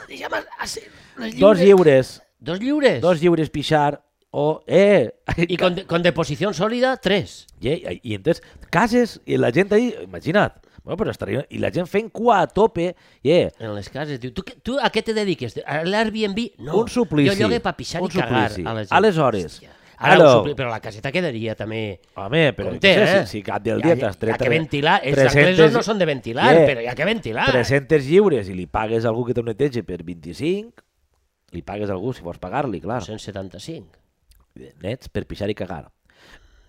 [SPEAKER 2] Deixa'm a ser les
[SPEAKER 1] dos lliures,
[SPEAKER 2] Dos lliures.
[SPEAKER 1] dos lliures pixar, o... Eh,
[SPEAKER 2] I con, con deposició sòlida, tres.
[SPEAKER 1] I, i, i entonces, cases, i la gent ahí, imagina't, bueno, però estaria, i la gent fent cua a tope, i eh,
[SPEAKER 2] En les cases. Diu, tu, què- tu a què te dediques? A l'Airbnb? No.
[SPEAKER 1] Un suplici.
[SPEAKER 2] Jo llogué per pixar
[SPEAKER 1] Un
[SPEAKER 2] i cagar
[SPEAKER 1] suplici.
[SPEAKER 2] a la gent.
[SPEAKER 1] Aleshores.
[SPEAKER 2] Hòstia. Ara,
[SPEAKER 1] Ara-
[SPEAKER 2] un supli... però la caseta quedaria també...
[SPEAKER 1] home, però
[SPEAKER 2] Compte,
[SPEAKER 1] no sé,
[SPEAKER 2] eh?
[SPEAKER 1] si, si cap del
[SPEAKER 2] Hi ha-
[SPEAKER 1] dia t'has tret...
[SPEAKER 2] hi ha que ventilar. Els anglesos no són de ventilar, però hi ha que ventilar.
[SPEAKER 1] 300 lliures i li pagues a algú que te netegi per 25, li pagues a algú si vols pagar-li, clar.
[SPEAKER 2] 175.
[SPEAKER 1] Nets per pixar i cagar.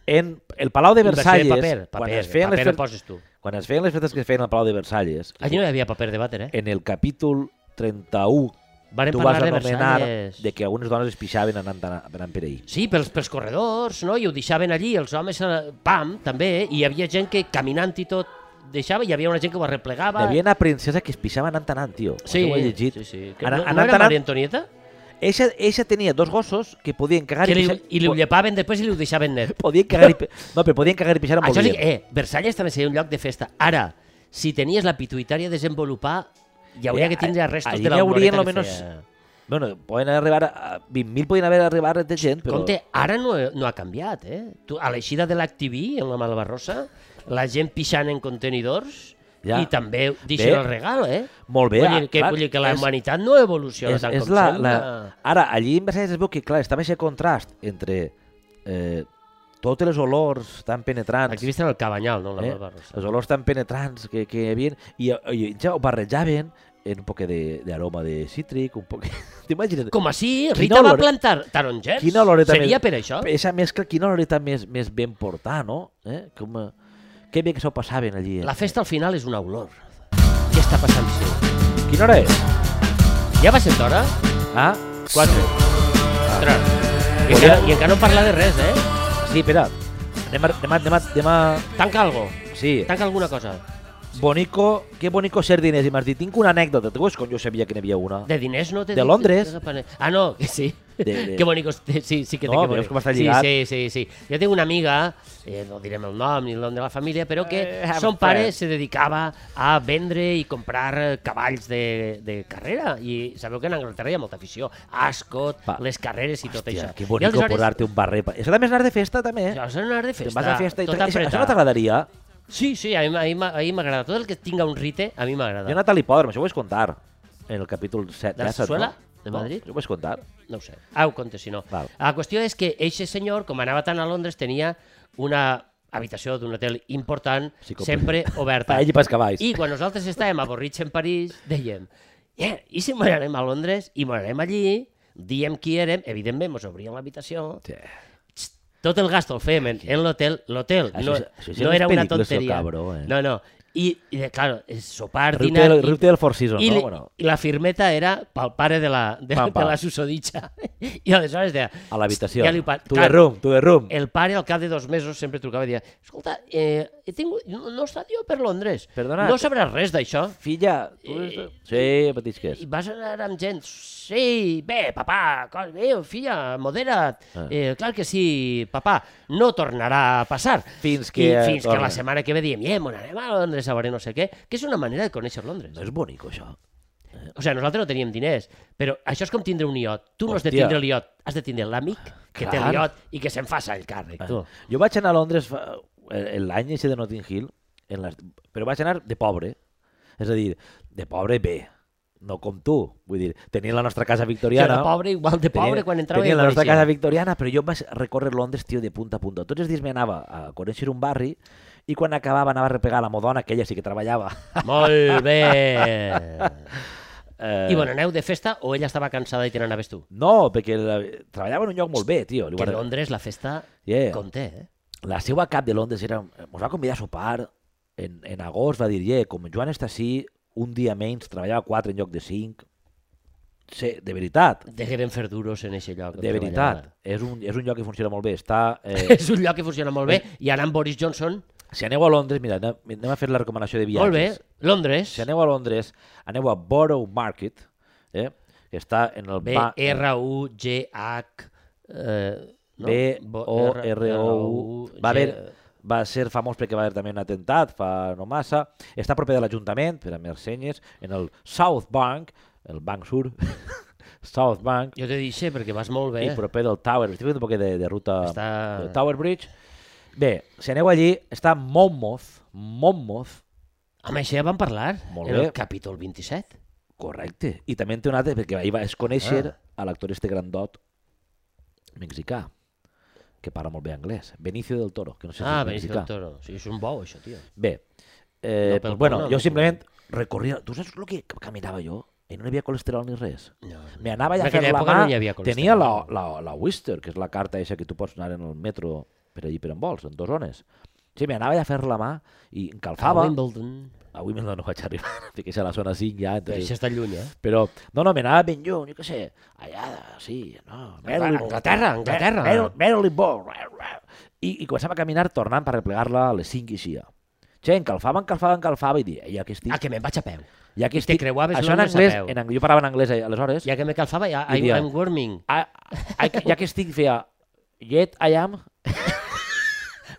[SPEAKER 1] En el Palau de
[SPEAKER 2] Inversió
[SPEAKER 1] Versalles,
[SPEAKER 2] paper,
[SPEAKER 1] quan,
[SPEAKER 2] paper,
[SPEAKER 1] es feien
[SPEAKER 2] paper
[SPEAKER 1] les
[SPEAKER 2] el poses tu.
[SPEAKER 1] fet... quan es feien les festes que es feien al Palau de Versalles,
[SPEAKER 2] Allí no hi havia paper de vàter, eh?
[SPEAKER 1] en el capítol 31
[SPEAKER 2] Varen
[SPEAKER 1] tu vas
[SPEAKER 2] parlar de
[SPEAKER 1] anomenar
[SPEAKER 2] Versalles.
[SPEAKER 1] de que algunes dones es pixaven anant, anant per ahir.
[SPEAKER 2] Sí, pels, pels corredors, no? I ho deixaven allí, els homes, eh, pam, també, i hi havia gent que caminant i tot deixava, i hi havia una gent que ho arreplegava.
[SPEAKER 1] Hi havia una princesa que es pixava anant anant, tio.
[SPEAKER 2] Sí,
[SPEAKER 1] Això ho he llegit.
[SPEAKER 2] sí, sí. Que,
[SPEAKER 1] Ana-
[SPEAKER 2] no, no
[SPEAKER 1] anant,
[SPEAKER 2] era Maria
[SPEAKER 1] anant,
[SPEAKER 2] Antonieta?
[SPEAKER 1] eixa, eixa tenia dos gossos que podien cagar
[SPEAKER 2] Que
[SPEAKER 1] i
[SPEAKER 2] li,
[SPEAKER 1] pixar.
[SPEAKER 2] I li ho llepaven després i li ho deixaven net.
[SPEAKER 1] po- Podien cagar i... pi- No, però podien cagar i pixar amb
[SPEAKER 2] Això sí,
[SPEAKER 1] volien.
[SPEAKER 2] eh, Versalles també seria un lloc de festa. Ara, si tenies la pituitària a desenvolupar, hi
[SPEAKER 1] Eh,
[SPEAKER 2] hauria que tindre
[SPEAKER 1] a-
[SPEAKER 2] restos
[SPEAKER 1] allí
[SPEAKER 2] de la
[SPEAKER 1] n'hi haurien
[SPEAKER 2] oloreta que
[SPEAKER 1] almenys-
[SPEAKER 2] feia.
[SPEAKER 1] Bueno, poden arribar a... a 20.000 podien haver arribat de gent, però...
[SPEAKER 2] Compte, ara no, no ha canviat, eh? Tu, a l'eixida de l'ActiV, en la Malbarrossa, la gent pixant en contenidors
[SPEAKER 1] Ja.
[SPEAKER 2] ja. i també deixen
[SPEAKER 1] Bé.
[SPEAKER 2] el regal, eh?
[SPEAKER 1] Molt bé,
[SPEAKER 2] Vull
[SPEAKER 1] ah,
[SPEAKER 2] dir que,
[SPEAKER 1] clar,
[SPEAKER 2] vull dir que la
[SPEAKER 1] és-
[SPEAKER 2] humanitat no evoluciona
[SPEAKER 1] és,
[SPEAKER 2] tant
[SPEAKER 1] és
[SPEAKER 2] com
[SPEAKER 1] la,
[SPEAKER 2] sembla.
[SPEAKER 1] la... Ara, allí en Versalles es veu que, clar, estava aquest contrast entre eh, totes les olors tan penetrants
[SPEAKER 2] Aquí visten el cabanyal, no? La
[SPEAKER 1] eh?
[SPEAKER 2] Malbarrossa.
[SPEAKER 1] les olors tan penetrants que, que hi havia, i, i, i ja ho barrejaven en un poc de, de aroma de cítric, un poc... T'imagines?
[SPEAKER 2] Com així,
[SPEAKER 1] Quina
[SPEAKER 2] Rita va
[SPEAKER 1] olore-
[SPEAKER 2] plantar tarongers?
[SPEAKER 1] Quina oloreta
[SPEAKER 2] Seria
[SPEAKER 1] més-
[SPEAKER 2] per això?
[SPEAKER 1] Esa mescla, quina horeta més, més ben portar, no? Eh? Com, eh, que bé que s'ho passaven allí. eh?
[SPEAKER 2] La festa al final és una olor. Què està passant? Sí?
[SPEAKER 1] Quina hora és?
[SPEAKER 2] Ja va ser d'hora?
[SPEAKER 1] Ah?
[SPEAKER 2] Quatre. Ostres.
[SPEAKER 1] Podria-
[SPEAKER 2] I, encara, I encara no parla de res, eh?
[SPEAKER 1] Sí, espera. Anem a, anem a, anem a, anem a...
[SPEAKER 2] Tanca algo.
[SPEAKER 1] Sí.
[SPEAKER 2] Tanca alguna cosa.
[SPEAKER 1] Bonico, que bonico ser diners. I m'has dit, tinc una anècdota. Tu veus com jo sabia que n'hi havia una?
[SPEAKER 2] De diners no? Te
[SPEAKER 1] De
[SPEAKER 2] dic-
[SPEAKER 1] Londres.
[SPEAKER 2] Ah, no, que sí.
[SPEAKER 1] De- de-
[SPEAKER 2] Que bonico. este- Sí, sí que té
[SPEAKER 1] No,
[SPEAKER 2] que
[SPEAKER 1] veus
[SPEAKER 2] bonico.
[SPEAKER 1] com està
[SPEAKER 2] sí,
[SPEAKER 1] lligat?
[SPEAKER 2] sí, sí, sí. Jo tinc una amiga, eh, no direm el nom ni el nom de la família, però que
[SPEAKER 1] Eh, I'm
[SPEAKER 2] son pare
[SPEAKER 1] afraid.
[SPEAKER 2] se dedicava a vendre i comprar eh, cavalls de, de carrera. I sabeu que en Anglaterra hi ha molta afició. Ascot,
[SPEAKER 1] Va.
[SPEAKER 2] les carreres i tot
[SPEAKER 1] Hòstia,
[SPEAKER 2] això.
[SPEAKER 1] que
[SPEAKER 2] I
[SPEAKER 1] bonico
[SPEAKER 2] aleshores-
[SPEAKER 1] posar-te un barrer. pa- Això també és anar de festa, també. Eh?
[SPEAKER 2] Això és anar de festa.
[SPEAKER 1] Te'n vas a festa i
[SPEAKER 2] tot
[SPEAKER 1] tot això, això
[SPEAKER 2] apretat.
[SPEAKER 1] no t'agradaria?
[SPEAKER 2] Sí, sí, a mi, a mi m'ha- a mi m'agrada. Tot el que tinga un rite, a
[SPEAKER 1] Jo
[SPEAKER 2] mi
[SPEAKER 1] he
[SPEAKER 2] m'agrada.
[SPEAKER 1] anat a l'hipòdrom, això ho vaig contar. En el capítol 7.
[SPEAKER 2] De la Sarsuela? De Madrid?
[SPEAKER 1] No, això ho vaig contar.
[SPEAKER 2] No ho sé. Ah, ho contes, si no.
[SPEAKER 1] Val.
[SPEAKER 2] La qüestió és que eixe senyor, com anava tant a Londres, tenia una habitació d'un hotel important,
[SPEAKER 1] Sí, com-
[SPEAKER 2] sempre oberta.
[SPEAKER 1] Per ell i pels cavalls.
[SPEAKER 2] I quan nosaltres estàvem avorrits en París, dèiem, yeah, i si m'anarem a Londres i m'anarem allí, diem qui érem, evidentment mos obrien l'habitació,
[SPEAKER 1] Sí.
[SPEAKER 2] tot el gasto el fèiem en, en l'hotel, l'hotel,
[SPEAKER 1] Això
[SPEAKER 2] no,
[SPEAKER 1] és- això sí
[SPEAKER 2] no
[SPEAKER 1] és
[SPEAKER 2] era una
[SPEAKER 1] pel·lícula, seu
[SPEAKER 2] tonteria.
[SPEAKER 1] cabró, eh?
[SPEAKER 2] No, no. I, i claro, és sopar,
[SPEAKER 1] Riute
[SPEAKER 2] dinar...
[SPEAKER 1] del,
[SPEAKER 2] i-
[SPEAKER 1] riute del Four Seasons,
[SPEAKER 2] i,
[SPEAKER 1] no?
[SPEAKER 2] li-
[SPEAKER 1] Bueno,
[SPEAKER 2] I la firmeta era pel pare de la, de,
[SPEAKER 1] Pam, pam.
[SPEAKER 2] de la susoditxa. I aleshores deia...
[SPEAKER 1] a l'habitació.
[SPEAKER 2] Ja li ho pa-
[SPEAKER 1] To the
[SPEAKER 2] clar, Eh,
[SPEAKER 1] room, to the room.
[SPEAKER 2] El pare, al cap de dos mesos, sempre trucava i deia escolta, eh, he tingut, no, no he estat jo per Londres.
[SPEAKER 1] Perdona,
[SPEAKER 2] No sabràs res d'això.
[SPEAKER 1] Filla, tu...
[SPEAKER 2] Eh,
[SPEAKER 1] Sí, petits que és.
[SPEAKER 2] I vas anar amb gent, sí, bé, papà, cos, bé, filla, modera't,
[SPEAKER 1] Ah.
[SPEAKER 2] eh, clar que sí, papà, no tornarà a passar.
[SPEAKER 1] Fins que,
[SPEAKER 2] I,
[SPEAKER 1] eh,
[SPEAKER 2] fins que
[SPEAKER 1] torna.
[SPEAKER 2] la setmana que ve diem, eh, mon anem a Londres, a veure no sé què, que és una manera de conèixer Londres.
[SPEAKER 1] No és bonic, això?
[SPEAKER 2] O sigui, nosaltres no teníem diners, però això és com tindre un iot. Tu no has de
[SPEAKER 1] Hòstia.
[SPEAKER 2] tindre l'iot, has de tindre l'amic que té
[SPEAKER 1] Clar.
[SPEAKER 2] l'iot i que se'n faça el càrrec, tu.
[SPEAKER 1] Eh, Jo vaig anar a Londres fa, eh, l'any ese de Notting Hill, en les, però vaig anar de pobre. És a dir, de pobre bé, no com tu. Vull dir, tenia la nostra casa
[SPEAKER 2] Jo
[SPEAKER 1] victoriana.
[SPEAKER 2] era pobre, igual de pobre, quan entrava
[SPEAKER 1] tenia
[SPEAKER 2] i
[SPEAKER 1] la nostra
[SPEAKER 2] apareixia.
[SPEAKER 1] casa victoriana, però jo em vaig recórrer Londres, tio, de punta a punta. Tots els dies me anava a conèixer un barri i quan acabava anava a repegar la Modona, que ella sí que treballava.
[SPEAKER 2] Molt bé.
[SPEAKER 1] Eh,
[SPEAKER 2] I bueno, aneu de festa o ella estava cansada i te n'anaves tu?
[SPEAKER 1] No, perquè la, treballava en un lloc molt bé, tio. Li
[SPEAKER 2] Que a
[SPEAKER 1] guarda-
[SPEAKER 2] Londres la festa
[SPEAKER 1] Yeah.
[SPEAKER 2] conté, eh?
[SPEAKER 1] la seva cap de Londres era, ens va convidar a sopar en, en agost, va dir, yeah, com en Joan està així, un dia menys, treballava 4 en lloc de 5. Sí, de veritat,
[SPEAKER 2] Degueren fer duros en aquest lloc. on
[SPEAKER 1] de veritat.
[SPEAKER 2] treballava.
[SPEAKER 1] És un, és un lloc que funciona molt bé. Està, eh,
[SPEAKER 2] És un lloc que funciona molt bé. I ara amb Boris Johnson,
[SPEAKER 1] si aneu a Londres, mira, anem, anem a fer la recomanació de viatges.
[SPEAKER 2] molt bé. Londres,
[SPEAKER 1] Si aneu a Londres, aneu a Borough Market, eh, que està en el... ba-
[SPEAKER 2] B-R-U-G-H... Eh, no? Bo-
[SPEAKER 1] B-O-R-O-U.
[SPEAKER 2] R-
[SPEAKER 1] Va, haver,
[SPEAKER 2] G-
[SPEAKER 1] va ser famós perquè va haver també un atemptat fa no massa. Està proper de l'Ajuntament, per a més senyes, en el South Bank, el Banc Sur, South Bank,
[SPEAKER 2] Jo t'he dit sí, perquè vas molt bé.
[SPEAKER 1] i proper del Tower. Estic fent un poc de, de ruta
[SPEAKER 2] Està-
[SPEAKER 1] del Tower Bridge. Bé, si aneu allí, està Monmouth, Monmouth,
[SPEAKER 2] Amb això ja vam parlar,
[SPEAKER 1] Molt
[SPEAKER 2] en
[SPEAKER 1] bé.
[SPEAKER 2] el capítol 27.
[SPEAKER 1] correcte. I també en té un altre, perquè ahir vaig conèixer
[SPEAKER 2] Ah.
[SPEAKER 1] a l'actor este grandot mexicà, que parla molt bé anglès, Benicio del Toro, que no sé si
[SPEAKER 2] ah,
[SPEAKER 1] és
[SPEAKER 2] Benicio
[SPEAKER 1] mexicà.
[SPEAKER 2] del Toro. Sí, és un bou, això, tio.
[SPEAKER 1] Bé, eh,
[SPEAKER 2] No, pel
[SPEAKER 1] pues bueno,
[SPEAKER 2] poble,
[SPEAKER 1] jo
[SPEAKER 2] no?
[SPEAKER 1] simplement recorria... Tu saps el que caminava jo? I no hi havia colesterol ni res.
[SPEAKER 2] No.
[SPEAKER 1] Me anava
[SPEAKER 2] En
[SPEAKER 1] ja a fer
[SPEAKER 2] aquella
[SPEAKER 1] la
[SPEAKER 2] època
[SPEAKER 1] mà...
[SPEAKER 2] no hi havia colesterol.
[SPEAKER 1] Tenia la, la, la Wister, que és la carta eixa que tu pots anar en el metro per allí per en vols, en dues zones. Sí, me anava ja a fer la mà i em
[SPEAKER 2] A
[SPEAKER 1] calfava.
[SPEAKER 2] Wimbledon.
[SPEAKER 1] Avui me no vaig arribar, perquè és a la zona 5 ja.
[SPEAKER 2] Però això
[SPEAKER 1] Entonces...
[SPEAKER 2] està lluny, eh?
[SPEAKER 1] Però, no, no, me anava ben lluny, jo què sé, allà, sí, no... Maryland,
[SPEAKER 2] Anglaterra, Anglaterra.
[SPEAKER 1] Maryland, Maryland Ball. I, I començava a caminar tornant per replegar-la a les 5 i així. Che, encalfava, encalfava, encalfava i dia, ja que estic...
[SPEAKER 2] Ah, que me'n vaig a peu.
[SPEAKER 1] ja que
[SPEAKER 2] i te creuaves
[SPEAKER 1] Això en
[SPEAKER 2] Londres a
[SPEAKER 1] anglès,
[SPEAKER 2] peu.
[SPEAKER 1] en anglès, jo parlava en anglès eh, aleshores.
[SPEAKER 2] Ja que me calfava, ja,
[SPEAKER 1] I
[SPEAKER 2] I'm,
[SPEAKER 1] dia.
[SPEAKER 2] I'm warming.
[SPEAKER 1] Ah, ah, ja que estic, feia... Yet I am...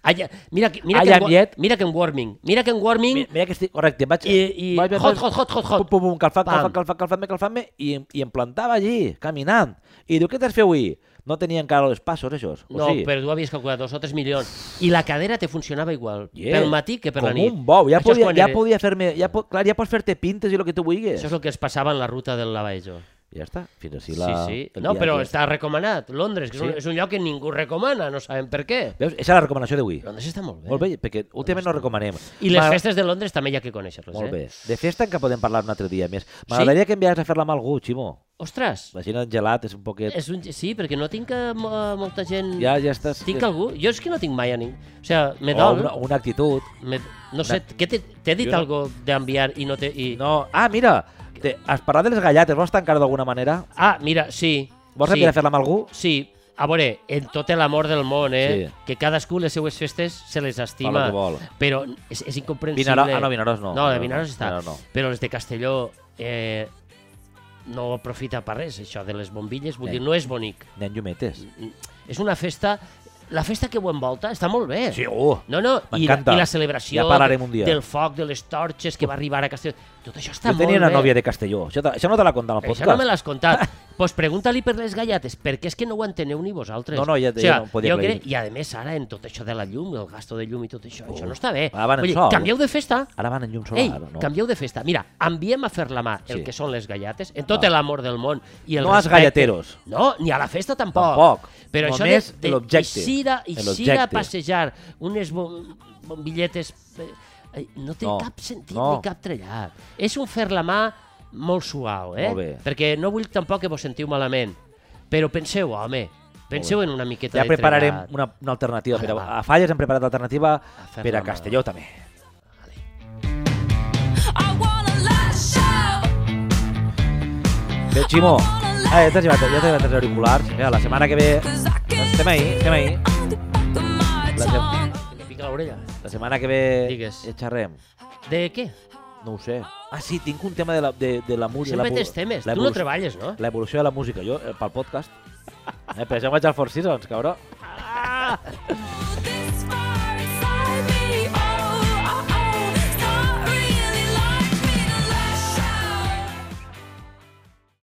[SPEAKER 2] Ah, ja, mira, que- mira,
[SPEAKER 1] I
[SPEAKER 2] que en,
[SPEAKER 1] am
[SPEAKER 2] wa-
[SPEAKER 1] yet.
[SPEAKER 2] mira que en warming. Mira que en warming.
[SPEAKER 1] mi- Mira que estic... Correcte, em vaig...
[SPEAKER 2] I, i
[SPEAKER 1] vaig- vaig-
[SPEAKER 2] hot, hot, hot, hot,
[SPEAKER 1] Pum,
[SPEAKER 2] hot.
[SPEAKER 1] pum, pum, calfant,
[SPEAKER 2] Pam.
[SPEAKER 1] calfant, calfant, calfant-me, calfant-me, i, em- i em plantava allí, caminant. I diu, què t'has fet avui? No tenia encara els passos, això. O
[SPEAKER 2] No,
[SPEAKER 1] sí?
[SPEAKER 2] però tu havies calculat dos o tres milions. I la cadera te funcionava igual,
[SPEAKER 1] Yeah.
[SPEAKER 2] pel matí que per
[SPEAKER 1] Com
[SPEAKER 2] la nit.
[SPEAKER 1] un bou, ja
[SPEAKER 2] Això és
[SPEAKER 1] podia,
[SPEAKER 2] quan
[SPEAKER 1] ja
[SPEAKER 2] era-
[SPEAKER 1] podia fer-me... Ja po, clar, ja pots fer-te pintes i el que tu vulguis.
[SPEAKER 2] Això és el que es passava en la ruta del Lavaejo.
[SPEAKER 1] I ja està. Fins així
[SPEAKER 2] Sí,
[SPEAKER 1] la...
[SPEAKER 2] sí.
[SPEAKER 1] el
[SPEAKER 2] No, però
[SPEAKER 1] viatge.
[SPEAKER 2] està recomanat. Londres, que és, un,
[SPEAKER 1] Sí.
[SPEAKER 2] és un lloc que ningú recomana, no sabem per què.
[SPEAKER 1] Veus? Aquesta és la recomanació d'avui.
[SPEAKER 2] Londres està molt bé.
[SPEAKER 1] Molt bé, perquè últimament no recomanem.
[SPEAKER 2] Eh? I les
[SPEAKER 1] Ma-
[SPEAKER 2] festes de Londres també hi ha que conèixer-les, eh?
[SPEAKER 1] Molt bé. De festa en què podem parlar un altre dia més. M'agradaria que enviares a fer-la amb algú, Ximo.
[SPEAKER 2] Ostres,
[SPEAKER 1] La gent en gelat és un poquet...
[SPEAKER 2] és un... sí, perquè no tinc a, a molta gent...
[SPEAKER 1] Ja, ja estàs...
[SPEAKER 2] Tinc algú? Jo és que no tinc mai a ningú. O sigui, me
[SPEAKER 1] O
[SPEAKER 2] dol.
[SPEAKER 1] una, una actitud.
[SPEAKER 2] Me... No sé, què t'he t'he dit
[SPEAKER 1] Jo no-
[SPEAKER 2] algo d'enviar i no t'he... I...
[SPEAKER 1] No... Ah, mira! Te... Has parlat de les gallates. Vols tancar d'alguna manera?
[SPEAKER 2] Ah, mira, sí.
[SPEAKER 1] Vols
[SPEAKER 2] sí.
[SPEAKER 1] enviar a fer-la amb algú?
[SPEAKER 2] Sí, a veure, en tot l'amor del món, eh?
[SPEAKER 1] Sí.
[SPEAKER 2] Sí. Que cadascú les seues festes se les
[SPEAKER 1] Fa el
[SPEAKER 2] estima.
[SPEAKER 1] que vol.
[SPEAKER 2] Però és, és incomprensible.
[SPEAKER 1] Vinaròs- ah, no, Vinaròs no.
[SPEAKER 2] No,
[SPEAKER 1] Vinaròs
[SPEAKER 2] de
[SPEAKER 1] no,
[SPEAKER 2] Vinaròs està.
[SPEAKER 1] Vinaròs no.
[SPEAKER 2] Però les de Castelló eh, no aprofita per res, això de les bombilles. Vull
[SPEAKER 1] Eh.
[SPEAKER 2] dir, no és bonic.
[SPEAKER 1] N'hi ha llumetes.
[SPEAKER 2] És una festa... La festa que ho envolta està molt bé.
[SPEAKER 1] Sí, uh,
[SPEAKER 2] No, no, i la,
[SPEAKER 1] M'encanta.
[SPEAKER 2] i la celebració
[SPEAKER 1] Ja parlarem un dia.
[SPEAKER 2] del foc, de les torxes que va arribar a Castelló. Tot això està
[SPEAKER 1] jo tenia
[SPEAKER 2] molt
[SPEAKER 1] una
[SPEAKER 2] bé.
[SPEAKER 1] nòvia de Castelló. Això, te- això no te la contava al podcast.
[SPEAKER 2] Això no me l'has contat. Doncs pues pregunta-li per les galletes, perquè és que no ho enteneu ni vosaltres.
[SPEAKER 1] No, no, ja te-
[SPEAKER 2] o sigui,
[SPEAKER 1] ja no podia
[SPEAKER 2] jo crec,
[SPEAKER 1] aclarir.
[SPEAKER 2] I a més ara, en tot això de la llum, el gasto de llum i tot això, això no està bé.
[SPEAKER 1] Ah, van en
[SPEAKER 2] Vull dir,
[SPEAKER 1] sol.
[SPEAKER 2] canvieu de festa.
[SPEAKER 1] Ara van en llum solar.
[SPEAKER 2] Ei,
[SPEAKER 1] no.
[SPEAKER 2] canvieu de festa. Mira, enviem a fer la mà el
[SPEAKER 1] Sí.
[SPEAKER 2] que són les galletes, en tot
[SPEAKER 1] Va.
[SPEAKER 2] l'amor del món i el
[SPEAKER 1] No als
[SPEAKER 2] respecte.
[SPEAKER 1] gallateros.
[SPEAKER 2] No, ni a la festa tampoc.
[SPEAKER 1] Tampoc.
[SPEAKER 2] Però
[SPEAKER 1] Només
[SPEAKER 2] això de, de
[SPEAKER 1] l'objecte.
[SPEAKER 2] eixir a- eixir a
[SPEAKER 1] L'objecte.
[SPEAKER 2] passejar unes bom- bombilletes... eh, eh, No té
[SPEAKER 1] No,
[SPEAKER 2] cap sentit
[SPEAKER 1] no.
[SPEAKER 2] ni cap trellat. És un fer la mà molt suau, eh?
[SPEAKER 1] Molt bé.
[SPEAKER 2] Perquè no vull tampoc que vos sentiu malament. Però penseu, home, penseu en una miqueta
[SPEAKER 1] Ja
[SPEAKER 2] de
[SPEAKER 1] prepararem
[SPEAKER 2] trellat.
[SPEAKER 1] una, una alternativa.
[SPEAKER 2] Ara
[SPEAKER 1] Per
[SPEAKER 2] va.
[SPEAKER 1] a, a Falles hem preparat l'alternativa
[SPEAKER 2] fer-la
[SPEAKER 1] per a
[SPEAKER 2] mà.
[SPEAKER 1] Castelló també.
[SPEAKER 5] I wanna light show.
[SPEAKER 1] Bé, Ximo, ah, ja t'has llevat, ja t'has llevat els auriculars. Mira, la setmana que ve...
[SPEAKER 5] Cause I can't
[SPEAKER 1] Estem ahí, estem ahí.
[SPEAKER 5] on the back of my
[SPEAKER 1] La gent-
[SPEAKER 5] tongue.
[SPEAKER 2] Que pica l'orella.
[SPEAKER 1] La setmana que ve
[SPEAKER 2] Digues.
[SPEAKER 1] ja xerrem.
[SPEAKER 2] De què?
[SPEAKER 1] No ho sé. Ah, sí, tinc un tema de la, de, de la música.
[SPEAKER 2] Sempre
[SPEAKER 1] la pu-
[SPEAKER 2] tens temes.
[SPEAKER 1] la
[SPEAKER 2] Tu no
[SPEAKER 1] evolució-
[SPEAKER 2] treballes, no?
[SPEAKER 1] La evolució de la música, jo, eh, pel podcast. Eh, però ja em vaig al Four Seasons, cabró.